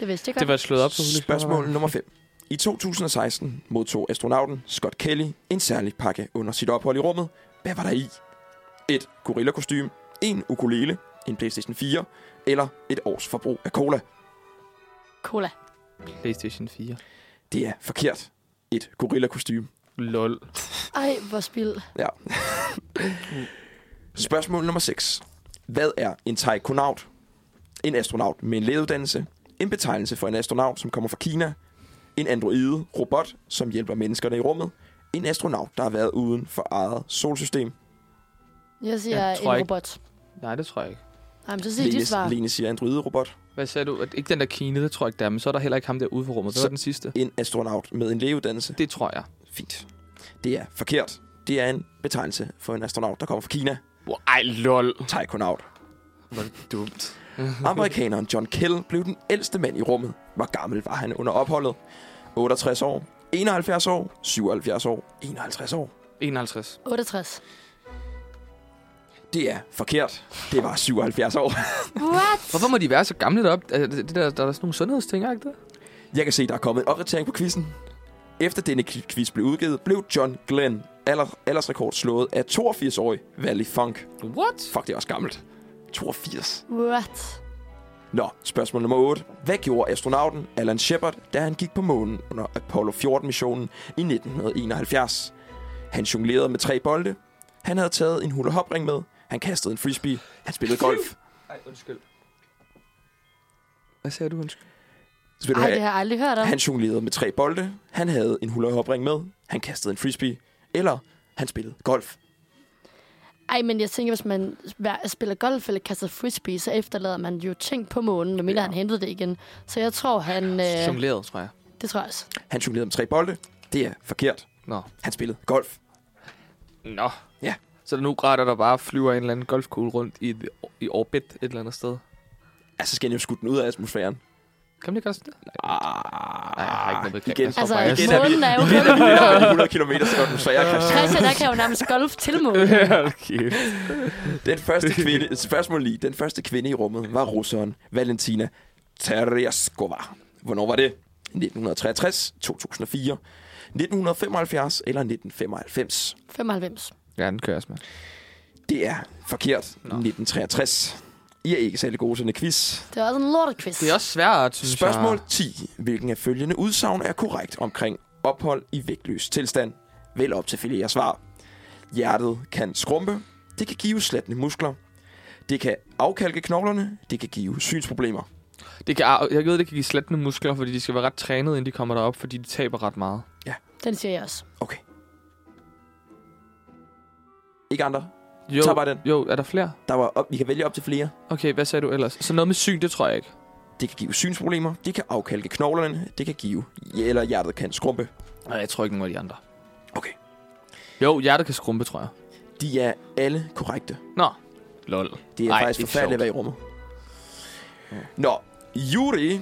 Speaker 3: Det vidste jeg godt.
Speaker 2: Det var slået op, så hun lige
Speaker 1: Spørgsmål
Speaker 2: spørger.
Speaker 1: nummer 5. I 2016 modtog astronauten Scott Kelly en særlig pakke under sit ophold i rummet. Hvad var der i? Et gorillakostyme, en ukulele, en Playstation 4 eller et års forbrug af cola.
Speaker 3: Cola.
Speaker 2: PlayStation 4.
Speaker 1: Det er forkert. Et gorillakostyme.
Speaker 2: Lol.
Speaker 3: Ej, hvor spild.
Speaker 1: Ja. Spørgsmål nummer 6. Hvad er en taikonaut? En astronaut med en lægeuddannelse. En betegnelse for en astronaut, som kommer fra Kina. En androide robot, som hjælper menneskerne i rummet. En astronaut, der har været uden for eget solsystem.
Speaker 3: Jeg siger
Speaker 2: Jeg
Speaker 3: jeg
Speaker 2: tror
Speaker 3: en
Speaker 2: ikke-
Speaker 3: robot.
Speaker 2: Nej, det tror jeg ikke.
Speaker 3: Nej, men så siger de svar.
Speaker 1: Lene, Lene siger androide robot.
Speaker 2: Hvad sagde du? At- Ikke den der kine, det tror jeg ikke der er, men så er der heller ikke ham der ude for rummet. Det
Speaker 1: Så-
Speaker 2: var den sidste.
Speaker 1: En astronaut med en lægeuddannelse.
Speaker 2: Det tror jeg.
Speaker 1: Fint. Det er forkert. Det er en betegnelse for en astronaut, der kommer fra Kina.
Speaker 2: Wow, Ej, lol.
Speaker 1: Taikonaut.
Speaker 2: Hvor er det dumt.
Speaker 1: Amerikaneren John Kell blev den ældste mand i rummet. Hvor gammel var han under opholdet? 68 år, 71 år, 77 år, 51 år.
Speaker 2: 51.
Speaker 3: 68.
Speaker 1: Det er forkert. Det var 77 år.
Speaker 3: What?
Speaker 2: Hvorfor må de være så gamle deroppe? Er Det det der, der er sådan nogle sundhedsting, er ikke det?
Speaker 1: Jeg kan se, der er kommet en opdatering på quizzen. Efter denne qui- quiz blev udgivet, blev John Glenn alder, aldersrekord slået af 82-årig Valley Funk.
Speaker 2: What?
Speaker 1: Fuck, det er også gammelt. 82.
Speaker 3: What?
Speaker 1: Nå, spørgsmål nummer 8. Hvad gjorde astronauten Alan Shepard, da han gik på månen under Apollo 14-missionen i 1971? Han jonglerede med tre bolde. Han havde taget en hula hopring med. Han kastede en frisbee. Han spillede golf.
Speaker 2: Ej, undskyld. Hvad sagde du, undskyld?
Speaker 1: Spillede
Speaker 3: Ej, det har jeg aldrig hørt om.
Speaker 1: Han jonglerede med tre bolde. Han havde en hula hopring med. Han kastede en frisbee. Eller han spillede golf.
Speaker 3: Ej, men jeg tænker, hvis man hver- spiller golf eller kaster frisbee, så efterlader man jo ting på månen, medmindre
Speaker 1: Ja.
Speaker 3: ja. han hentede det igen. Så jeg tror, han...
Speaker 2: Øh.
Speaker 3: Øh,
Speaker 2: Jongleret, tror jeg.
Speaker 3: det tror jeg også.
Speaker 1: Han jonglerede med tre bolde. Det er forkert.
Speaker 2: Nå.
Speaker 1: Han spillede golf.
Speaker 2: Nå.
Speaker 1: Ja.
Speaker 2: Så nu retter der bare flyver en eller anden golfkugle rundt i, et- i orbit et eller andet sted.
Speaker 1: Altså, skal han jo skudt den ud af atmosfæren.
Speaker 2: Kan man ikke også det? Nej.
Speaker 1: Ah,
Speaker 2: Nej, jeg har ikke noget begreb.
Speaker 1: igen.
Speaker 2: Jeg står
Speaker 3: Altså,
Speaker 2: bare-
Speaker 1: igen er vi-
Speaker 3: månen er jo...
Speaker 1: Det er 100 km atmosfære, Christian.
Speaker 3: Christian, der kan jo nærmest golf til månen.
Speaker 2: okay. Øh.
Speaker 1: Den første kvinde, spørgsmål lige, den første kvinde i rummet var russeren Valentina Tereshkova. Hvornår var det? 1963, 2004, 1975 eller 1995?
Speaker 3: 95.
Speaker 2: Ja, den kører jeg også med.
Speaker 1: Det er forkert. 1963. I er ikke særlig gode til en quiz.
Speaker 3: Det er også en lortequiz.
Speaker 2: Det er også svært, synes
Speaker 1: Spørgsmål
Speaker 2: jeg.
Speaker 1: 10. Hvilken af følgende udsagn er korrekt omkring ophold i vægtløs tilstand? Vel op til flere svar. Hjertet kan skrumpe. Det kan give slattende muskler. Det kan afkalke knoglerne. Det kan give synsproblemer.
Speaker 2: Det kan, jeg ved, det kan give slettende muskler, fordi de skal være ret trænet, inden de kommer derop, fordi de taber ret meget.
Speaker 3: Den siger jeg også.
Speaker 1: Okay. Ikke andre.
Speaker 2: Jo,
Speaker 1: Tag bare den.
Speaker 2: jo er der flere?
Speaker 1: Der var op, vi kan vælge op til flere.
Speaker 2: Okay, hvad sagde du ellers? Så noget med syn, det tror jeg ikke.
Speaker 1: Det kan give synsproblemer, det kan afkalke knoglerne, det kan give, eller hjertet kan skrumpe.
Speaker 2: Nej, jeg tror ikke nogen af de andre.
Speaker 1: Okay.
Speaker 2: Jo, hjertet kan skrumpe, tror jeg.
Speaker 1: De er alle korrekte.
Speaker 2: Nå. Lol.
Speaker 1: Det er Ej, faktisk forfærdeligt at være i rummet. Nå, Yuri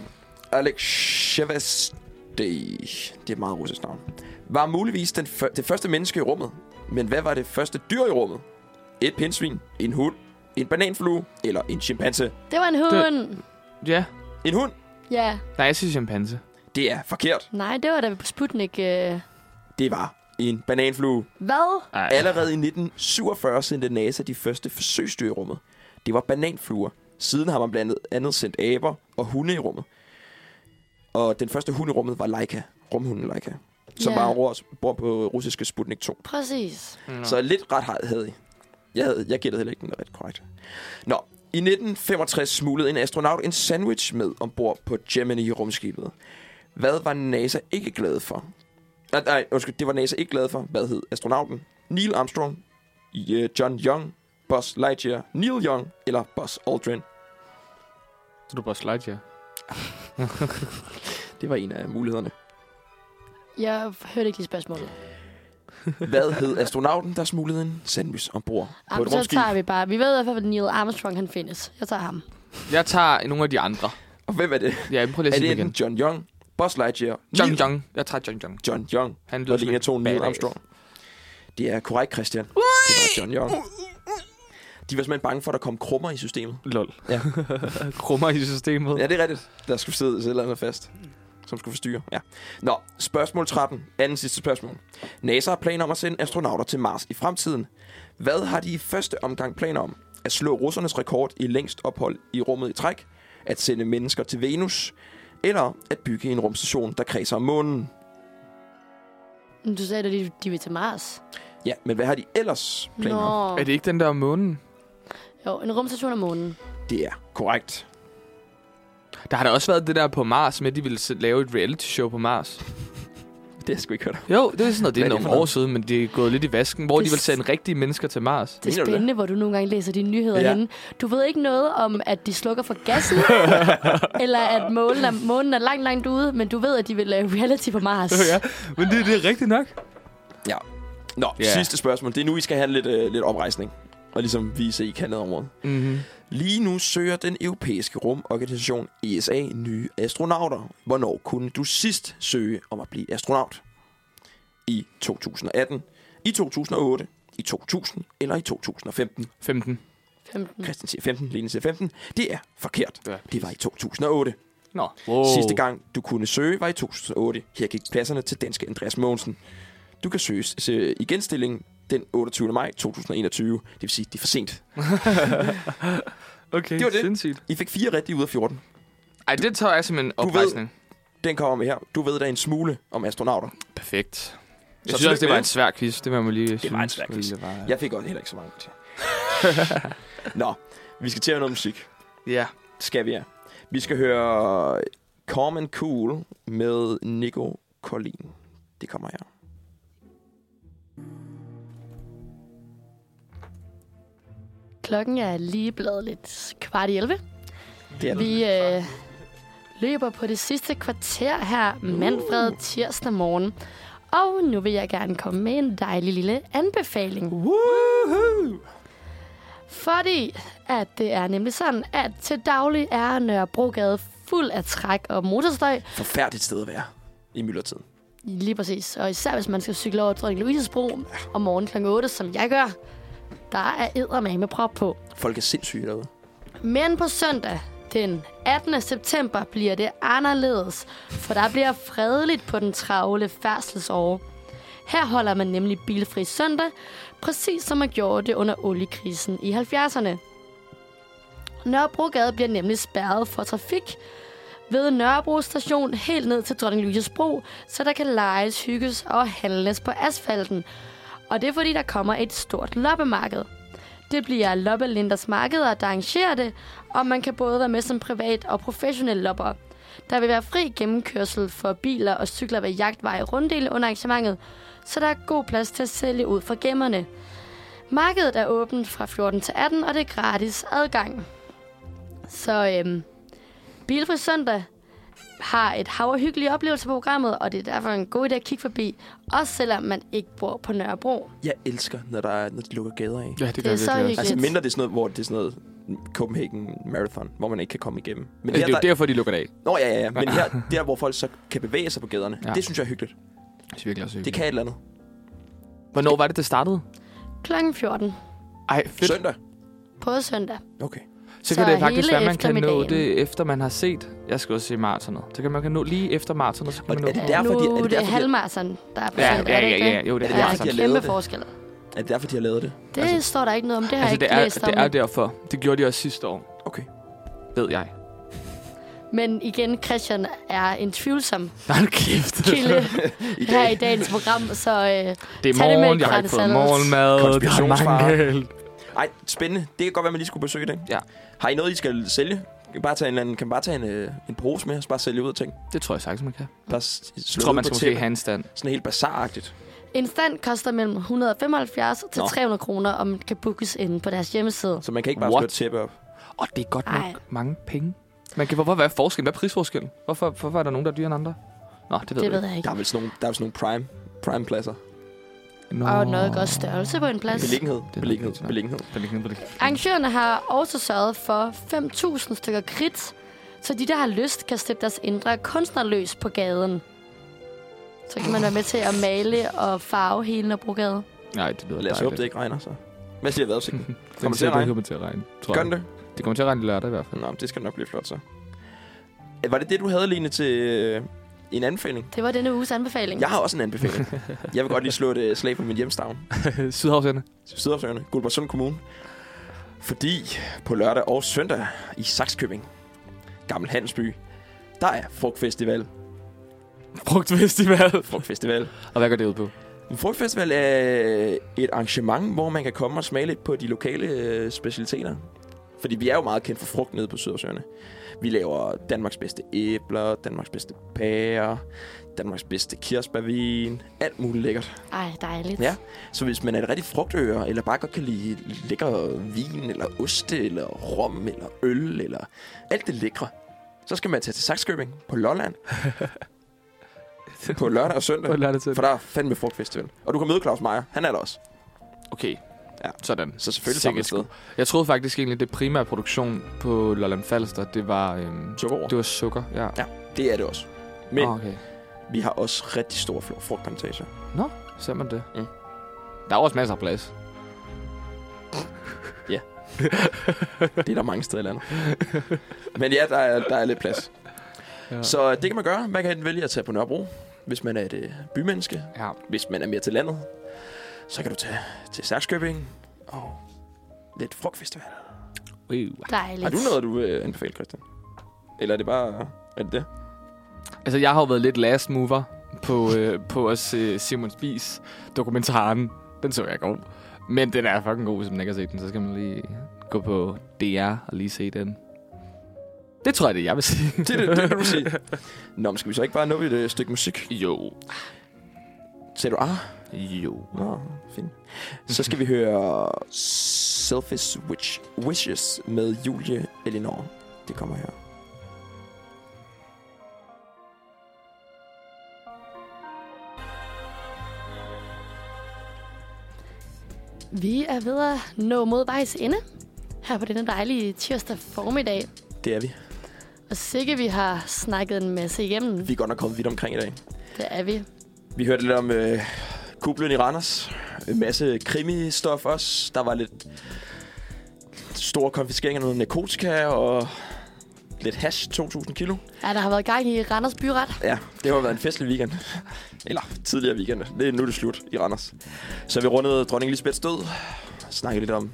Speaker 1: Alexevestey, det er et meget russisk navn, var muligvis den fø- det første menneske i rummet. Men hvad var det første dyr i rummet? Et pindsvin, en hund, en bananflue eller en chimpanse?
Speaker 3: Det var en hund.
Speaker 2: Ja.
Speaker 1: En hund?
Speaker 3: Ja.
Speaker 2: Nej, jeg siger chimpanse.
Speaker 1: Det er forkert.
Speaker 3: Nej, det var da på Sputnik. Øh.
Speaker 1: Det var en bananflue.
Speaker 3: Hvad?
Speaker 2: Ej.
Speaker 1: Allerede i 1947 sendte NASA de første forsøgsdyr i rummet. Det var bananfluer. Siden har man blandt andet sendt aber og hunde i rummet. Og den første hund i rummet var Laika, rumhunden Laika, som
Speaker 3: Ja.
Speaker 1: var ombord ombord på russiske Sputnik 2.
Speaker 3: Præcis.
Speaker 2: Nå.
Speaker 1: Så lidt ret har- havde I. Jeg, havde, jeg gættede heller ikke den ret korrekt. Nå, i 1965 smuglede en astronaut en sandwich med ombord på Gemini-rumskibet. Hvad var NASA ikke glad for? Nej, nej, undskyld, det var NASA ikke glad for. Hvad hed astronauten? Neil Armstrong, øh, John Young, Buzz Lightyear, Neil Young eller Buzz Aldrin?
Speaker 2: Så du bare slide, ja.
Speaker 1: Det var en af mulighederne.
Speaker 3: Jeg hørte ikke lige spørgsmålet.
Speaker 1: Hvad hed astronauten, der smuglede en sandwich ombord på
Speaker 3: Jamen,
Speaker 1: et
Speaker 3: så
Speaker 1: rumskib?
Speaker 3: tager vi bare. Vi ved i hvert fald, at Neil Armstrong han findes. Jeg tager ham.
Speaker 2: Jeg tager nogle af de andre.
Speaker 1: Og hvem er det?
Speaker 2: Ja, men prøv lige at
Speaker 1: Er
Speaker 2: sige
Speaker 1: det
Speaker 2: dem igen.
Speaker 1: enten John Young, Buzz Lightyear,
Speaker 2: Jong
Speaker 1: Neil-
Speaker 2: Jong. Jeg tager Jong Jong.
Speaker 1: John Young
Speaker 2: Han lyder
Speaker 1: Og det
Speaker 2: som
Speaker 1: er to Neil
Speaker 2: badass.
Speaker 1: Armstrong. Det er korrekt, Christian. Det var John Young. De var simpelthen bange for, at der kom krummer i systemet.
Speaker 2: Lol.
Speaker 1: Ja.
Speaker 2: Krummer i systemet.
Speaker 1: Ja, det er rigtigt. Der skulle sidde et eller andet fast, som skulle forstyrre. Ja. Nå, spørgsmål 13. Anden sidste spørgsmål. NASA har planer om at sende astronauter til Mars i fremtiden. Hvad har de i første omgang planer om? At slå russernes rekord i længst ophold i rummet i træk? At sende mennesker til Venus? Eller at bygge en rumstation, der kredser om månen?
Speaker 3: Men Du sagde, at de, de vil til Mars.
Speaker 1: Ja, men hvad har de ellers planer om?
Speaker 3: Nå.
Speaker 2: Er det ikke den der om månen?
Speaker 3: Jo, en rumstation om månen.
Speaker 1: Det er korrekt.
Speaker 2: Der har da også været det der på Mars med, at de ville s- lave et reality show på Mars.
Speaker 1: Det har jeg sgu ikke hørt om.
Speaker 2: Jo, det er sådan noget, det
Speaker 1: Hvad
Speaker 2: er
Speaker 1: er det
Speaker 2: nogle
Speaker 1: for noget?
Speaker 2: år siden, men det er gået lidt i vasken, hvor
Speaker 3: Det
Speaker 2: de vil
Speaker 3: s-
Speaker 2: sende rigtige mennesker til Mars.
Speaker 3: Det
Speaker 1: Mener
Speaker 3: er
Speaker 1: du det?
Speaker 3: spændende, hvor du nogle gange læser dine nyheder
Speaker 1: Ja.
Speaker 3: ja. henne. Du ved ikke noget om, at de slukker for gassen, eller at månen er, månen er langt, langt ude, men du ved, at de vil lave reality på Mars.
Speaker 2: ja, men det, det er rigtigt nok.
Speaker 1: Ja. Nå,
Speaker 2: Ja.
Speaker 1: yeah. sidste spørgsmål. Det er nu, I skal have lidt, øh, lidt oprejsning. Og ligesom vise, at I kan noget om rummet.
Speaker 2: Mm-hmm.
Speaker 1: Lige nu søger den europæiske rumorganisation ESA nye astronauter. Hvornår kunne du sidst søge om at blive astronaut? I 2018, i 2008, i 2000 eller i 2015?
Speaker 2: 15.
Speaker 3: 15.
Speaker 1: Christian siger 15, Lene siger 15. Det er forkert.
Speaker 2: Ja,
Speaker 1: Det var i 2008.
Speaker 2: Nå. Wow.
Speaker 1: Sidste gang, du kunne søge, var i 2008. Her gik pladserne til danske Andreas Mogensen. Du kan søge se- i genstillingen den 28. maj 2021. Det vil sige, det er for sent.
Speaker 2: Okay,
Speaker 1: Det var det.
Speaker 2: sindssygt.
Speaker 1: I fik fire rigtige ud af 14.
Speaker 2: Ej, det tager jeg som en
Speaker 1: ved-
Speaker 2: oprejsning.
Speaker 1: Den kommer med her. Du ved da en smule om astronauter.
Speaker 2: Perfekt. Jeg
Speaker 1: Så
Speaker 2: synes også,
Speaker 1: tillykke
Speaker 2: det var
Speaker 1: med
Speaker 2: en svær quiz. Det var man lige synes,
Speaker 1: var en svær
Speaker 2: fordi
Speaker 1: quiz.
Speaker 2: det Var... Ja.
Speaker 1: Jeg fik også heller ikke så mange. partier. Nå, vi skal til at høre noget musik.
Speaker 2: ja.
Speaker 1: Skal vi ja. Vi skal høre Calm and Cool med Nico Collin. Det kommer her.
Speaker 3: Klokken er lige blevet lidt kvart i 11.
Speaker 1: Det er det.
Speaker 3: Vi øh, løber på det sidste kvarter her mandfred
Speaker 1: Uh.
Speaker 3: tirsdag morgen. Og nu vil jeg gerne komme med en dejlig lille anbefaling.
Speaker 1: Woohoo!
Speaker 3: Fordi at det er nemlig sådan, at til daglig er Nørrebrogade fuld af træk og motorstøj.
Speaker 1: Forfærdeligt sted at være i myldretiden.
Speaker 3: Lige præcis. Og især hvis man skal cykle over Dronning Louises bro om morgenen kl. 8, som jeg gør. Der er eddermame med prop på.
Speaker 1: Folk er sindssyge derude.
Speaker 3: Men på søndag, den 18. september, bliver det anderledes, for der bliver fredeligt på den travle færdselsår. Her holder man nemlig bilfri søndag, præcis som man gjorde det under oliekrisen i 70'erne. Nørrebrogade bliver nemlig spærret for trafik ved Nørrebro station helt ned til Dronning Louises Bro, så der kan leges, hygges og handles på asfalten. Og det er fordi, der kommer et stort loppemarked. Det bliver Loppe Linders Markeder, der arrangerer det, og man kan både være med som privat og professionel lopper. Der vil være fri gennemkørsel for biler og cykler ved jagtvej og runddele under arrangementet, så der er god plads til at sælge ud fra gemmerne. Markedet er åbent fra 14 til 18, og det er gratis adgang. Så øhm, Bilfri Søndag har et hav af hyggelige oplevelser på programmet, og det er derfor en god idé at kigge forbi, også selvom man ikke bor på Nørrebro.
Speaker 1: Jeg elsker, når, der er, når de lukker gader af.
Speaker 2: Ja, det,
Speaker 3: er så hyggeligt.
Speaker 1: Altså
Speaker 3: Yes.
Speaker 1: mindre det er sådan noget, hvor det er sådan noget Copenhagen Marathon, hvor man ikke kan komme igennem. Men
Speaker 2: Altså, Det er jo
Speaker 1: der,
Speaker 2: derfor, de lukker det af.
Speaker 1: Nå, ja, ja, ja. Men her, der, hvor folk så kan bevæge sig på gaderne,
Speaker 2: Ja.
Speaker 1: ja. det synes jeg er hyggeligt.
Speaker 2: Det er virkelig også
Speaker 1: Det
Speaker 2: hyggeligt.
Speaker 1: kan et eller andet.
Speaker 2: Hvornår var det, det startede?
Speaker 3: Klokken 14
Speaker 2: Ej, fedt.
Speaker 1: Søndag.
Speaker 3: på søndag.
Speaker 1: Okay.
Speaker 2: Så
Speaker 3: Så
Speaker 2: kan det faktisk
Speaker 3: hele
Speaker 2: være, man kan nå
Speaker 3: eftermiddagen.
Speaker 2: det, efter man har set. Jeg skal også se maratonet. Så kan man kan nå lige efter maratonet, så kan
Speaker 1: Og
Speaker 2: man nå
Speaker 1: er det
Speaker 2: det.
Speaker 1: derfor,
Speaker 3: nu
Speaker 1: de- er det
Speaker 3: er det
Speaker 1: derfor, de-
Speaker 3: halvmarathon, der er på
Speaker 2: Ja,
Speaker 3: søndag,
Speaker 2: ja,
Speaker 3: er det
Speaker 2: ja,
Speaker 3: ikke
Speaker 2: ja, jo, det altså. er
Speaker 1: Er det derfor, de har
Speaker 3: der er kæmpe
Speaker 1: lavet det?
Speaker 3: forskel.
Speaker 1: Er det derfor, de har lavet det?
Speaker 3: Det altså, står der ikke noget om. Det har
Speaker 2: Altså,
Speaker 3: jeg
Speaker 2: det
Speaker 3: ikke
Speaker 2: er,
Speaker 3: læst om.
Speaker 2: det er derfor. Det gjorde de også sidste år,
Speaker 1: Okay.
Speaker 2: ved jeg.
Speaker 3: Men igen, Christian er en tvivlsom
Speaker 2: Nej, nu kæft.
Speaker 3: kilde
Speaker 1: I
Speaker 3: her i dagens program, så øh,
Speaker 2: Det er
Speaker 3: Tag det med
Speaker 2: morgen,
Speaker 3: et
Speaker 2: jeg har
Speaker 3: gran
Speaker 2: ikke fået
Speaker 3: salt.
Speaker 2: morgenmad. Der er
Speaker 1: Konspirationsfare.
Speaker 2: mange galt.
Speaker 1: Ej, spændende. Det kan godt være, man lige skulle besøge det.
Speaker 2: Ja.
Speaker 1: Har I noget, I skal sælge? Kan man bare tage en, eller anden, kan man bare tage en, øh, en pose med, og så bare sælge ud af ting?
Speaker 2: Det tror jeg sagtens, man kan.
Speaker 1: Bare s- slå
Speaker 2: Jeg tror,
Speaker 1: ud
Speaker 2: man
Speaker 1: på
Speaker 2: skal måske
Speaker 1: tæppet.
Speaker 2: have en stand.
Speaker 1: Sådan helt bazaragtigt.
Speaker 3: en stand koster mellem 175 til
Speaker 1: Nå.
Speaker 3: 300 kroner, og man kan bookes inde på deres hjemmeside.
Speaker 1: Så man kan ikke bare
Speaker 2: What?
Speaker 1: slå et tæppe op.
Speaker 2: Og det er godt nok
Speaker 3: Ej.
Speaker 2: mange penge. Man kan, hvorfor, hvad er forskellen? Hvad er prisforskellen? Hvorfor, hvorfor er der nogen, der er dyrere end andre? Nå, det ved
Speaker 3: Det ved
Speaker 2: jeg
Speaker 3: jeg ikke.
Speaker 1: Der er vel sådan nogle, der er vel sådan nogle prime, prime pladser.
Speaker 2: ikke. Nå.
Speaker 3: Og noget godt størrelse på en plads.
Speaker 1: Beliggenhed,
Speaker 2: er
Speaker 1: beliggenhed,
Speaker 2: nok rigtigt nok.
Speaker 1: beliggenhed.
Speaker 3: Arrangørerne har også sørget for 5.000 stykker kridt, så de, der har lyst, kan slippe deres indre kunstnerløs på gaden. Så kan man være med til at male og farve hele Nørrebrogade.
Speaker 2: Nej, det lyder
Speaker 1: Lad os
Speaker 2: dejligt.
Speaker 1: håbe, det ikke regner, så. Hvad siger vejrudsigten?
Speaker 2: Den
Speaker 1: Kommer
Speaker 2: siger,
Speaker 1: til at
Speaker 2: det
Speaker 1: regne?
Speaker 2: kommer til at regne, tror
Speaker 1: Gør
Speaker 2: jeg.
Speaker 1: den det?
Speaker 2: Det kommer til at regne lørdag i hvert fald.
Speaker 1: Nå, men det skal nok blive flot, så. Øh, Var det det, du havde, Line, til øh, en anbefaling?
Speaker 3: Det var denne uges anbefaling.
Speaker 1: Jeg har også en anbefaling. Jeg vil godt lige slå et øh, slag på min hjemstavn.
Speaker 2: Sydhavsende.
Speaker 1: Sydafsøerne, Guldborgsund Kommune. Fordi på lørdag og søndag i Saxkøbing, Gammel Handelsby, der er frugtfestival.
Speaker 2: Frugtfestival.
Speaker 1: Frugtfestival.
Speaker 2: Og hvad går det ud på?
Speaker 1: En frugtfestival er et arrangement, hvor man kan komme og smage lidt på de lokale øh, specialiteter. Fordi vi er jo meget kendt for frugt nede på Sydhavsøerne. Vi laver Danmarks bedste æbler, Danmarks bedste pærer, Danmarks bedste kirsebærvin, alt muligt lækkert.
Speaker 3: Ej, dejligt.
Speaker 1: Ja. Så hvis man er et rigtig frugtører, eller bare godt kan lide lækker vin, eller oste, eller rom, eller øl, eller alt det lækre, så skal man tage til Saxkøbing på Lolland. på lørdag og søndag.
Speaker 2: På lørdag til.
Speaker 1: For der er fandme frugtfestival. Og du kan møde Claus Meier. Han er der også.
Speaker 2: Okay.
Speaker 1: Ja.
Speaker 2: Sådan.
Speaker 1: Så selvfølgelig
Speaker 2: Sikke
Speaker 1: samme
Speaker 2: et
Speaker 1: sted.
Speaker 2: Jeg troede faktisk egentlig, at det primære produktion på Lolland Falster, det var, øhm,
Speaker 1: Sukker over.
Speaker 2: det var sukker. Ja.
Speaker 1: Ja, det er det også. Men
Speaker 2: Nå, okay.
Speaker 1: vi har også rigtig store fl- frugtplantager.
Speaker 2: Ser man det?
Speaker 1: Mm.
Speaker 2: Der er også masser af plads.
Speaker 1: Det er der mange steder i landet. Men ja, der er, der er lidt plads.
Speaker 2: Ja.
Speaker 1: Så øh, det kan man gøre. Man kan vælge at tage på Nørrebro, hvis man er et øh, bymenneske.
Speaker 2: Ja.
Speaker 1: Hvis man er mere til landet, så kan du tage til Saxkøbing og lidt frugtfestival.
Speaker 2: Uh.
Speaker 3: Dejligt.
Speaker 1: Har du noget, du vil anbefale, Christian? Eller er det bare... Er det det?
Speaker 2: Altså, jeg har jo været lidt last mover på, øh, på os øh, Simon Spies dokumentaren. Den så jeg i går. Men den er fucking god, hvis man ikke har set den. Så skal man lige gå på DR og lige se den. Det tror jeg, det er, jeg vil sige.
Speaker 1: Det, er det, det kan du sige. Nå, men skal vi så ikke bare nå et øh, stykke musik?
Speaker 2: Jo.
Speaker 1: Sagde du, ah,
Speaker 2: Jo.
Speaker 1: nå, fint. Så skal vi høre Selfish Witch Wishes med Julie Elinor. Det kommer her.
Speaker 3: Vi er ved at nå mod vejs ende her på denne dejlige tirsdag formiddag.
Speaker 1: Det er vi.
Speaker 3: Og sikke vi har snakket en masse igennem.
Speaker 1: Vi er godt nok kommet vidt omkring i dag.
Speaker 3: Det er vi.
Speaker 1: Vi hørte lidt om øh, kublen i Randers. En masse krimistof også. Der var lidt store konfiskeringer af noget narkotika og lidt hash, 2.000 kilo.
Speaker 3: Ja, der har været gang i Randers Byret.
Speaker 1: Ja, det har været en festlig weekend. Eller tidligere weekend. Det er nu er det slut i Randers. Så vi rundede dronning Elisabeths død. Snakkede lidt om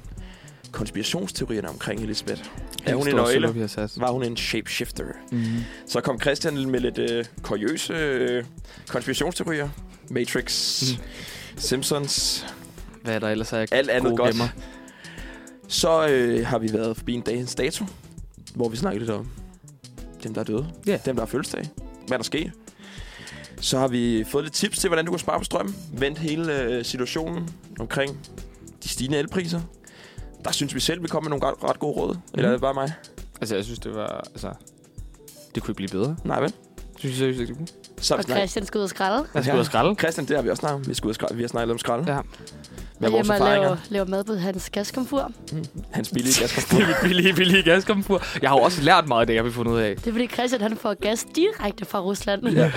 Speaker 1: konspirationsteorierne omkring Elisabeth. Er hun en nøgle?
Speaker 2: Vi har sat.
Speaker 1: Var hun en shapeshifter?
Speaker 2: Mm-hmm.
Speaker 1: Så kom Christian med lidt øh, kuriøse øh, konspirationsteorier. Matrix, Simpsons,
Speaker 2: Hvad er der ellers af
Speaker 1: alt andet
Speaker 2: gode
Speaker 1: godt.
Speaker 2: gemmer?
Speaker 1: Så øh, har vi været forbi en dagens dato, hvor vi snakkede lidt om dem, der er døde.
Speaker 2: Ja.
Speaker 1: Dem, der har fødselsdag. Hvad der sker. Så har vi fået lidt tips til, hvordan du kan spare på strøm. Vendt hele øh, situationen omkring de stigende elpriser.
Speaker 2: Mhm.
Speaker 1: Der synes vi selv, vi kom med nogle ret, ret gode råd. Mm. Eller er det bare mig?
Speaker 2: Altså, jeg synes, det var... Altså, Det kunne ikke blive bedre.
Speaker 1: Nej, vel?
Speaker 2: Synes jeg seriøst ikke, det kunne?
Speaker 1: Så har
Speaker 3: Og
Speaker 1: vi snakket.
Speaker 3: Christian skal ud og skralde.
Speaker 2: Jeg skal ud og skralde.
Speaker 1: Christian, det har vi også snakket om. Vi, skal ud og skralde. vi har snakket om skralde.
Speaker 2: Ja.
Speaker 1: Med
Speaker 3: Og
Speaker 1: vores
Speaker 3: hjemme og lave,
Speaker 1: erfaringer.
Speaker 3: lave mad på hans gaskomfur.
Speaker 1: Hans billige
Speaker 2: Det
Speaker 1: gaskomfur.
Speaker 2: er mit billige, billige gaskomfur. Jeg har jo også lært meget af det, jeg har fundet ud af.
Speaker 3: Det er fordi Christian han får gas direkte fra Rusland. Ja.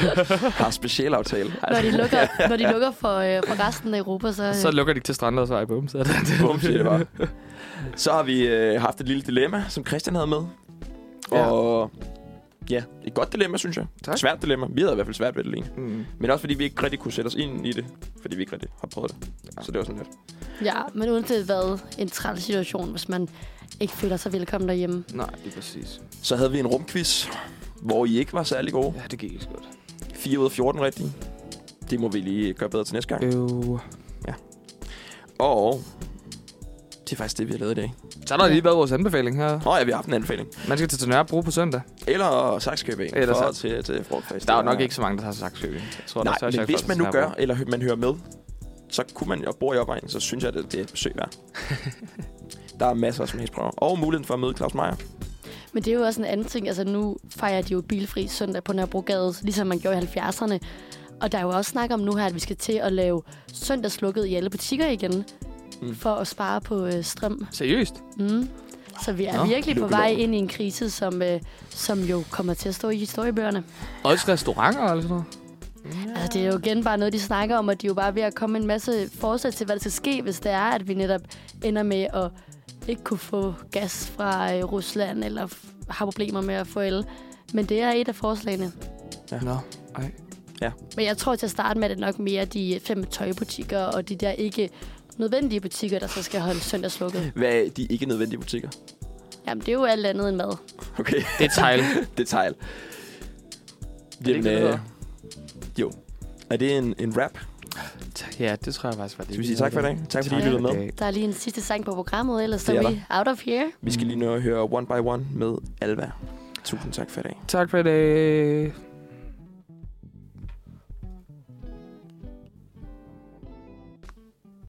Speaker 1: har specialaftale.
Speaker 2: Altså,
Speaker 3: når, de lukker, når de lukker for, øh, for resten af Europa, så... Øh,
Speaker 2: Så lukker de ikke til strandladsvej, bum. Så er det,
Speaker 1: Bum, siger det bare. Så har vi øh, haft et lille dilemma, som Christian havde med.
Speaker 2: Ja.
Speaker 1: Og ja, et godt dilemma, synes jeg.
Speaker 2: Tak.
Speaker 1: Et svært dilemma. Vi havde i hvert fald svært ved det lige.
Speaker 2: Mm.
Speaker 1: Men også fordi vi ikke rigtig kunne sætte os ind i det. Fordi vi ikke rigtig har prøvet det.
Speaker 2: Ja.
Speaker 1: Så det var sådan lidt.
Speaker 3: Ja, men uanset hvad, en træls situation, hvis man ikke føler sig velkommen derhjemme.
Speaker 2: Nej, det er præcis.
Speaker 1: Så havde vi en rumquiz, hvor I ikke var særlig gode.
Speaker 2: Ja, det gik ikke så godt.
Speaker 1: 4 ud af 14 rigtige. Det må vi lige gøre bedre til næste gang.
Speaker 2: Øh.
Speaker 1: Og det er faktisk det, vi har lavet i dag.
Speaker 2: Så har der lige været vores anbefaling her.
Speaker 1: Nå ja, vi har haft en anbefaling.
Speaker 2: Man skal til Nørrebro på søndag.
Speaker 1: Eller Saxkøbing
Speaker 2: Eller
Speaker 1: for
Speaker 2: Saks.
Speaker 1: til, til frugtfest.
Speaker 2: Der er jo nok ikke så mange, der har sagt søving. Jeg tror,
Speaker 1: Nej,
Speaker 2: der er
Speaker 1: men
Speaker 2: folk,
Speaker 1: hvis
Speaker 2: der
Speaker 1: man nu
Speaker 2: tager
Speaker 1: gør,
Speaker 2: på.
Speaker 1: eller hø- man hører med, så kunne man, og bor i opvejen, så synes jeg, at det er et besøg værd. der er masser af smagsprøver. Og muligheden for at møde Claus Meier.
Speaker 3: Men det er jo også en anden ting. Altså, nu fejrer de jo bilfri søndag på Nørrebrogade, ligesom man gjorde i 70'erne. Og der er jo også snak om nu her, at vi skal til at lave søndagslukket i alle butikker igen.
Speaker 1: Mm.
Speaker 3: Mm. For at spare på øh, strøm.
Speaker 2: Seriøst?
Speaker 3: Mm. Så vi er
Speaker 2: Nå,
Speaker 3: Nå, virkelig på
Speaker 1: lukkeloven.
Speaker 3: vej ind i en krise, som, øh, som jo kommer til at stå i historiebøgerne.
Speaker 2: Også restauranter eller sådan noget?
Speaker 3: Altså, det er jo igen bare noget, de snakker om, og de er jo bare ved at komme med en masse forslag til, hvad der skal ske, hvis det er, at vi netop ender med at ikke kunne få gas fra øh, Rusland, eller f- har problemer med at få el. Men det er et af forslagene.
Speaker 1: Ja.
Speaker 2: Nå, ej.
Speaker 3: Men jeg tror til at starte med, at det nok mere de øh, fem tøjbutikker, og de der ikke nødvendige butikker, der så skal holde søndagslukket.
Speaker 1: Hvad er de ikke nødvendige butikker?
Speaker 3: Jamen, det er jo alt andet end mad.
Speaker 1: Okay,
Speaker 2: Det er tegl.
Speaker 1: detail.
Speaker 2: ikke det, det hedder?
Speaker 1: jo. øh, Er det en, en rap?
Speaker 2: Ja, det tror jeg faktisk var det.
Speaker 1: Skal vi sige tak for i dag? Tak fordi I
Speaker 3: Tak.
Speaker 1: lyttede med.
Speaker 3: Der er lige en sidste sang på programmet, ellers så
Speaker 1: Det er
Speaker 3: er vi out of here.
Speaker 2: Mm.
Speaker 1: Vi skal lige nu høre One by One med Alva. Tusind tak for i dag.
Speaker 2: Tak for i dag.